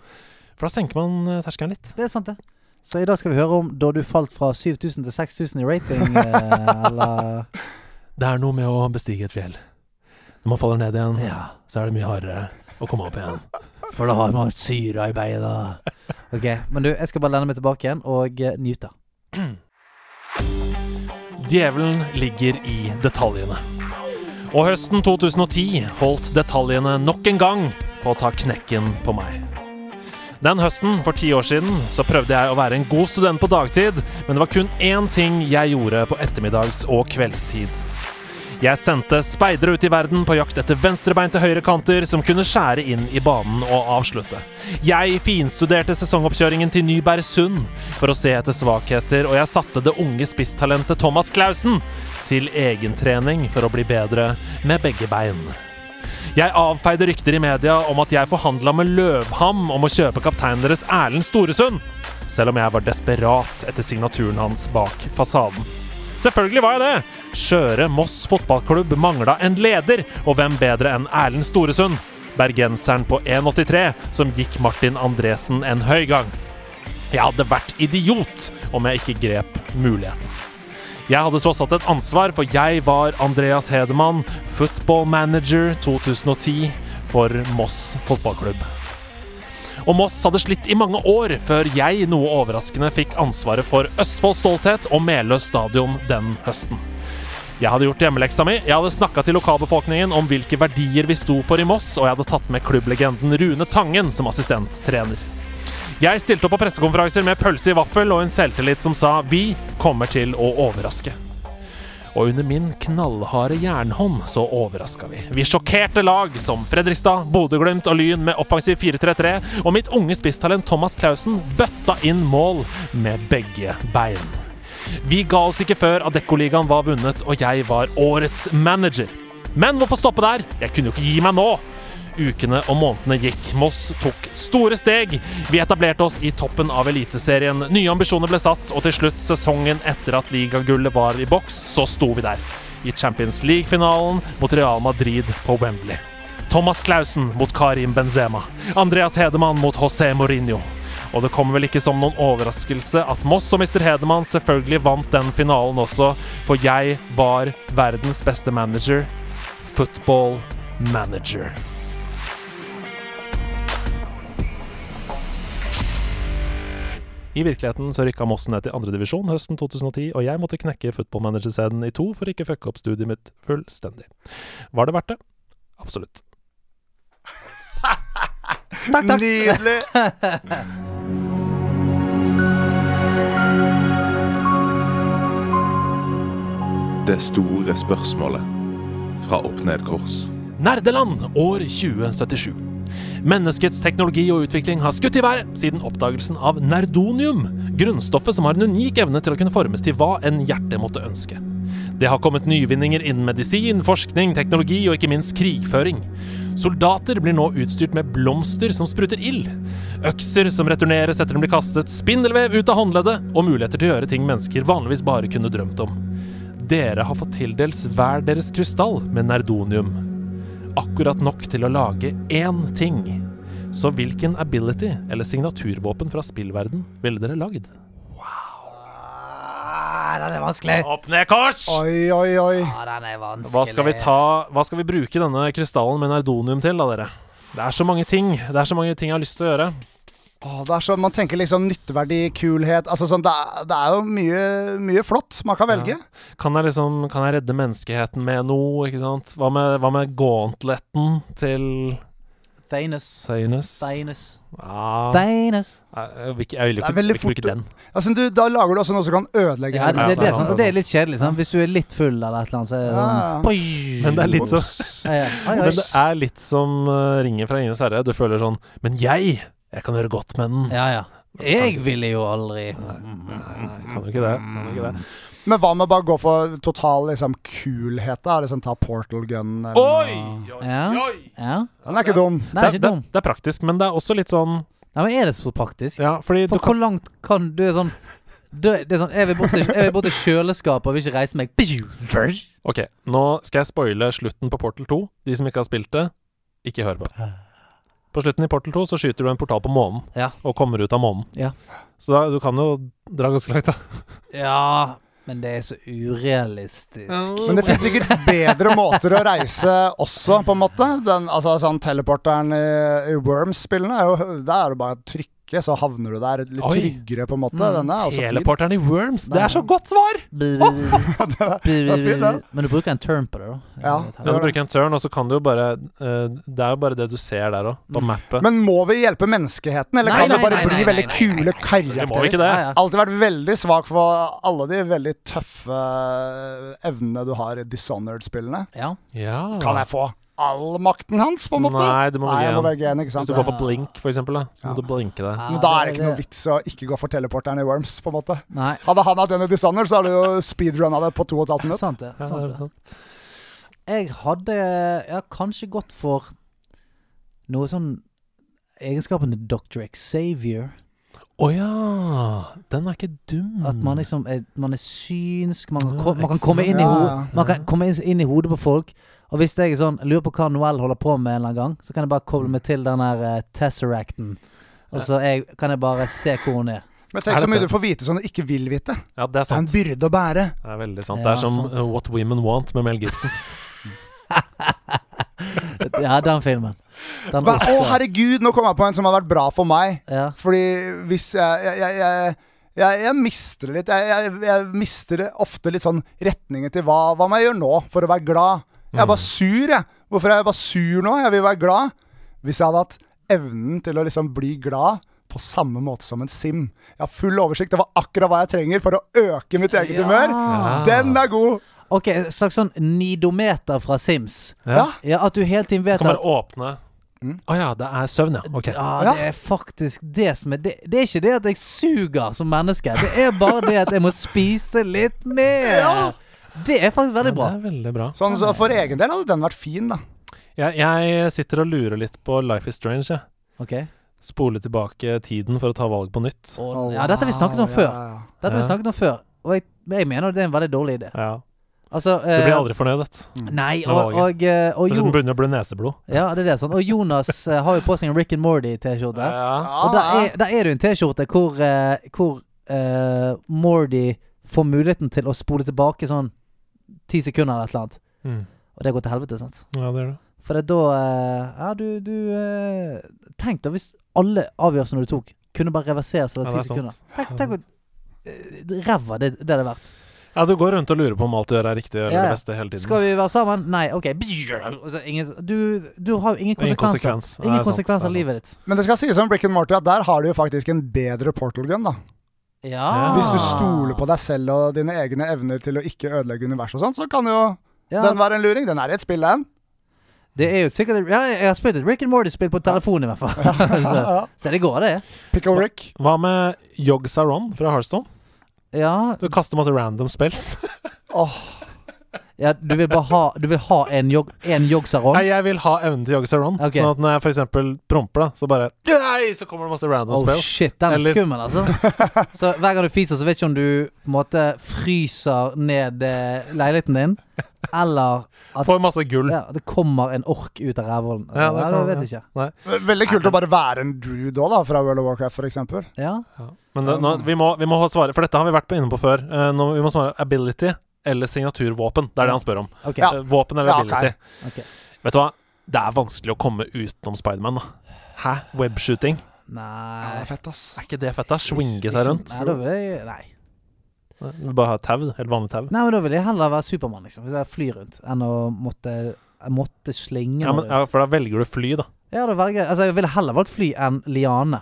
Speaker 1: For da senker man eh, terskelen litt.
Speaker 2: Det er sant, det. Så i dag skal vi høre om da du falt fra 7000 til 6000 i rating, eh, eller
Speaker 1: Det er noe med å bestige et fjell. Når man faller ned igjen,
Speaker 2: Ja.
Speaker 1: så er det mye hardere å komme opp igjen.
Speaker 2: For da har man syre i beina. Ok, men du, jeg skal bare lene meg tilbake igjen og eh, nyte.
Speaker 1: Djevelen ligger i detaljene. Og høsten 2010 holdt detaljene nok en gang på å ta knekken på meg. Den høsten for ti år siden så prøvde jeg å være en god student på dagtid, men det var kun én ting jeg gjorde på ettermiddags- og kveldstid. Jeg sendte speidere ut i verden på jakt etter venstrebeinte høyrekanter som kunne skjære inn i banen og avslutte. Jeg finstuderte sesongoppkjøringen til Nybergsund for å se etter svakheter, og jeg satte det unge spisstalentet Thomas Clausen til egentrening for å bli bedre med begge bein. Jeg avfeide rykter i media om at jeg forhandla med Løvham om å kjøpe kapteinen deres Erlend Storesund, selv om jeg var desperat etter signaturen hans bak fasaden. Selvfølgelig var jeg det. Skjøre Moss fotballklubb mangla en leder, og hvem bedre enn Erlend Storesund? Bergenseren på 1,83 som gikk Martin Andresen en høy gang. Jeg hadde vært idiot om jeg ikke grep muligheten. Jeg hadde tross alt et ansvar, for jeg var Andreas Hedemann, football manager 2010 for Moss fotballklubb. Og Moss hadde slitt i mange år før jeg noe overraskende fikk ansvaret for Østfold Stolthet og Meløs stadion den høsten. Jeg hadde gjort hjemmeleksa mi, jeg hadde snakka til lokalbefolkningen om hvilke verdier vi sto for i Moss, og jeg hadde tatt med klubblegenden Rune Tangen som assistenttrener. Jeg stilte opp på pressekonferanser med pølse i vaffel og en selvtillit som sa 'Vi kommer til å overraske'. Og under min knallharde jernhånd så overraska vi. Vi sjokkerte lag som Fredrikstad, Bodø-Glimt og Lyn med offensiv 4-3-3, og mitt unge spisstalent Thomas Clausen bøtta inn mål med begge bein. Vi ga oss ikke før Adeccoligaen var vunnet, og jeg var årets manager. Men hvorfor stoppe der? Jeg kunne jo ikke gi meg nå! Ukene og månedene gikk. Moss tok store steg. Vi etablerte oss i toppen av Eliteserien. Nye ambisjoner ble satt, og til slutt, sesongen etter at ligagullet var i boks, så sto vi der. I Champions League-finalen mot Real Madrid på Wembley. Thomas Clausen mot Karim Benzema. Andreas Hedemann mot José Mourinho. Og det kommer vel ikke som noen overraskelse at Moss og Mr. Hedemann selvfølgelig vant den finalen også, for jeg var verdens beste manager. Football manager. I virkeligheten så rykka Moss ned til andredivisjon høsten 2010, og jeg måtte knekke footballmanagerscenen i to for ikke fucke opp studiet mitt fullstendig. Var det verdt det? Absolutt.
Speaker 2: Takk, takk.
Speaker 5: Nydelig!
Speaker 7: Det store spørsmålet fra opp ned kors.
Speaker 1: Nerdeland år 2077. Menneskets teknologi og utvikling har skutt i været siden oppdagelsen av nerdonium, grunnstoffet som har en unik evne til å kunne formes til hva enn hjertet måtte ønske. Det har kommet nyvinninger innen medisin, forskning, teknologi og ikke minst krigføring. Soldater blir nå utstyrt med blomster som spruter ild, økser som returneres etter den blir kastet, spindelvev ut av håndleddet og muligheter til å gjøre ting mennesker vanligvis bare kunne drømt om. Dere har fått tildelt hver deres krystall med nerdonium akkurat nok til å lage én ting. Så hvilken ability eller signaturvåpen fra spillverden ville dere lagd?
Speaker 2: Ah, den er vanskelig.
Speaker 1: Opp ned kors!
Speaker 5: Oi, oi, oi.
Speaker 2: Ah, den er vanskelig.
Speaker 1: Hva skal, vi ta, hva skal vi bruke denne krystallen med nardonium til, da, dere? Det er så mange ting. Det er så mange ting jeg har lyst til å gjøre.
Speaker 5: Å, det er sånn, Man tenker liksom nytteverdi, kulhet altså sånn, det, er, det er jo mye, mye flott man kan velge.
Speaker 1: Kan jeg liksom Kan jeg redde menneskeheten med noe, ikke sant? Hva med, hva med gauntleten til
Speaker 2: Thanos.
Speaker 1: Thanes?
Speaker 2: Thanos.
Speaker 1: Ja, jeg,
Speaker 2: Thanos.
Speaker 1: jeg, vil ikke- jeg vil
Speaker 5: Det er
Speaker 1: ikke, jeg vil
Speaker 5: veldig
Speaker 1: ikke bruke
Speaker 5: fort-
Speaker 1: den.
Speaker 5: Altså, du, da lager du også noe som kan ødelegge
Speaker 2: Ja, det, det,
Speaker 5: hele
Speaker 2: det,
Speaker 5: verden.
Speaker 2: er sant, det er litt kjedelig. Sant? Hvis du er litt full eller et eller annet, så er det
Speaker 5: Ja.
Speaker 2: sånn Poi!
Speaker 1: Men det er litt så
Speaker 2: Ja, ja. Oi, oi.
Speaker 1: Men det er litt som eh, ringer fra Ines herre. Du føler sånn Men jeg! Jeg kan gjøre godt med den.
Speaker 2: Ja, ja. Jeg ville jo aldri
Speaker 1: Nei, kan jo ikke det. Kan jo
Speaker 2: Mm.
Speaker 1: ikke det.
Speaker 5: Men hva med bare gå for total liksom, kulhet, da? Liksom, ta portal gun eller
Speaker 1: Oi! oi,
Speaker 2: Ja.
Speaker 1: oi.
Speaker 2: Ja.
Speaker 5: Den er ikke dum.
Speaker 2: Nei,
Speaker 1: Det,
Speaker 2: ikke
Speaker 1: det,
Speaker 2: dum.
Speaker 1: det er praktisk, men det er også litt sånn
Speaker 2: Nei, men er det så praktisk?
Speaker 1: Ja, fordi du
Speaker 2: For
Speaker 1: kan
Speaker 2: hvor langt kan du er sånn du, det er sånn, Jeg vil bort til, jeg vil bort til kjøleskapet og vil ikke reise meg. Nei,
Speaker 1: OK, nå skal jeg spoile slutten på Portal 2. De som ikke har spilt det, ikke hør på. På slutten i Portal 2 så skyter du en portal på månen,
Speaker 2: Ja.
Speaker 1: og kommer ut av månen.
Speaker 2: Ja.
Speaker 1: Så da, du kan jo dra ganske langt, da.
Speaker 2: Ja, men det er så urealistisk.
Speaker 5: Men det finnes sikkert bedre måter å reise også, på en måte. Den, altså, sånn teleporteren i, i Worms-spillene, er jo, der er det bare å trykke, så havner du der litt
Speaker 1: Oi.
Speaker 5: tryggere, på en måte.
Speaker 2: Mm,
Speaker 5: Den er også fin.
Speaker 1: Teleporteren i Worms, det
Speaker 2: Nei.
Speaker 1: er så godt svar!
Speaker 5: fint, det.
Speaker 2: Men du bruker en turn på det, Eh, da.
Speaker 5: Ja.
Speaker 1: Ja, du bruker en turn, og så kan du jo bare eh, Det er jo bare det du ser der òg,
Speaker 2: Mm.
Speaker 1: på mappet.
Speaker 5: Men må vi hjelpe menneskeheten, eller
Speaker 2: Nei,
Speaker 5: kan
Speaker 2: nei,
Speaker 5: vi bare
Speaker 2: nei,
Speaker 5: bli
Speaker 2: nei, nei,
Speaker 5: veldig
Speaker 2: nei,
Speaker 5: kule
Speaker 1: Vi må jo
Speaker 5: karakterer?
Speaker 1: ikke det.
Speaker 2: Ja, ja.
Speaker 5: Alltid vært veldig svak for alle de veldig tøffe eh, evnene du har i Dishonored-spillene.
Speaker 2: Ja.
Speaker 1: Ja.
Speaker 5: Kan jeg få all makten hans, på en måte?
Speaker 1: Nei, du må
Speaker 5: Nei, jeg må
Speaker 1: velge en.
Speaker 5: velge en, ikke
Speaker 1: Hvis
Speaker 5: sant?
Speaker 1: du går for blink, for eksempel, da, så må du blinke deg.
Speaker 5: Men da er det ikke noe vits å ikke gå for teleporteren i Worms, på en måte.
Speaker 2: Nei.
Speaker 5: Hadde han hatt den i Dishonored, så hadde du jo speedrunna det på to og et halvt minutt.
Speaker 2: Sant det.
Speaker 1: Ja, det
Speaker 2: Sant
Speaker 1: er
Speaker 2: det.
Speaker 1: sant.
Speaker 2: Jeg hadde ja, kanskje gått for noe sånn Egenskapen til Dr. Xavier.
Speaker 1: Å ja! Den er ikke dum.
Speaker 2: At man liksom er, man er synsk, man kan,
Speaker 1: Mm. Ja,
Speaker 2: ko- man kan komme, inn i,
Speaker 5: Ja,
Speaker 2: ho
Speaker 5: ja.
Speaker 2: man kan komme inn, inn i hodet på folk. Og hvis jeg er sånn, lurer på hva Noel holder på med en eller annen gang, så kan jeg bare koble meg til den her eh, Tesseracten. Og så jeg, kan jeg bare se hvor hun er.
Speaker 5: Men
Speaker 1: Er
Speaker 5: tenk så
Speaker 1: dette-
Speaker 5: mye du får vite som du ikke vil vite.
Speaker 1: Ja, det er
Speaker 5: Det er en
Speaker 1: sant.
Speaker 5: byrde å bære.
Speaker 1: Det er veldig sant.
Speaker 2: Ja,
Speaker 1: det er som
Speaker 2: sant.
Speaker 1: uh, What Women Want med Mel Gibson.
Speaker 2: Ja, den filmen. Den
Speaker 5: Hva- Å,
Speaker 2: også.
Speaker 5: herregud, nå kom jeg på en som har vært bra for meg.
Speaker 2: Ja.
Speaker 5: Fordi hvis jeg Jeg, jeg, jeg, jeg, jeg mister det litt. Jeg, jeg, jeg mister det ofte litt sånn retningen til hva, hva må jeg gjøre nå for å være glad. Jeg er bare sur, jeg. Hvorfor er jeg bare sur nå? Jeg vil være glad. Hvis jeg hadde hatt evnen til å liksom bli glad på samme måte som en sim. Jeg har full oversikt over akkurat hva jeg trenger for å øke mitt eget
Speaker 2: Ja.
Speaker 5: humør. Den er god!
Speaker 2: Ok, en slags sånn nidometer fra Sims.
Speaker 5: Ja. Mm.
Speaker 2: Ja, At du hele tiden vet
Speaker 1: Kan
Speaker 2: at
Speaker 1: bare åpne Å ja, det er søvn, ja. Ok.
Speaker 2: Ja,
Speaker 5: Ja.
Speaker 2: det er faktisk det som er det, det er ikke det at jeg suger som menneske. Det er bare det at jeg må spise litt mer.
Speaker 5: Ja.
Speaker 2: Det er faktisk veldig bra.
Speaker 1: Ja, det er veldig bra.
Speaker 5: Sånn, så for egen del hadde den vært fin, da.
Speaker 1: Jeg, jeg sitter og lurer litt på Life is Strange. Jeg.
Speaker 2: Ok
Speaker 1: Spole tilbake tiden for å ta valg på nytt.
Speaker 2: Ja, dette har vi snakket om
Speaker 5: Ja,
Speaker 2: før.
Speaker 5: ja, ja.
Speaker 2: Dette har vi
Speaker 1: Ja.
Speaker 2: snakket om før Og jeg, men jeg mener det er en veldig dårlig idé.
Speaker 1: Ja.
Speaker 2: Altså,
Speaker 1: Du blir
Speaker 2: eh,
Speaker 1: aldri fornøyd, vet du.
Speaker 2: Nei,
Speaker 1: med
Speaker 2: og, og, eh, og,
Speaker 1: Dessuten
Speaker 2: Jo-
Speaker 1: begynner det å blø neseblod.
Speaker 2: ja, det er det, sånn. og Jonas eh, har jo på seg en Rick and Mordy-T-skjorte.
Speaker 1: Ja.
Speaker 2: Og der
Speaker 5: Ah,
Speaker 2: er, der er det jo en T-skjorte hvor, eh, hvor eh, Mordy får muligheten til å spole tilbake sånn ti sekunder eller et eller annet.
Speaker 1: Mm.
Speaker 2: Og det går til helvete, sant?
Speaker 1: ja, det gjør det.
Speaker 2: For det er da eh, Ja, du, du eh, Tenk da hvis alle avgjørelsene du tok, kunne bare reverseres
Speaker 1: Ja,
Speaker 2: etter
Speaker 1: det
Speaker 2: ti
Speaker 1: er
Speaker 2: sekunder.
Speaker 1: sant.
Speaker 2: Tenk, tenk hvor eh, ræva det, det er det verdt.
Speaker 1: Ja, du går rundt og lurer på om alt du gjør er riktig eller
Speaker 2: Ja, ja.
Speaker 1: det beste hele tiden.
Speaker 2: Skal vi være sammen? Nei, OK. Og så Ingen, du, du har jo ingen
Speaker 1: Ingen
Speaker 2: konsekvenser.
Speaker 1: konsekvens. Ja, det
Speaker 2: Ingen
Speaker 1: er sant,
Speaker 2: konsekvenser
Speaker 1: det
Speaker 2: av
Speaker 1: er
Speaker 2: livet ditt.
Speaker 5: Men det skal sies om Brick and Morty at der har du jo faktisk en bedre portal gun, da.
Speaker 2: Ja.
Speaker 1: Ja.
Speaker 5: Hvis du
Speaker 2: Ah.
Speaker 5: stoler på deg selv og dine egne evner til å ikke ødelegge universet og sånn, så kan jo
Speaker 2: ja,
Speaker 5: den være en luring. Den er i et spill, den.
Speaker 2: Det er jo sikkert Ja, jeg har spilt et Rick and Morty-spill på telefon, i hvert fall.
Speaker 5: Ja,
Speaker 2: så,
Speaker 5: ja.
Speaker 2: så det går, det.
Speaker 5: Pickle Rick.
Speaker 1: Hva med Yog Saron fra Hearthstone?
Speaker 2: Ja,
Speaker 1: Du kaster masse random spells.
Speaker 5: Åh,
Speaker 2: ja du, vil bare ha, du vil ha en, jog, en jogsaron?
Speaker 1: Nei, jeg vil ha evnen til Yog Saron.
Speaker 2: Ok.
Speaker 1: Sånn at når jeg for eksempel promper, da, så bare Nei, så kommer det masse random
Speaker 2: Oh
Speaker 1: spells.
Speaker 2: shit, den er
Speaker 1: Eller-
Speaker 2: skummel, altså. Så hver gang du fiser, så vet ikke om du på en måte fryser ned eh, leiligheten din, eller at
Speaker 1: Får masse gull.
Speaker 2: ja, det kommer en ork ut av rævhålen.
Speaker 1: Ja,
Speaker 2: Ja,
Speaker 1: det
Speaker 2: det,
Speaker 1: kan-
Speaker 2: vet jeg ikke.
Speaker 1: Nei.
Speaker 5: Veldig kult å bare være en druid òg, da, fra World of Warcraft, for eksempel.
Speaker 2: Ja.
Speaker 1: Men det, nå, vi, må, vi må svare, for dette har vi vært på inne på før. Eh, nå, vi må svare ability eller signaturvåpen. Det er det han spør om.
Speaker 2: Ok.
Speaker 5: Ja.
Speaker 1: Eh, Våpen eller
Speaker 5: Ja, ok.
Speaker 1: ability.
Speaker 2: Ok.
Speaker 1: Vet du hva? Det er vanskelig å komme utenom Spiderman, da. Hæ? Webshooting?
Speaker 5: Ja, det
Speaker 2: Nei
Speaker 5: er fett, ass.
Speaker 1: Er ikke det fett, da? Swinge seg rundt.
Speaker 2: Nei, da vil jeg Nei.
Speaker 1: Vi Bare ha tau. Helt vanlig tau.
Speaker 2: Nei, men da vil jeg heller være Supermann, liksom. Hvis jeg flyr rundt, enn å måtte jeg måtte slenge
Speaker 1: Ja,
Speaker 2: meg
Speaker 1: men, ja,
Speaker 2: rundt.
Speaker 1: for da velger du fly, da.
Speaker 2: Ja, da velger jeg Altså, jeg ville heller valgt fly enn liane.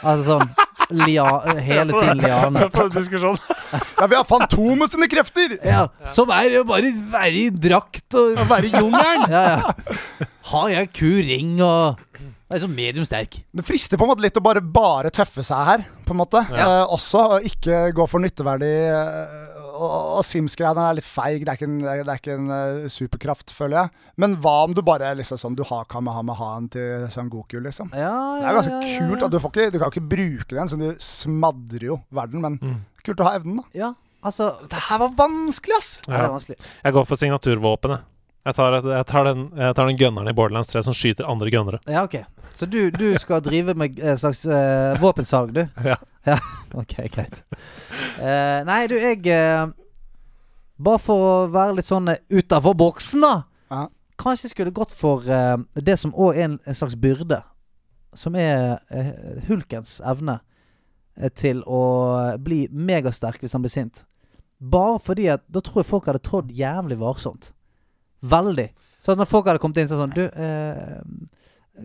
Speaker 2: Altså sånn lia, Hele tiden liane.
Speaker 1: For en diskusjon.
Speaker 5: Ja, vi har Fantomet sine krefter!
Speaker 2: Ja, som er jo bare være i drakt og
Speaker 1: Være jungelen!
Speaker 2: Ja, ja. Har jeg kuring og Jeg er så medium sterk.
Speaker 5: Det frister på en måte litt å bare, bare tøffe seg her, på en måte. Eh, også å ikke gå for nytteverdig eh, Og, og Sims-greiene er litt feig, det er ikke en, det er ikke en eh, superkraft, føler jeg. Men hva om du bare er liksom sånn Du har Kamehamehaen til Sangoku, liksom.
Speaker 2: Ja, ja,
Speaker 5: Det er jo ganske
Speaker 2: ja, ja,
Speaker 5: kult at du får ikke Du kan ikke bruke den, så du smadrer jo verden, men kult å ha evnen, da.
Speaker 2: Ja, altså ja,
Speaker 5: Det her var vanskelig, ass!
Speaker 2: Det er vanskelig.
Speaker 1: Jeg går for signaturvåpenet. Jeg tar, jeg, tar den, jeg tar den gunneren i Borderlands 3 som skyter andre gunnere.
Speaker 2: Ja, OK. Så du, du skal drive med eh, slags eh, våpensalg, du?
Speaker 1: Ja.
Speaker 2: ja. OK, greit. Eh, nei, du, jeg eh, Bare for å være litt sånn utafor boksen, da.
Speaker 5: Ja.
Speaker 2: Kanskje jeg skulle gått for eh, det som òg er en, en slags byrde. Som er eh, hulkens evne eh, til å bli megasterk hvis han blir sint. Bare fordi at da tror jeg folk hadde trådd jævlig varsomt. Veldig. Så at når folk hadde kommet inn sånn sånn Du, eh,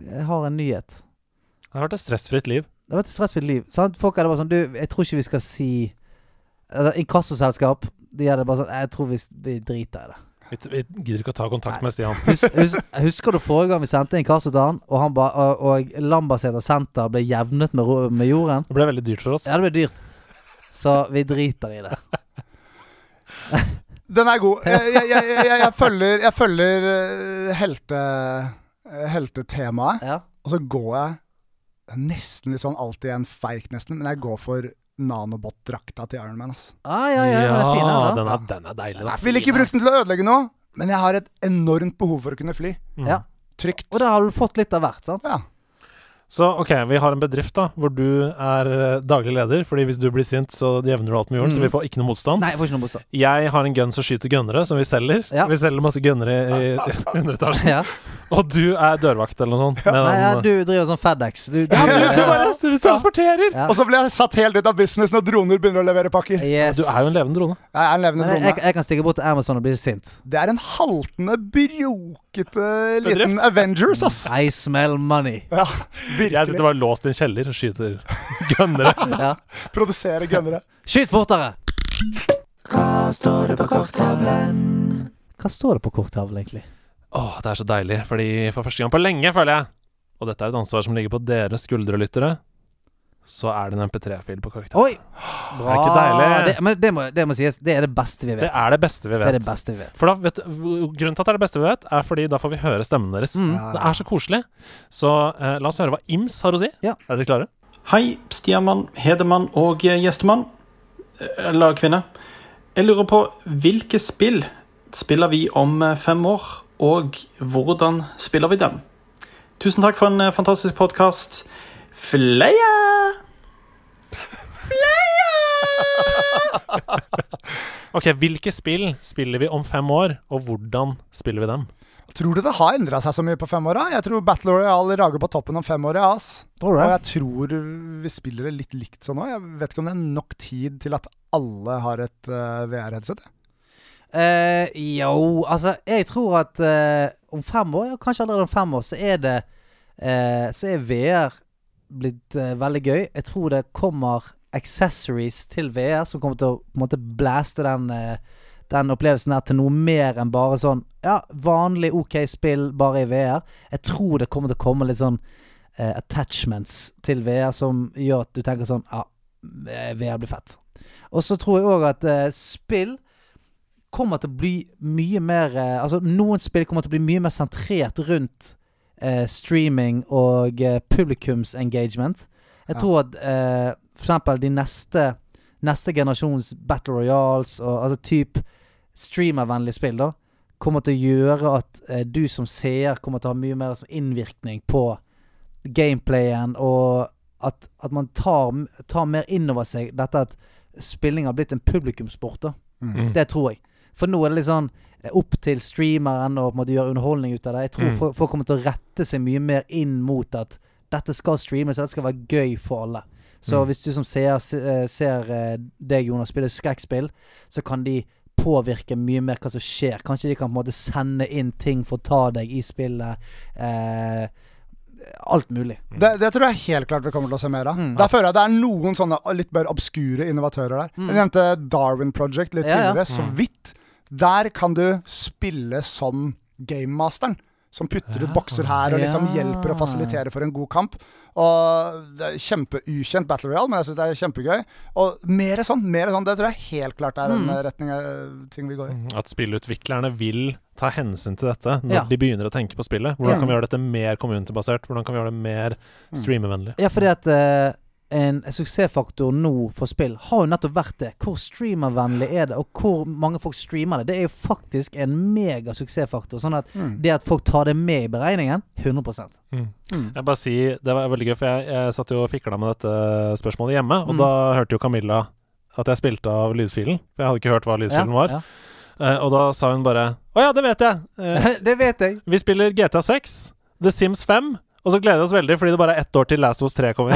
Speaker 2: jeg har en nyhet.
Speaker 1: Jeg har vært et stressfritt liv.
Speaker 2: Det var et stressfullt liv. Sant? Folk hadde bare sånn Du, jeg tror ikke vi skal si Eller Inkassoselskap. De hadde bare sånn Jeg tror vi, vi driter i det.
Speaker 1: Vi, vi gidder ikke å ta kontakt med Stian.
Speaker 2: Hus, hus, husker du forrige gang vi sendte inkasso til han, og, han ba, og, og Lambertseter senter ble jevnet med, ro- med jorden?
Speaker 1: Det ble veldig dyrt for oss.
Speaker 2: Ja, det ble dyrt. Så vi driter i det.
Speaker 5: Den er god. Jeg, jeg, jeg, jeg, jeg følger, jeg følger eh, helte, eh, heltetemaet.
Speaker 2: Ja.
Speaker 5: Og så går jeg nesten litt sånn alltid en feik, nesten, men jeg går for nanobot-drakta til Iron Man. Ass.
Speaker 2: Ah, ja, ja, men det er fin, den, da.
Speaker 1: den, er, den er deilig, da.
Speaker 5: Ville ikke brukt den til å ødelegge noe, men jeg har et enormt behov for å kunne fly.
Speaker 1: Mm.
Speaker 2: Ja.
Speaker 5: Trygt.
Speaker 2: Og der har du fått litt av hvert, sant?
Speaker 5: Ja.
Speaker 1: Så OK, vi har en bedrift da hvor du er eh, daglig leder. Fordi hvis du blir sint, så jevner du alt med jorden, så vi får ikke noe motstand.
Speaker 2: Mm. Nei, jeg får ikke noe bostad.
Speaker 1: Jeg har en gun som skyter gunnere, som vi selger.
Speaker 2: Ja.
Speaker 1: Vi selger masse gunnere i, i underetasjen.
Speaker 2: Ja.
Speaker 1: Og du er dørvakt eller noe sånt. med
Speaker 2: Nei, ja,
Speaker 1: den-
Speaker 2: du driver sånn Fedex. Du, du,
Speaker 1: Ja, men du bare transporterer!
Speaker 2: Ja.
Speaker 5: Og så ble jeg satt helt ut av business når droner begynner å levere pakker.
Speaker 2: yes.
Speaker 1: Du er jo en levende drone.
Speaker 5: Jeg er en levende
Speaker 2: Men jeg,
Speaker 5: drone.
Speaker 2: jeg kan stikke bort til Amazon og bli sint.
Speaker 5: Det er en haltende, brokete liten
Speaker 1: Bedrift.
Speaker 5: Avengers, ass.
Speaker 2: I smell money.
Speaker 1: Jeg
Speaker 5: Ja,
Speaker 1: sitter
Speaker 5: virkelig.
Speaker 1: bare låst i en kjeller og skyter gunnere.
Speaker 2: Ja.
Speaker 5: Produsere gunnere.
Speaker 2: Skyt fortere! Hva står det på korktavlen, egentlig?
Speaker 1: Åh, det er så deilig, fordi for første gang på lenge, føler jeg Og dette er et ansvar som ligger på dere skuldrelyttere Så er det en MP3-fil på korktavlen.
Speaker 2: Oi! Bra.
Speaker 1: Er ikke deilig?
Speaker 2: Ah, Det, men det må, det må sies, det er det beste vi vet.
Speaker 1: Det er det beste vi
Speaker 2: Det er
Speaker 1: vet.
Speaker 2: det beste vi vet.
Speaker 1: For da, vet du, v- Grunnen til at det er det beste vi vet, er fordi da får vi høre stemmen deres.
Speaker 2: Mm.
Speaker 1: Det er så koselig. Så eh, la oss høre hva Ims har å si.
Speaker 2: Ja.
Speaker 1: Er dere klare?
Speaker 9: Hei, stiermann, hedermann Eh, og gjestemann. Eller kvinne. Jeg lurer på hvilke spill spiller vi om eh, fem år, og hvordan spiller vi den? Tusen takk for en eh, fantastisk podkast. Fleia!
Speaker 1: Ok, Hvilke spill spiller vi om fem år, og hvordan spiller vi dem?
Speaker 5: Tror du det har endra seg så mye på fem åra? Jeg tror Battle Royale rager på toppen om fem år. Ja, ass.
Speaker 2: All
Speaker 5: Og
Speaker 2: right.
Speaker 5: jeg tror vi spiller det litt likt sånn òg. Jeg vet ikke om det er nok tid til at alle har et VR-headset.
Speaker 2: Eh, jo, altså Jeg tror at eh, om fem år, ja, kanskje allerede om fem år, så er det eh, Så er VR blitt eh, veldig gøy. Jeg tror det kommer accessories til VR som kommer til å på en måte blaste den eh, den opplevelsen her til noe mer enn bare sånn Ja, vanlig OK spill, bare i VR. Jeg tror det kommer til å komme litt sånn eh, attachments til VR som gjør at du tenker sånn Ja, eh, VR blir fett. Og så tror jeg òg at eh, spill kommer til å bli mye mer eh, Altså, noen spill kommer til å bli mye mer sentrert rundt eh, streaming og eh, publikums engagement. Jeg
Speaker 5: Ja.
Speaker 2: tror at eh, for eksempel de neste Neste generasjons Battle Royals og altså type streamervennlige spill, da, kommer til å gjøre at eh, du som seer kommer til å ha mye mer som innvirkning på gameplayen, og at, at man tar, tar mer inn over seg dette at spilling har blitt en publikumssport. da
Speaker 1: Mm.
Speaker 2: det tror jeg. For nå er det litt sånn eh, opp til streameren å på en måte gjøre underholdning ut av det. Jeg tror
Speaker 1: Mm.
Speaker 2: folk, folk kommer til å rette seg mye mer inn mot at dette skal streames, og dette skal være gøy for alle. Så
Speaker 1: Mm.
Speaker 2: hvis du som seer se- eh, ser eh, deg, Jonas, spille skrekkspill, så kan de påvirke mye mer hva som skjer. Kanskje de kan på en måte sende inn ting for å ta deg i spillet. Eh, alt mulig.
Speaker 5: Det, det tror jeg helt klart vi kommer til å se mer av.
Speaker 2: Mm.
Speaker 5: Der føler jeg det er noen sånne litt mer obskure innovatører der. Jeg nevnte Darwin Project litt
Speaker 2: Mm. Ja, Mm. ja.
Speaker 5: tidligere, så vidt. Der kan du spille som gamemasteren. Som putter ut bokser her og liksom
Speaker 2: Ja.
Speaker 5: hjelper å fasilitere for en god kamp. Og det er Kjempeukjent Battle Royale, men jeg syns det er kjempegøy. Og mer sånn, mer sånn. Det tror jeg helt klart er en eh,
Speaker 2: Mm.
Speaker 5: retning eh, ting vi går i.
Speaker 1: Mm, At spillutviklerne vil ta hensyn til dette når
Speaker 2: Ja.
Speaker 1: de begynner å tenke på spillet. Hvordan
Speaker 2: Ja. Mm.
Speaker 1: kan vi gjøre dette mer community-basert? Hvordan kan vi gjøre det mer streamervennlig?
Speaker 2: Ja, fordi at eh, en suksessfaktor nå for spill har jo nettopp vært det. Hvor streamervennlig er det, og hvor mange folk streamer det? Det er jo faktisk en megasuksessfaktor. Sånn at
Speaker 5: Mm.
Speaker 2: det at folk tar det med i beregningen 100
Speaker 1: Jeg bare si, Det var veldig gøy, for jeg, jeg satt jo og fikla med dette spørsmålet hjemme,
Speaker 2: Mm.
Speaker 1: og da hørte jo Camilla at jeg spilte av lydfilen. For jeg hadde ikke hørt hva lydfilen var.
Speaker 2: ja.
Speaker 1: Eh, og da sa hun bare Å ja, det vet jeg! Eh,
Speaker 2: det vet jeg.
Speaker 1: vi spiller GTA 6, The Sims 5, og så gleder vi oss veldig fordi det bare er ett år til Last of Us 3 kommer.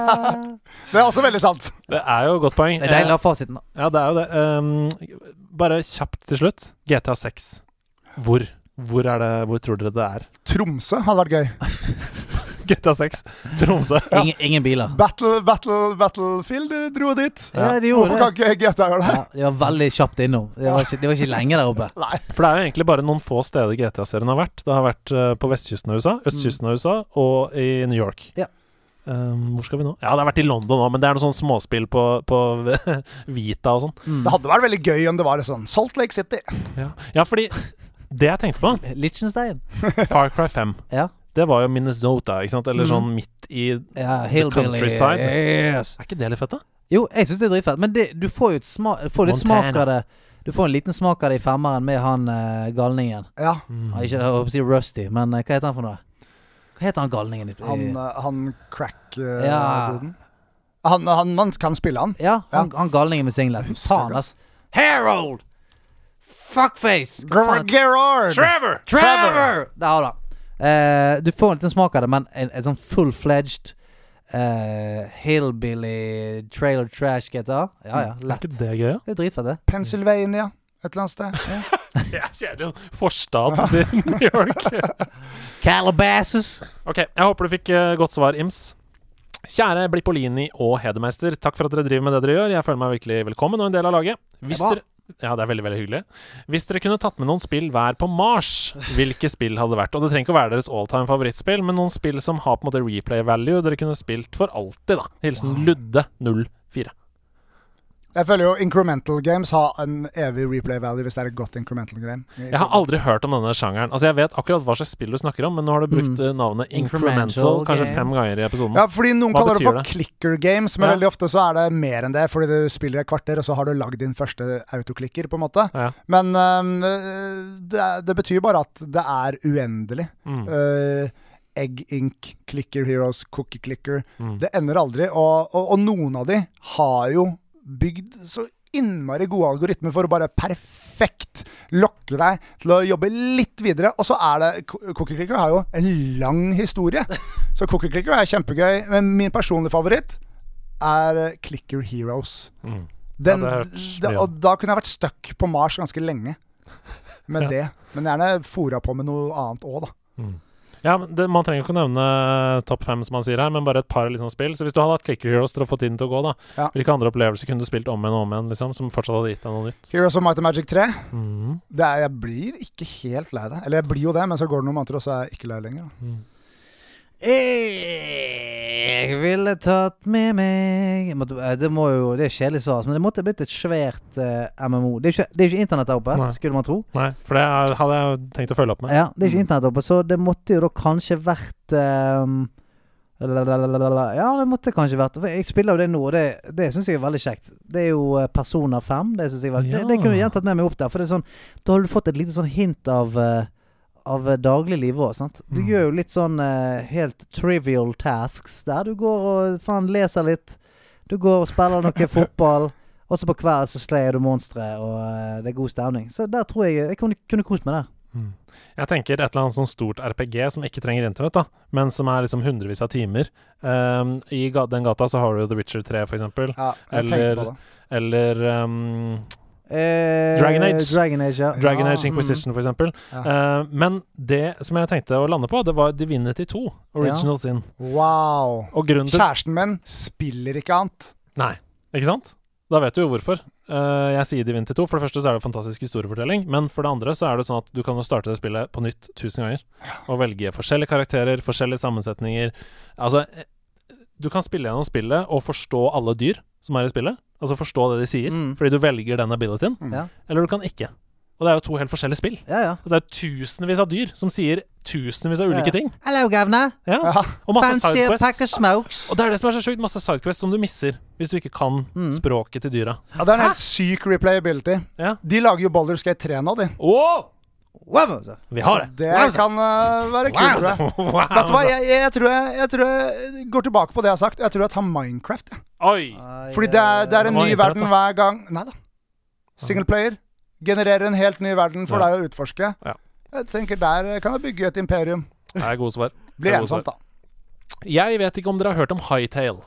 Speaker 5: Det er også veldig sant.
Speaker 1: det er jo et godt poeng.
Speaker 2: Det er deilig å ha fasiten. da.
Speaker 1: Ja, det er jo det. Um, bare kjapt til slutt. GTA 6. Hvor? Hvor, er det, hvor tror dere det er?
Speaker 5: Tromsø hadde vært gøy.
Speaker 1: GTA 6, Tromsø.
Speaker 2: Ingen, ingen biler.
Speaker 5: Battle, battle, Battlefield eh, dro dit.
Speaker 2: Ja, de gjorde
Speaker 5: Hvorfor
Speaker 2: det.
Speaker 5: kan ikke GTA gjøre det?
Speaker 2: Ja, de var veldig kjapt innom. Det var ikke, det var ikke lenge der oppe.
Speaker 5: Nei.
Speaker 1: For det er jo egentlig bare noen få steder GTA-serien har vært. Det har vært eh, på vestkysten av USA, østkysten av USA og i New York.
Speaker 2: Mm. Ja.
Speaker 1: Um, hvor skal vi nå? Ja, det har vært i London òg, men det er noe sånn småspill på, på Vita og sånn.
Speaker 5: Det hadde vært veldig gøy om det var sånn Salt Lake City.
Speaker 1: Ja. ja, fordi det jeg tenkte på,
Speaker 2: Liechtenstein.
Speaker 1: Far Cry 5,
Speaker 2: Ja.
Speaker 1: det var jo Minnesota, ikke sant?
Speaker 2: Mm.
Speaker 1: Eller sånn midt i Er
Speaker 2: ja hillbilly.
Speaker 1: countryside.
Speaker 2: Yes.
Speaker 1: ikke det litt fett, da?
Speaker 2: Jo, jeg syns det er dritfett, men det, du får jo et sma, får litt smak av det.
Speaker 1: Montana.
Speaker 2: Du får en liten smak av det i femmeren med han eh, galningen.
Speaker 5: Ja.
Speaker 1: Mm.
Speaker 2: Ja, Ikke, jeg holdt på å si Rusty, men eh, hva heter han for noe? Hva heter han galningen? i- i-
Speaker 5: Han, eh, han crack-duden.
Speaker 2: Ja.
Speaker 5: han, han, man kan spille han.
Speaker 2: ja, han, han galningen med singlet. Faen,
Speaker 5: ikke, ass.
Speaker 2: ass. Harold! Fuckface! Hva faen heter-
Speaker 5: Gerard!
Speaker 1: Trevor!
Speaker 2: Trevor! Der har du han. Eh, du får en liten smak av det, men en, en sånn full-fledged eh, hillbilly trailer trash GTA Ja ja,
Speaker 1: Er
Speaker 2: lett.
Speaker 1: ikke Mm. det gøy, da?
Speaker 2: Det er dritfett, det.
Speaker 5: Pennsylvania, et eller annet sted. Ja.
Speaker 1: Det er kjedelig. Forstad til New York.
Speaker 2: Calabasas!
Speaker 1: Ok, jeg håper du fikk eh, godt svar, Ims. Kjære Blippolini og Hedemeister, takk for at dere driver med det dere gjør. Jeg føler meg virkelig velkommen og en del av laget. Hvis
Speaker 2: Det er bra.
Speaker 1: dere ja, det er veldig veldig hyggelig. Hvis dere kunne tatt med noen spill hver på Mars, hvilke spill hadde det vært? Og det trenger ikke å være deres alltime favorittspill, men noen spill som har på en måte replay value dere kunne spilt for alltid, da. Hilsen Ludde04.
Speaker 5: Jeg føler jo incremental games har en evig replay value hvis det er et godt incremental game.
Speaker 1: Jeg har aldri hørt om denne sjangeren. Altså, jeg vet akkurat hva slags spill du snakker om, men nå har du brukt eh, navnet Incremental
Speaker 2: Mm. Incremental
Speaker 1: kanskje
Speaker 2: game.
Speaker 1: fem ganger i episoden.
Speaker 5: Ja, fordi noen
Speaker 1: Hva
Speaker 5: kaller det
Speaker 1: betyr
Speaker 5: for
Speaker 1: det?
Speaker 5: clicker games, men
Speaker 1: Ja.
Speaker 5: veldig ofte så er det mer enn det, fordi du spiller et kvarter, og så har du lagd din første autoklikker, på en måte.
Speaker 1: Ja.
Speaker 5: Men øhm, øh, det, er- det betyr bare at det er uendelig.
Speaker 1: Mm.
Speaker 5: Øh, Egg Ink, Clicker Heroes, Cookie Clicker.
Speaker 1: Mm.
Speaker 5: Det ender aldri. Og, og, og noen av de har jo bygd så innmari gode algoritmer for å bare perfekt lokke deg til å jobbe litt videre. Og så er det Co- Cookie Clicker har jo en lang historie. Så Cookie Clicker er kjempegøy. Men min personlige favoritt er eh, Clicker Heroes.
Speaker 1: Mm.
Speaker 5: Den,
Speaker 1: Ja, det har jeg hørt
Speaker 5: da,
Speaker 1: mye om.
Speaker 5: og da kunne jeg vært stuck på Mars ganske lenge med det. Men gjerne fora på med noe annet òg, da.
Speaker 1: Ja, men det, Man trenger ikke å nevne topp fem, som han sier her, men bare et par liksom, spill. Så hvis du hadde hatt Clicker Heroes til å få tiden til å gå, da,
Speaker 5: Ja.
Speaker 1: hvilke andre opplevelser kunne du spilt om igjen og om igjen, liksom, som fortsatt hadde gitt deg noe nytt?
Speaker 5: Heroes of Might and Magic 3.
Speaker 1: Mhm.
Speaker 5: Det er, jeg blir ikke helt lei det. Eller jeg blir jo det, men så går det noen måneder, og så er jeg ikke lei lenger. Da.
Speaker 2: Jeg ville tatt med meg jeg måtte, eh, Det må jo, det er kjedelig svar, altså, men det måtte blitt et svært eh, MMO. Det er jo ikke, det er jo ikke internett der oppe,
Speaker 1: Nei.
Speaker 2: skulle man tro.
Speaker 1: Nei, for det er- hadde jeg jo tenkt å følge opp med.
Speaker 2: Ja, det er ikke internett oppe, så det måtte jo da kanskje vært ehm, lalalala. Ja, det måtte kanskje vært For jeg spiller jo det nå, og det, det syns jeg er veldig kjekt. Det er jo eh, Persona 5. Det, synes jeg er veldig,
Speaker 1: Ja.
Speaker 2: det, det kunne jeg gjerne tatt med meg opp der. For det er sånn, da har du fått et lite sånn hint av eh, av eh, dagliglivet òg, sant. Du
Speaker 1: Mm.
Speaker 2: gjør jo litt sånn eh, helt trivial tasks der. Du går og faen leser litt. Du går og spiller noe fotball. Og så på kvelden så sleier du monstre, og eh, det er god stemning. Så der tror jeg jeg kunne, kunne kost meg der.
Speaker 1: Jeg tenker et eller annet sånn stort RPG som ikke trenger internett, da, men som er liksom hundrevis av timer. Ehm, I ga den gata så har du jo The Witcher 3, for eksempel.
Speaker 5: Ja, jeg
Speaker 1: Eller-
Speaker 5: tenkte på det.
Speaker 1: Eller ehm,
Speaker 2: Eh,
Speaker 1: Dragon Age.
Speaker 2: Dragon Age, ja.
Speaker 1: Dragon
Speaker 5: Ja, mm.
Speaker 1: Age Inquisition, for eksempel. Eh, men det som jeg tenkte å lande på, det var Divinity 2, Original Sin.
Speaker 5: Wow.
Speaker 1: Og grunnen til
Speaker 5: Kjæresten min spiller ikke annet.
Speaker 1: Nei, ikke sant? Da vet du jo hvorfor. Eh, jeg sier Divinity 2. For det første så er det fantastisk historiefortelling. Men for det andre så er det sånn at du kan jo starte det spillet på nytt tusen ganger. Og velge forskjellige karakterer, forskjellige sammensetninger. Altså, eh, du kan spille gjennom spillet og forstå alle dyr som er i spillet. Altså forstå det de sier,
Speaker 2: Mm.
Speaker 1: fordi du velger den abilityen.
Speaker 2: Ja.
Speaker 1: Eller du kan ikke. Og det er jo to helt forskjellige spill.
Speaker 2: Mm. Ja, ja.
Speaker 1: Og det er tusenvis av dyr som sier tusenvis av ulike
Speaker 2: Ja.
Speaker 1: ting.
Speaker 2: Hello, governor.
Speaker 1: Ja.
Speaker 5: Ja.
Speaker 1: Og masse
Speaker 2: Fancy a pack of
Speaker 1: sidequests.
Speaker 2: smokes.
Speaker 1: Og det er det som er så sjukt. Masse sidequests som du misser hvis du ikke kan
Speaker 2: Mm.
Speaker 1: språket til dyra.
Speaker 5: Ja, det er en helt syk replayability.
Speaker 1: Ja.
Speaker 5: De lager jo Boulder Skate 3 nå, de.
Speaker 1: Wow!
Speaker 2: Wow, altså.
Speaker 1: Vi har det.
Speaker 5: Det
Speaker 2: Wow, sa-
Speaker 5: kan eh, være kult, tror jeg.
Speaker 1: Wow,
Speaker 5: Vet du hva,
Speaker 1: altså.
Speaker 5: jeg, jeg, jeg, tror jeg, jeg tror jeg går tilbake på det jeg har sagt. Jeg tror jeg tar Minecraft. jeg.
Speaker 1: Oi!
Speaker 5: Fordi det er, det er
Speaker 1: Det
Speaker 5: en
Speaker 1: var
Speaker 5: ny
Speaker 1: internett,
Speaker 5: verden
Speaker 1: da.
Speaker 5: hver gang Nei da. Singleplayer genererer en helt ny verden for
Speaker 1: Ja.
Speaker 5: deg å utforske.
Speaker 1: Ja.
Speaker 5: Jeg tenker Der kan jeg bygge et imperium.
Speaker 1: Det er gode svar. Det
Speaker 5: Blir
Speaker 1: er gode svar.
Speaker 5: ensomt, da.
Speaker 1: Jeg vet ikke om dere har hørt om Hightail.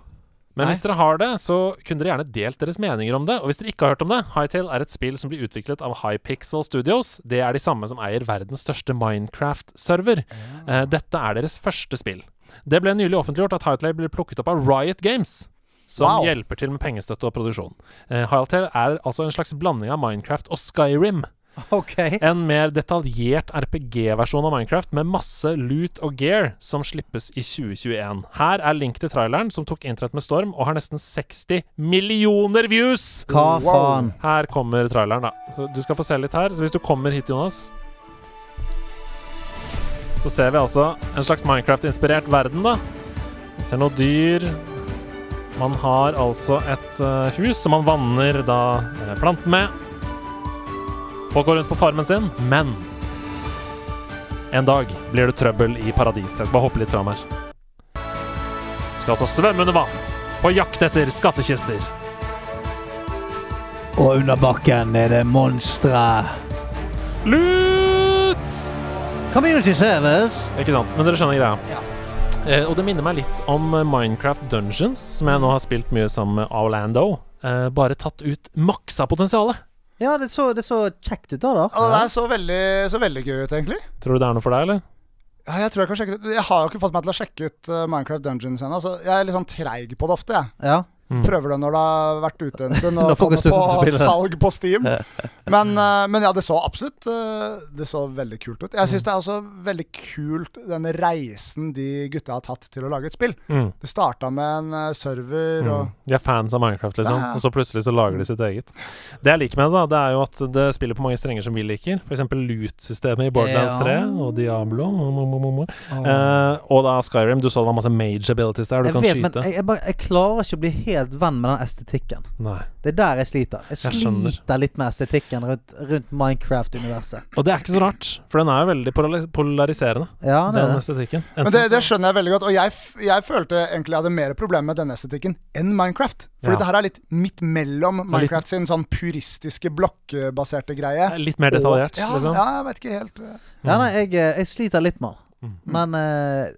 Speaker 1: Men hvis dere har det, så kunne dere gjerne delt deres meninger om det. Og hvis dere ikke har hørt om det, Hightail er et spill som blir utviklet av Hypixel Studios. Det er de samme som eier verdens største Minecraft-server.
Speaker 5: Ah.
Speaker 1: Eh, Dette er deres første spill. Det ble nylig offentliggjort at Hightail blir plukket opp av Riot Games. Som
Speaker 5: Wow.
Speaker 1: hjelper til med pengestøtte og produksjon. Eh, Hightail er altså en slags blanding av Minecraft og Skyrim.
Speaker 2: OK.
Speaker 1: En mer detaljert RPG-versjon av Minecraft med masse loot og gear som slippes i 2021. Her er link til traileren som tok internett med storm og har nesten 60 millioner views!
Speaker 2: Hva
Speaker 5: Wow.
Speaker 2: faen?
Speaker 1: Her kommer traileren, da. Så du skal få se litt her. Så hvis du kommer hit, Jonas Så ser vi altså en slags Minecraft-inspirert verden, da. Vi ser noen dyr. Man har altså et eh, hus som man vanner da eh, planten med. Folk går rundt på farmen sin, men en dag blir det trøbbel i paradis. Jeg skal bare hoppe litt fram her. Skal altså svømme under vann, på jakt etter skattkister.
Speaker 2: Og under bakken er det monstre.
Speaker 1: Lut!
Speaker 2: Community service.
Speaker 1: Ikke sant, men dere skjønner greia. Eh, og det minner meg litt om eh, Minecraft Dungeons, som jeg nå har spilt mye sammen med Orlando. Eh, bare tatt ut maksa potensialet.
Speaker 2: Ja, det så, det så kjekt ut da, da.
Speaker 5: Ja, det er så veldig, så veldig gøy ut, egentlig.
Speaker 1: Tror du det er noe for deg, eller?
Speaker 5: Ja, jeg tror jeg kan sjekke det ut. Jeg har jo ikke fått meg til å sjekke ut eh, Minecraft Dungeons ennå. så Jeg er litt sånn treig på det ofte, jeg.
Speaker 2: Ja.
Speaker 5: Prøver det når det har vært ute en stund,
Speaker 2: Når
Speaker 5: og
Speaker 2: folk har
Speaker 5: kommer
Speaker 2: sluttet å
Speaker 5: på
Speaker 2: spille.
Speaker 5: salg på Steam. Men, eh, men ja, det så absolutt eh, Det så veldig kult ut. Jeg syns det er også veldig kult den reisen de gutta har tatt til å lage et spill.
Speaker 1: Mm.
Speaker 5: Det starta med en eh, server og
Speaker 1: Mm. De er fans av Minecraft, liksom.
Speaker 5: Ja, ja.
Speaker 1: Og så plutselig så lager de sitt eget. Det jeg liker med det, da, det er jo at det spiller på mange strenger som vi liker. F.eks. loot-systemet i Borderlands 3
Speaker 2: Ja.
Speaker 1: og Diablo. mo, mo, mo, mo, mo. Eh, og da Skyrim. Du så det var masse mage abilities der. Du
Speaker 2: Jeg
Speaker 1: kan
Speaker 2: vet, men
Speaker 1: skyte.
Speaker 2: jeg, jeg, bare, jeg klarer ikke å bli helt venn med den estetikken.
Speaker 1: Nei.
Speaker 2: Det er der jeg sliter. Jeg,
Speaker 1: Jeg skjønner.
Speaker 2: sliter litt med estetikken rundt, rundt Minecraft-universet.
Speaker 1: Og det er ikke så rart, for den er jo veldig polari- polariserende,
Speaker 2: Ja,
Speaker 1: den
Speaker 2: det er det.
Speaker 1: estetikken.
Speaker 5: Men det, det skjønner jeg veldig godt. Og jeg, f- jeg følte egentlig jeg hadde mer problemer med denne estetikken enn Minecraft. Fordi
Speaker 1: Ja.
Speaker 5: det her er litt midt mellom
Speaker 1: er litt-
Speaker 5: Minecraft sin sånn puristiske blokkbaserte greie.
Speaker 1: er litt mer detaljert,
Speaker 5: ja,
Speaker 1: liksom.
Speaker 5: ja, jeg vet ikke helt. eh.
Speaker 2: Ja, nei, jeg, jeg sliter litt med den. Men eh,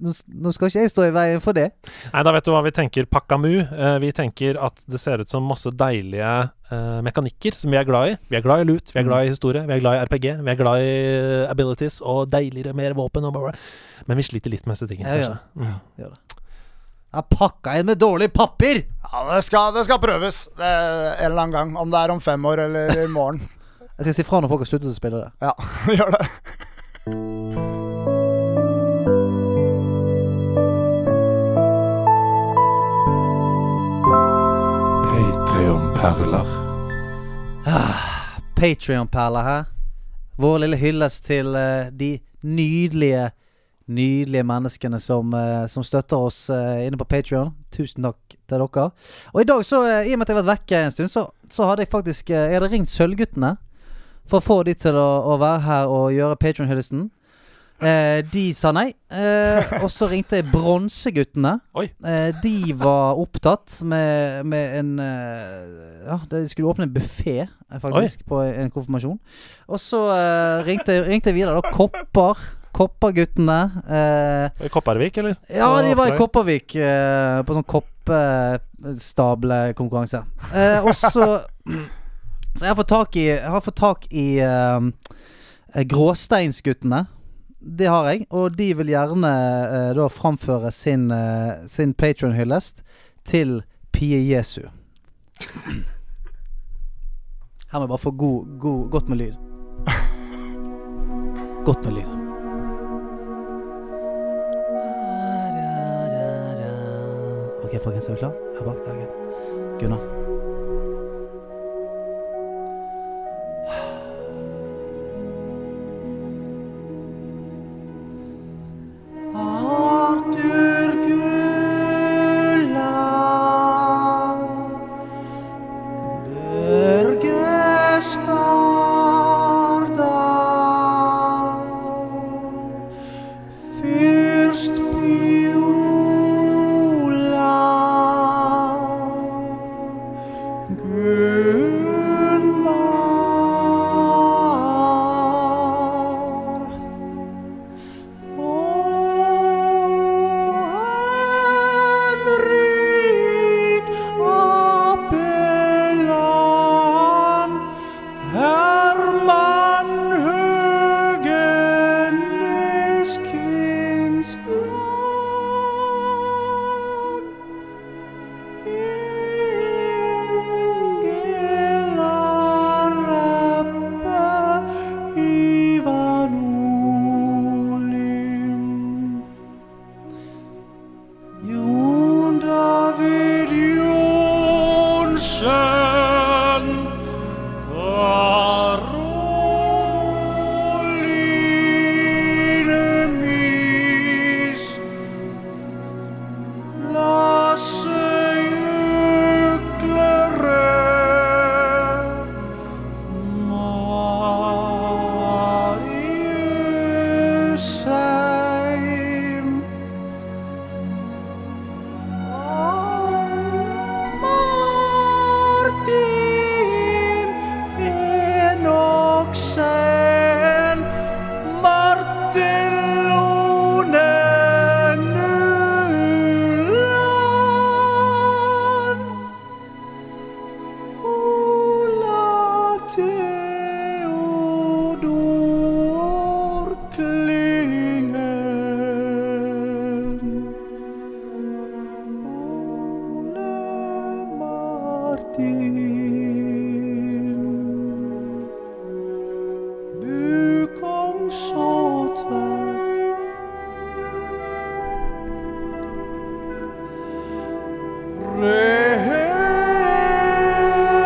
Speaker 2: nå, nå skal ikke jeg stå i veien for det.
Speaker 1: Nei, da vet du hva vi tenker, Pakkamu. Eh, vi tenker at det ser ut som masse deilige eh, mekanikker som vi er glad i. Vi er glad i loot, vi er
Speaker 2: Mm.
Speaker 1: glad i historie, vi er glad i RPG, vi er glad i eh, abilities og deiligere, mer våpen og bla, bla. Men vi sliter litt med disse tingene,
Speaker 2: Jeg gjør
Speaker 1: kanskje. Mm.
Speaker 2: det. Gjør det. Jeg pakka inn med dårlig papir!
Speaker 5: Ja, det skal, det skal prøves eh, en eller annen gang. Om det er om fem år eller i morgen.
Speaker 2: Jeg skal si fra når folk har sluttet å spille det.
Speaker 5: Ja, gjør det.
Speaker 7: Patreon-perler.
Speaker 2: Patrion-perler her. Vår lille hyllest til eh, de nydelige, nydelige menneskene som, eh, som støtter oss eh, inne på Patrion. Tusen takk til dere. Og i dag, så, eh, i og med at jeg har vært vekke en stund, så, så hadde jeg faktisk eh, Jeg hadde ringt Sølvguttene for å få de til å, å være her og gjøre Patrion-hyllesten. Eh, de sa nei. Eh, og så ringte jeg Bronseguttene.
Speaker 1: Oi.
Speaker 2: Eh, de var opptatt med, med en eh, Ja, de skulle åpne en buffé, eh, faktisk, på en konfirmasjon. Og så eh, ringte, ringte jeg videre, da. Kopper. Kopperguttene. Eh,
Speaker 1: I Kopparvik, eller?
Speaker 2: ja,
Speaker 1: På
Speaker 2: de var
Speaker 1: oppdrag.
Speaker 2: i Kopervik eh, på sånn koppestablekonkurranse. Eh, og så Så jeg har fått tak i, jeg har fått tak i eh, eh, Gråsteinsguttene. Det har jeg. Og de vil gjerne eh, da framføre sin, eh, sin patron-hyllest til Pie Jesu. Her må jeg bare få god, god, godt med lyd. Godt med lyd. Ok, folkens, er vi klar? Er vi klar? Ok. Gunnar. Arthur Gulland Børge Skardal Fyrst Piola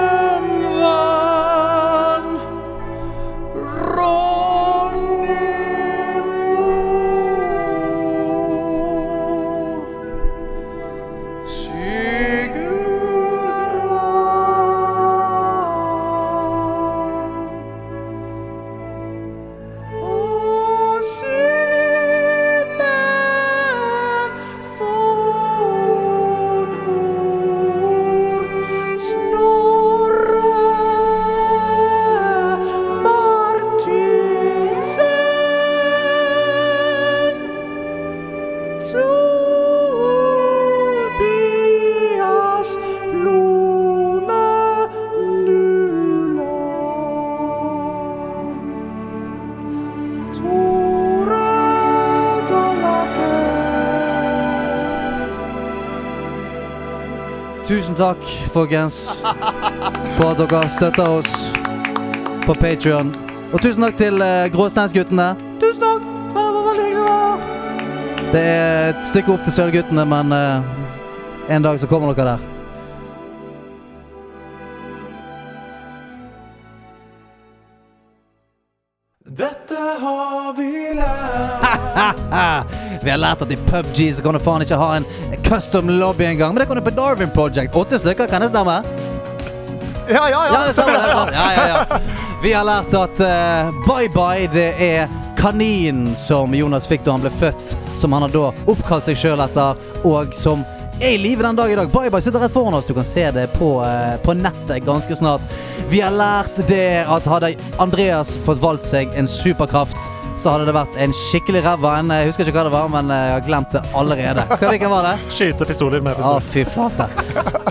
Speaker 4: Hvem vant? Ronny Moe. Sigurd Gran. Åsenen fodvort Snorre Martinsen Tobias Lone Nuland Tore Dallaker.
Speaker 2: Tusen takk, folkens, for at dere støtter oss på Patrion. Og tusen takk til eh, Gråsteinsguttene. Tusen takk! Det var veldig hyggelig å være her. Det er et stykke opp til Sølvguttene, men eh, en dag så kommer dere der.
Speaker 4: Dette har vi lært.
Speaker 2: Ah, vi har lært at i PubG så kan du faen ikke ha en custom lobby engang. Men det kan du på Darwin Project. Åtte stykker, kan det stemme?
Speaker 5: Ja, ja, ja.
Speaker 2: Ja, det stemmer. Det stemmer. Ja, ja, ja. Vi har lært at eh, Bye Bye det er kaninen som Jonas fikk da han ble født, som han har da oppkalt seg sjøl etter, og som er i live den dag i dag. Bye Bye sitter rett foran oss. Du kan se det på, eh, på nettet ganske snart. Vi har lært det at hadde Andreas fått valgt seg en superkraft, så hadde det vært en skikkelig ræva en. Jeg husker ikke hva det var, men eh, jeg har glemt det allerede. Hva- Hvilken var det?
Speaker 1: Skyte pistoler med
Speaker 2: Å,
Speaker 1: pistol.
Speaker 2: fy flate.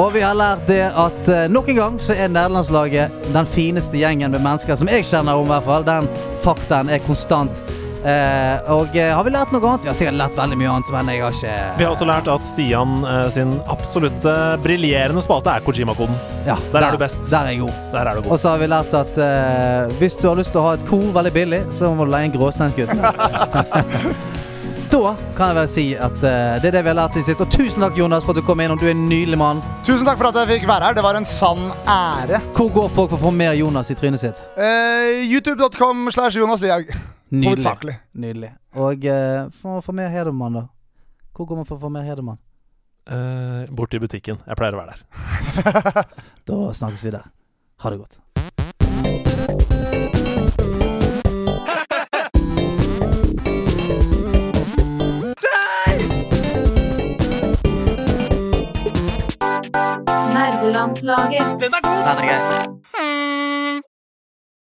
Speaker 2: Og vi har lært det at eh, nok en gang så er nederlandslaget den fineste gjengen med mennesker som jeg kjenner om, i hvert fall. Den faktaen er konstant. Eh, og eh, har vi lært noe annet? Vi har sikkert lært veldig mye annet, men jeg har
Speaker 1: Vi
Speaker 2: ikke
Speaker 1: har også lært at Stian eh, sin absolutte briljerende spalte er Kojima-koden.
Speaker 2: ja,
Speaker 1: Der er du best.
Speaker 2: Der er jeg god.
Speaker 1: Der er du
Speaker 2: Og
Speaker 1: god.
Speaker 2: så har vi lært at eh, hvis du har lyst til å ha et kor veldig billig, så må du leie en gråsteinsgutt. da kan jeg vel si at eh, det er det vi har lært siden sist. Og tusen takk, Jonas, for at du kom innom. Du er en nydelig mann.
Speaker 5: Tusen takk for at jeg fikk være her. Det var en sann ære.
Speaker 2: Hvor går folk for å få mer Jonas i trynet sitt?
Speaker 5: Eh, YouTube.com slash Jonas Lihaug. Hovedsakelig.
Speaker 2: Nydelig. Og eh, for å få mer Hedemann, da. Hvor går man for å få mer Hedemann?
Speaker 1: Eh, Bort til butikken. Jeg pleier å være der.
Speaker 2: Da snakkes vi der. Ha det godt.
Speaker 10: Nerdelandslaget.
Speaker 2: Den er grei.